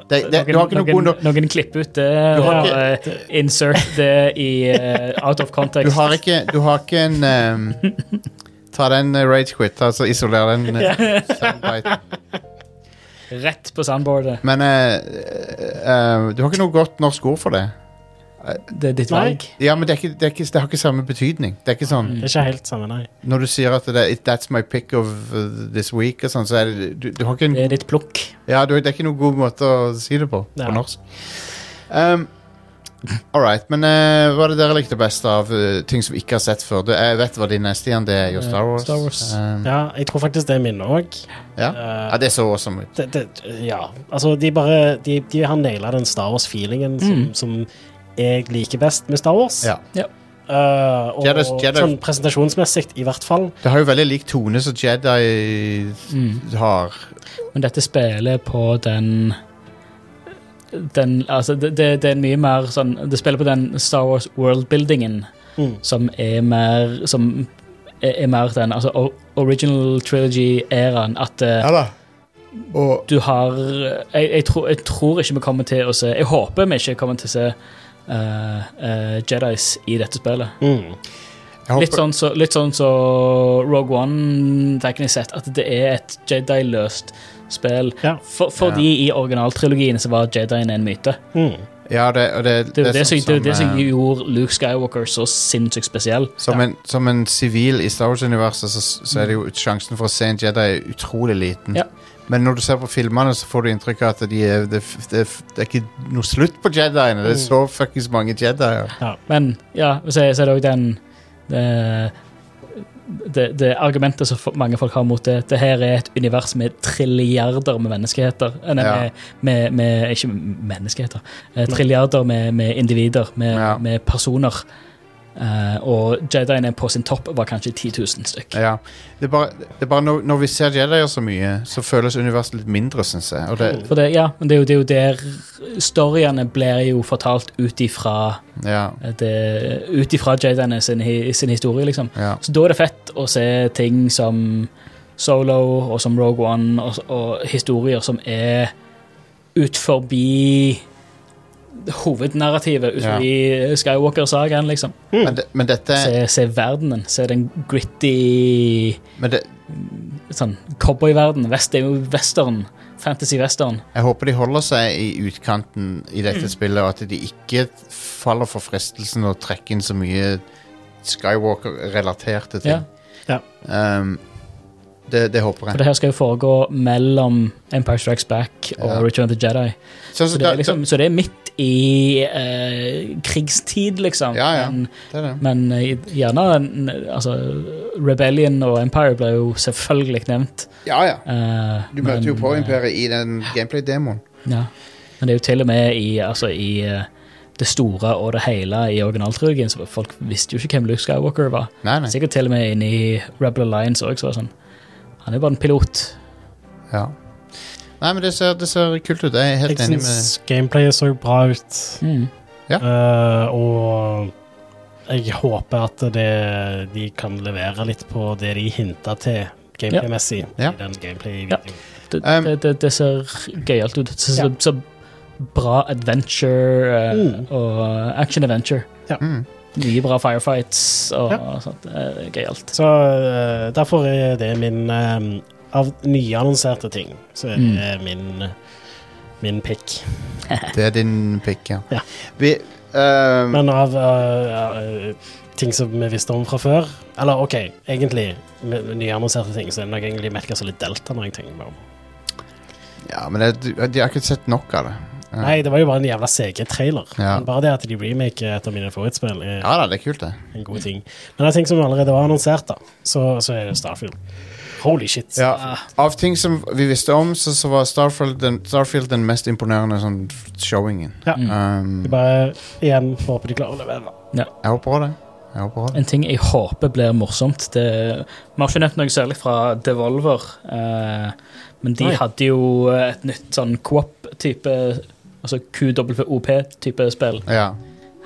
Det, det, du har ikke noen, noe god nok noen, noen klipp ut det, Du har og eh, insert det i eh, out of Du context. har ikke, du har ikke en ehm, Ta den eh, rage quit, altså isoler den. eh, soundbiten. Rett på sandboardet. Men eh, eh, du har ikke noe godt norsk ord for det. Det er ditt Nei. valg. Ja, men det, er ikke, det, er ikke, det har ikke samme betydning. Det er ikke sånn Mm. Det er ikke helt samme, nei. Når du sier at det, er, that's my pick of eh, this week, og sånn, så er det du, du har ikke en Det er ditt plukk. Ja, du, det er ikke noen god måte å si det på Ja. på norsk. Um, All right, men eh, hva er det dere likte best av eh, ting som vi ikke har sett før? Du, jeg vet hva din neste igjen det er jo Star Wars. Eh, Star Wars. Um, ja. Ja, jeg tror faktisk det er minne òg. Ja? eh, det så awesome ut. det, det, ja. Altså, de bare De, de har naila den Star Wars-feelingen som, som jeg liker best med Star Wars. Mm. Ja. Ja. Eh, og Jedi- Jedi- sånn presentasjonsmessig, i hvert fall. Det har jo veldig lik tone som Jedi Mm. har. Men dette spiller på den den, altså det, det, det er en mye mer sånn Det spiller på den Star Wars worldbuildingen Mm. som er mer Som er, er mer den altså, o- original trilogy-æraen. At eh, da. Og du har jeg, jeg, tror, jeg tror ikke vi kommer til å se Jeg håper vi ikke kommer til å se eh, eh, Jedis i dette spillet. Mm. jeg håper, Litt sånn så, litt sånn så Rogue One, teknisk sett, at det er et Jedi-løst spill. Ja. For, fordi i originaltrilogien så var Jedien en myte. Mm. Ja, det, og det, Det er jo det, som- sånn det, er jo det som eh, gjorde Luke Skywalker så sinnssykt spesiell. som, en, som en sivil i Star Wars-universet, så, så er det jo sjansen for å se en Jedi er utrolig liten. Ja. Men når du ser på filmene, så får du inntrykk av at de er, det, det, det er ikke noe slutt på Jediene. Mm. Det er så fuckings mange Jedier. Men ja, så er så er det òg den det, det, det argumentet som fo- mange folk har mot det. Det her er et univers med trilliarder med menneskeheter. Eh, Nei, Ja. Mm. med, med, med, ikke menneskeheter. Eh, Trilliarder med, med individer, med, Ja. med personer. Eh, og Jediene på sin topp var kanskje 10 000 stykk. Ja. Det er bare, det er bare når, når vi ser Jedier så mye, så føles universet litt mindre, syns jeg. Og det, For det, ja, men det er, jo, det er jo der Storyene blir jo fortalt ut ifra ja, eh, det- ut ifra Jediene sin, hi- sin historie, liksom. ja. Så da er det fett å se ting som Solo og som Rogue One og, og historier som er ut forbi hovednarrativet, ut Ja. forbi Skywalker-sagaen, liksom. Men, det, men dette Se, se verdenen. Se den gritty men det, sånn, cowboyverdenen. Vest det er jo western. Fantasy-western. Jeg håper de holder seg i utkanten i dette spillet, og at de ikke faller for fristelsen å trekke inn så mye Skywalker-relaterte ting. Ja. Um, det, det håper For jeg. det her skal jo foregå mellom Empire Strikes Back og Ja. Return of the Jedi. Så, Så det er, liksom, så det er midt i eh, krigstid, liksom. Ja, ja. Men, det er det. men eh, gjerne en- altså, Rebellion og Empire ble jo selvfølgelig nevnt. Ja, ja. eh, Du møter jo men, på eh, Imperiet i den gameplay-demoen. ja. Men det er jo til og med i, altså, i eh, det store og det hele i originaltrilogien, så folk visste jo ikke hvem Luke Skywalker var. Nei, nei. Sikkert til og med inne i Rebel Alliance òg, så var det sånn Han er jo bare en pilot. Ja. Nei, men det ser, det ser kult ut. Jeg er helt Jeg enig syns gameplayet så bra ut. Mm. Eh, og jeg håper at det, de kan levere litt på det de hinta til gameplay-messig. Ja. i den gameplay-videoen. Det, Um, det, det, det ser gøyalt ut. Det Ja. ser så, så bra adventure eh, Mm. og action-adventure. Ja. Mm. Mye bra firefights og sånt. eh, Gøyalt. Så eh, derfor er det min eh, Av nyannonserte ting så er Mm. det min, min pick. med Det er din pick, ja. Ja. Vi, um, Men av eh, eh, ting som vi visste om fra før Eller OK, egentlig, med med nyannonserte ting, så er det nok egentlig Metal Gear Solid Delta. Når jeg tenker meg om. ja, men det, du- de har ikke sett nok av det. Ja. Nei, det var jo bare en jævla CG-trailer. Ja. Men Bare det at de remaker et av mine favorittspill, er Ja da, det er kult, det. en god ting. Men av ting som allerede var annonsert, da, så, så er det Starfield. Holy shit. Ah. Ja. Av ting som vi visste om, så, så var Starfield den, Starfield den mest imponerende sånn showingen. Ja. Um, Vi Mm. bare igjen får håpe de klarer å levere. jeg håper også det. Jeg håper også det. En ting jeg håper blir morsomt det, Vi har ikke nevnt noe særlig fra Devolver, eh, men de Nei. hadde jo et nytt sånn co-op-type Altså QWOP-type spill. Ja.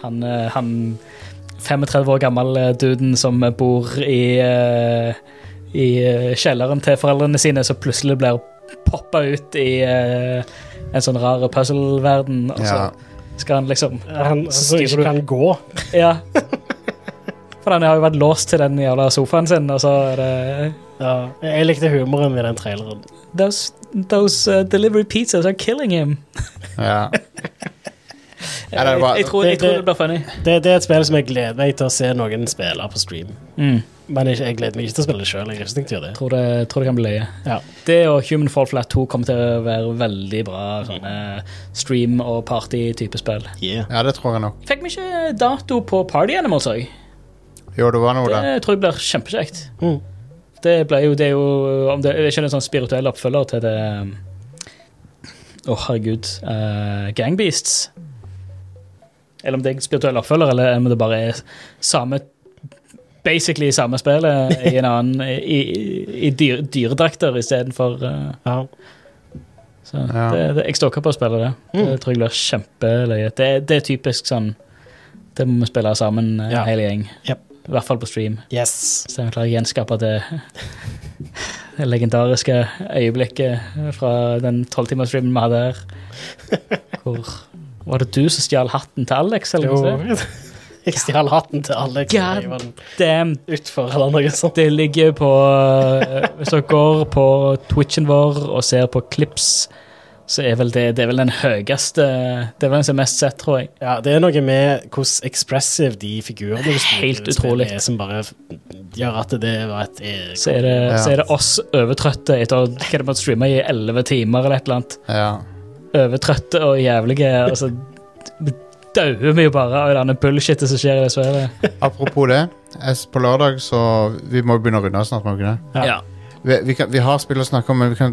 Han, eh, han 35 år gammel eh, duden som bor i, eh, i eh, kjelleren til foreldrene sine, som plutselig blir poppa ut i eh, en sånn rar puzzle-verden, og Ja. så skal han liksom Han som skriver du- ikke kan gå. Ja. For han har jo vært låst til den jævla sofaen sin, og så er det Ja. Jeg likte humoren i den traileren. Those, those uh, delivery pizzas are killing him. ja. Ja, det Jeg, var- jeg, tror, jeg Det- tror det- det blir funny. Det, det er et spill som jeg gleder meg til å se noen spille på stream. Mm. Men jeg, jeg gleder meg ikke til å spille det sjøl. Jeg har ikke tenkt å gjøre det. Tror, det, tror det kan bli løye. Ja. Det og Human Fall Flat 2 kommer til å være veldig bra sånne stream- og party-type spill. Yeah. ja, det tror jeg nok. Fikk vi ikke dato på Party Animals òg? Jo, det var noe der. Det tror jeg blir kjempekjekt. Mm. Det ble jo, det er jo om det, det er ikke en sånn spirituell oppfølger til det um, Å, herregud. eh, Gangbeasts. Eller om det er en spirituell oppfølger, eller om det bare er samme Basically samme spillet i en annen I, i, i dyr, dyredrakter istedenfor uh, Ja. så Ja. det, det, jeg stokker på å spille det. Det tror jeg blir kjempeløye. Det, det er typisk sånn Det må vi spille sammen, eh, Ja. hele gjeng. Yep. I hvert fall på stream. Yes. Så jeg klarer å gjenskape det, det legendariske øyeblikket fra den tolvtimersstreamen vi hadde her. Hvor Var det du som stjal hatten til Alex? eller Jo. noe sånt? Jeg stjal hatten til Alex. God Jeg var den Damn, Utfor eller noe sånt. det ligger eh, på Hvis dere går på Twitchen vår og ser på clips så er vel det, det er vel den høyeste Det er vel den som er mest sett, tror jeg. Ja, det er noe med hvordan expressive de figurene du spiller- Helt utrolig. spiller er, som bare f- gjør at det var et eh, Så er det, Ja. så er det oss overtrøtte etter å hva er det, streame i elleve timer eller et eller annet. Ja. Overtrøtte og jævlige. Og altså, så dauer vi jo bare av denne bullshitet som skjer i det spillet. Apropos det. Jeg, s- på lørdag så Vi må begynne å runde av snart, må vi ikke det? Ja. Vi, vi, kan, vi har spill å snakke om, men vi kan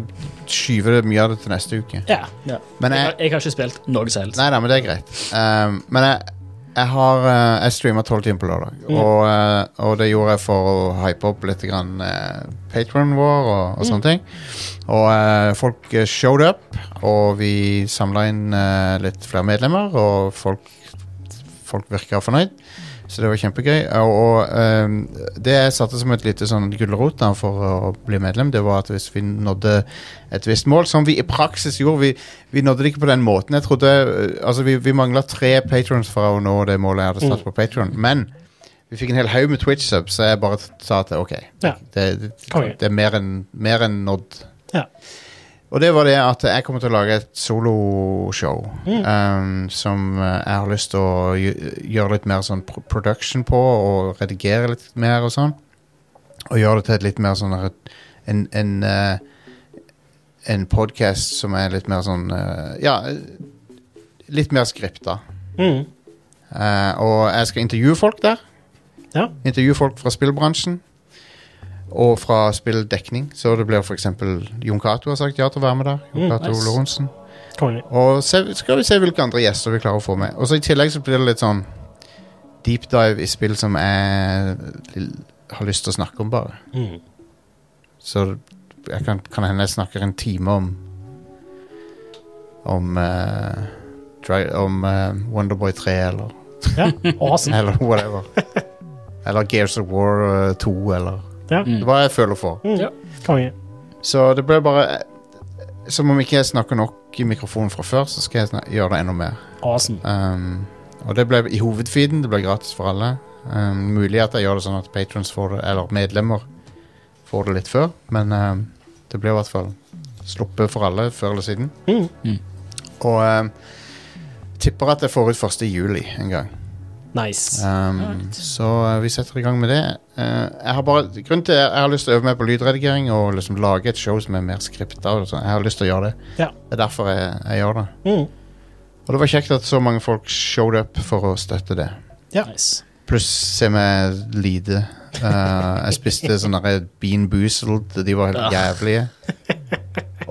skyve det, mye av det til neste uke. Ja. Men Jeg, jeg, har- jeg har ikke spilt noe som helst. Nei da, men det er greit. Ehm, men jeg, jeg har eh, Jeg streama tolv timer på lørdag, og, eh, og det gjorde jeg for å hype opp litt grann uh, patronen vår og, og sånne ting. Og eh, folk eh, showed up, og vi samla inn eh, litt flere medlemmer, og folk, folk virka fornøyd. Så det var kjempegøy. Og, og ehm, det jeg satte som et lite sånn gulrot da for å bli medlem, det var at hvis vi nådde et visst mål, som vi i praksis gjorde Vi, vi nådde det ikke på den måten. Jeg trodde eh, Altså, vi, vi mangla tre patrons for å nå det målet jeg hadde Mm. satt på Patron, men vi fikk en hel haug med Twitch-subs, så jeg bare sa at OK, Ja. det, det, Konge. det er mer enn mer enn nådd. Ja. Og det var det at jeg kommer til å lage et soloshow um, som eh, jeg har lyst til å gj- gjøre litt mer sånn pro- production på, og redigere litt mer og sånn. Og gjøre det til et litt mer sånn her- en, en, eh, en podkast som er litt mer sånn eh, Ja, eh, litt mer skripta. Mm. Eh, og jeg skal intervjue folk der. Ja. Intervjue folk fra spillbransjen og fra spilldekning. Så det blir f.eks. Jon Cato har sagt ja til å være med der. Jon Mm, Cato nice. Lorentzen. Konge. Og se, skal vi se hvilke andre gjester vi klarer å få med. Og så I tillegg så blir det litt sånn deep dive i spill som jeg l- har lyst til å snakke om, bare. Mm. Så jeg kan, kan hende jeg snakker en time om om eh, dri- om eh, Wonderboy 3 eller Ja, awesome. eller whatever. Eller Gears of War eh, 2, eller Ja. Mm. hva jeg føler for. Mm. Ja. Konge. Så det ble bare eh, Som om ikke jeg snakker nok i mikrofonen fra før, så skal jeg snak- gjøre det enda mer. Awesome. Um, og det ble i hovedfeeden. Det ble gratis for alle. Um, mulig at jeg gjør det sånn at patrons får det, eller medlemmer får det litt før, men um, det ble i hvert fall sluppet for alle før eller siden. Mm. Mm. Og um, tipper at jeg får ut 1. juli en gang. Nice. Um, så eh, vi setter i gang med det. Eh, jeg har bare, grunnen til jeg har lyst til å øve meg på lydredigering og liksom lage et show som er mer skripta. og sånn. Jeg har lyst til å gjøre det. Ja. Det er derfor jeg, jeg gjør det. Mm. Og det var kjekt at så mange folk showed up for å støtte det. Ja. Nice. Pluss se meg lide. Eh, jeg spiste sånne der Bean Boozled, de var helt jævlige.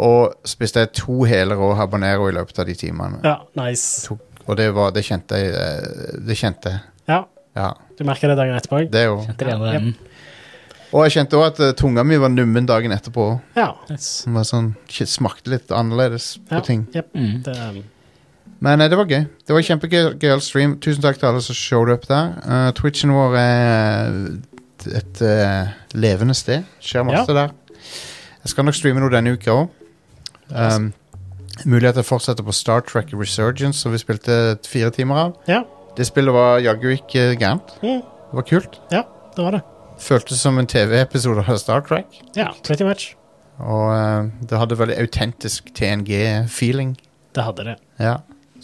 Og spiste jeg to hele rå habanero i løpet av de timene. ja, nice. Tok- Og det, var, det kjente jeg. eh, Det kjente jeg. Ja, Ja, du merker det dagen etterpå? det er jo Det er det andre enden. Og jeg kjente òg at eh, tunga mi var nummen dagen etterpå. Ja. Nice. Den var sånn, shit, smakte litt annerledes på ja. ting. Jep. Mm. Det, um, Men eh, det var gøy. Det var kjempegøyal stream. Tusen takk til alle som showed up der. Eh, Twitchen vår er et eh, levende sted. Skjer masse der. Jeg skal nok streame noe denne uka òg. Um, mulig at jeg fortsetter på Star Trek Resurgence, som vi spilte fire timer av. ja, Det spillet var jaggu ikke gærent. Mm. Det var kult. ja, det var det. Føltes som en TV-episode av Star Trek. Ja, pretty much. Og eh, det hadde veldig autentisk TNG-feeling. Det hadde det. Ja.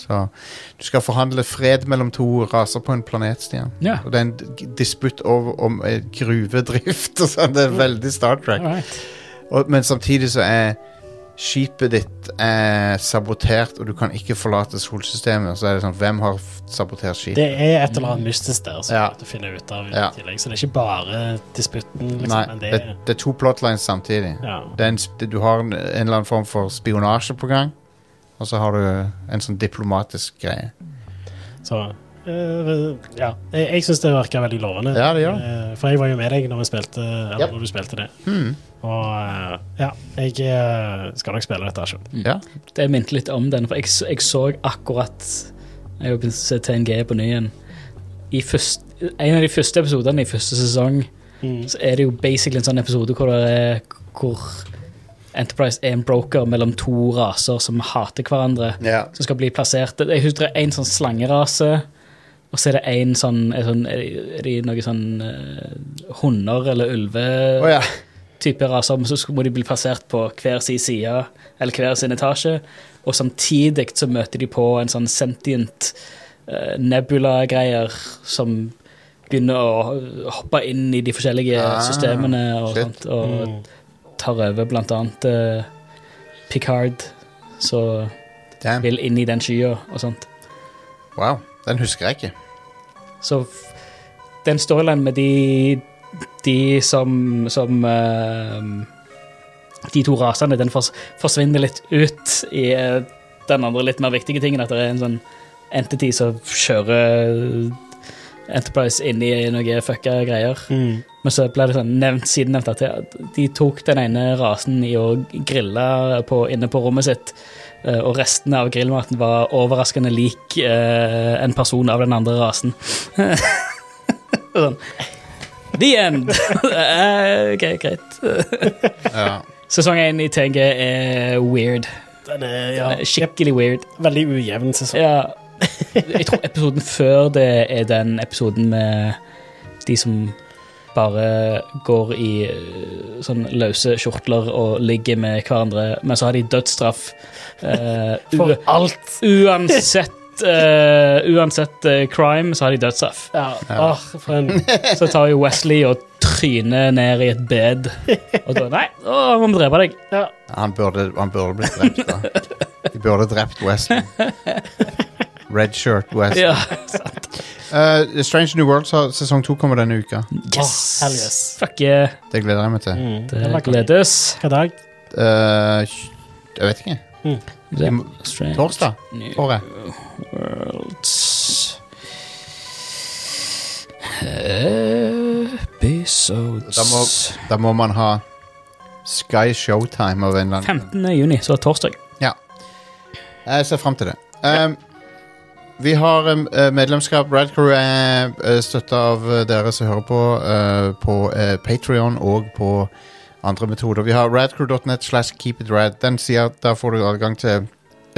Så du skal forhandle fred mellom to raser på en planet, Stian. Ja. Og det er en d- disputt over om eh, gruvedrift og sånn. Det er veldig Star Trek. Alright. Og, men samtidig så er skipet ditt er sabotert, og du kan ikke forlate solsystemet. Så er det sånn, hvem har f- sabotert skipet? Det er et eller annet mystisk der som Ja. du finner ut av i Ja. tillegg. Så det er ikke bare disputten, liksom. Nei, men det, det er det er to plotlines samtidig. ja. det er en, sp- du har en, en eller annen form for spionasje på gang, og så har du en sånn diplomatisk greie. Så eh, ja. Jeg, jeg syns det virker veldig lovende. Ja, det gjør det. Eh, For jeg var jo med deg når, vi spilte, eller Yep. når du spilte det. Hmm. Og eh, ja, jeg eh, skal nok spille dette sjøl. Ja. Det minte litt om den, for jeg, s- jeg så akkurat Jeg har jo begynt å se TNG på ny igjen. I først- en av de første episodene i første sesong Mm. så er det jo basically en sånn episode hvor, det er, hvor Enterprise er en broker mellom to raser som hater hverandre, Ja. som skal bli plassert. Jeg husker det er en sånn slangerase, og så er det en sånn Er, sånn, er de noen sånn eh, hunder eller ulve Å ja. typer raser, men så sk- må de bli plassert på hver sin side, eller hver sin etasje, og samtidig så møter de på en sånn sentient eh, nebula-greier som begynner å hoppe inn i de forskjellige Ah, systemene og shit. sånt, Mm. og tar over blant annet eh, Picard, så Damn. vil inn i den skya og sånt. Wow. Den husker jeg ikke. Så f- den storylinen med de, de som, som eh, De to rasene, den fors, forsvinner litt ut i eh, den andre litt mer viktige tingen. At det er en sånn entity som kjører eh, Enterprise inn i noen fucka greier. Mm. Men så ble det sånn nevnt siden nevnt at det- de tok den ene rasen i å grille på, inne på rommet sitt, eh, og resten av grillmaten var overraskende lik eh, en person av den andre rasen. sånn. The end! Eh, ok, greit. Ja. Sesong én i TNG er weird. Den er ja, Eh, Skikkelig weird. veldig ujevn sesong. Ja. Jeg tror episoden før det er den episoden med de som bare går i øh, sånn løse skjortler og ligger med hverandre, men så har de dødsstraff. eh, For u- Uansett eh, Uansett eh, crime, så har de dødsstraff. Ja, Åh, for en Så tar jo Wesley og tryner ned i et bed. Og da Nei, å, må vi drepe deg. ja. Han burde, han burde blitt drept, da. De burde drept Wesley. Red shirt West. Ja. Eh, Strange New Worlds har sesong to kommer denne uka. Yes. Åh, hell yes. Fuck yeah. Det gleder jeg meg til. Mm. Det var kul. gledes. Hva dag? Eh, jeg vet ikke. Torsdag? New Året? Worlds Episodes Da må, da må man ha Sky Showtime av en eller annen 15. juni, så torsdag. Jeg ser frem til det. Um, Vi har um, eh, medlemskap. Rad Crew er eh, støtta av eh, dere som hører på, eh, på eh, Patreon og på andre metoder. Vi har radcrew.net slash keepitrad. Den sier at der får du adgang til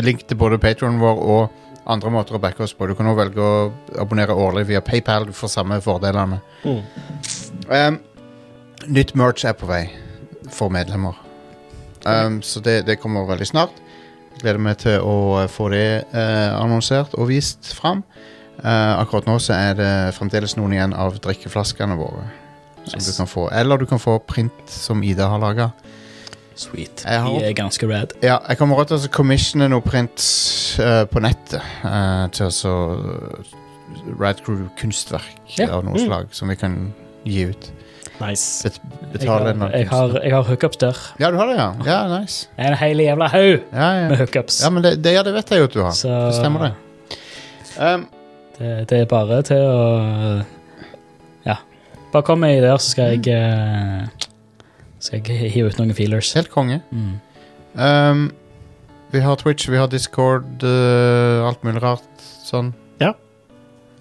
link til både Patreon vår og andre måter å backe oss på. Du kan også velge å abonnere årlig via PayPal. Du får samme fordelene. Mm. Um, nytt merch er på vei for medlemmer. Um, så det, det kommer veldig snart. Gleder meg til å eh, få det eh, annonsert og vist fram. Eh, akkurat nå så er det fremdeles noen igjen av drikkeflaskene våre. Som Nice. du kan få. Eller du kan få print som Ida har laga. Sweet. Jeg har- De er ganske rad. Ja, jeg kommer også til å commissione noe print eh, på nettet eh, til å så Rad Crew kunstverk Ja. Mm. av noe slag som vi kan gi ut. Nice. Bet Jeg betale en har, eller jeg annen kunstner. har, jeg har hookups der. Ja, du har det, ja. Ja, nice. En hel jævla haug Ja, med ja. hookups. ja men det, det, ja, det vet jeg jo at du har. Så- Det stemmer det. Um, Det, det er bare til å Ja. Bare kom med ideer, så skal jeg Mm. eh, Skal jeg hive ut noen feelers. helt konge. Mm. Um, vi har Twitch, vi har Discord, øh, alt mulig rart sånn. Ja.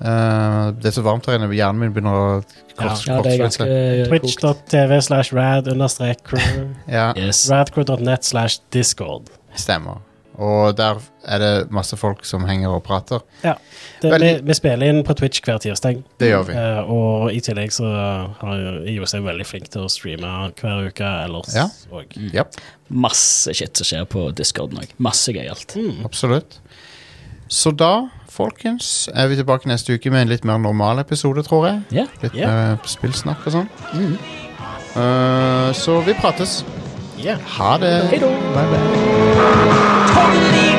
Uh, det er så varmt her inne, hjernen min begynner å kors, Ja, det er ganske kortslutte. eh, kokt. Twitch.tv slash rad understrek crew. Ja, Yes. Radcrew.net slash discord. stemmer. Og der er det masse folk som henger og prater. Det, vi, Veldig- vi spiller inn på Twitch hver tirsdag. Det gjør vi. Eh, og i tillegg så har jo Jostein veldig flink til å streame hver uke ellers Ja. òg. Japp. masse shit som skjer på Discorden òg. Masse gøyalt. Absolutt. Så da, folkens, er vi tilbake neste uke med en litt mer normal episode, tror jeg. Ja. Litt Ja. eh, spillsnakk og sånn. Eh, så vi prates. Ja. Ha det. Hei då. Bye, bye. Totally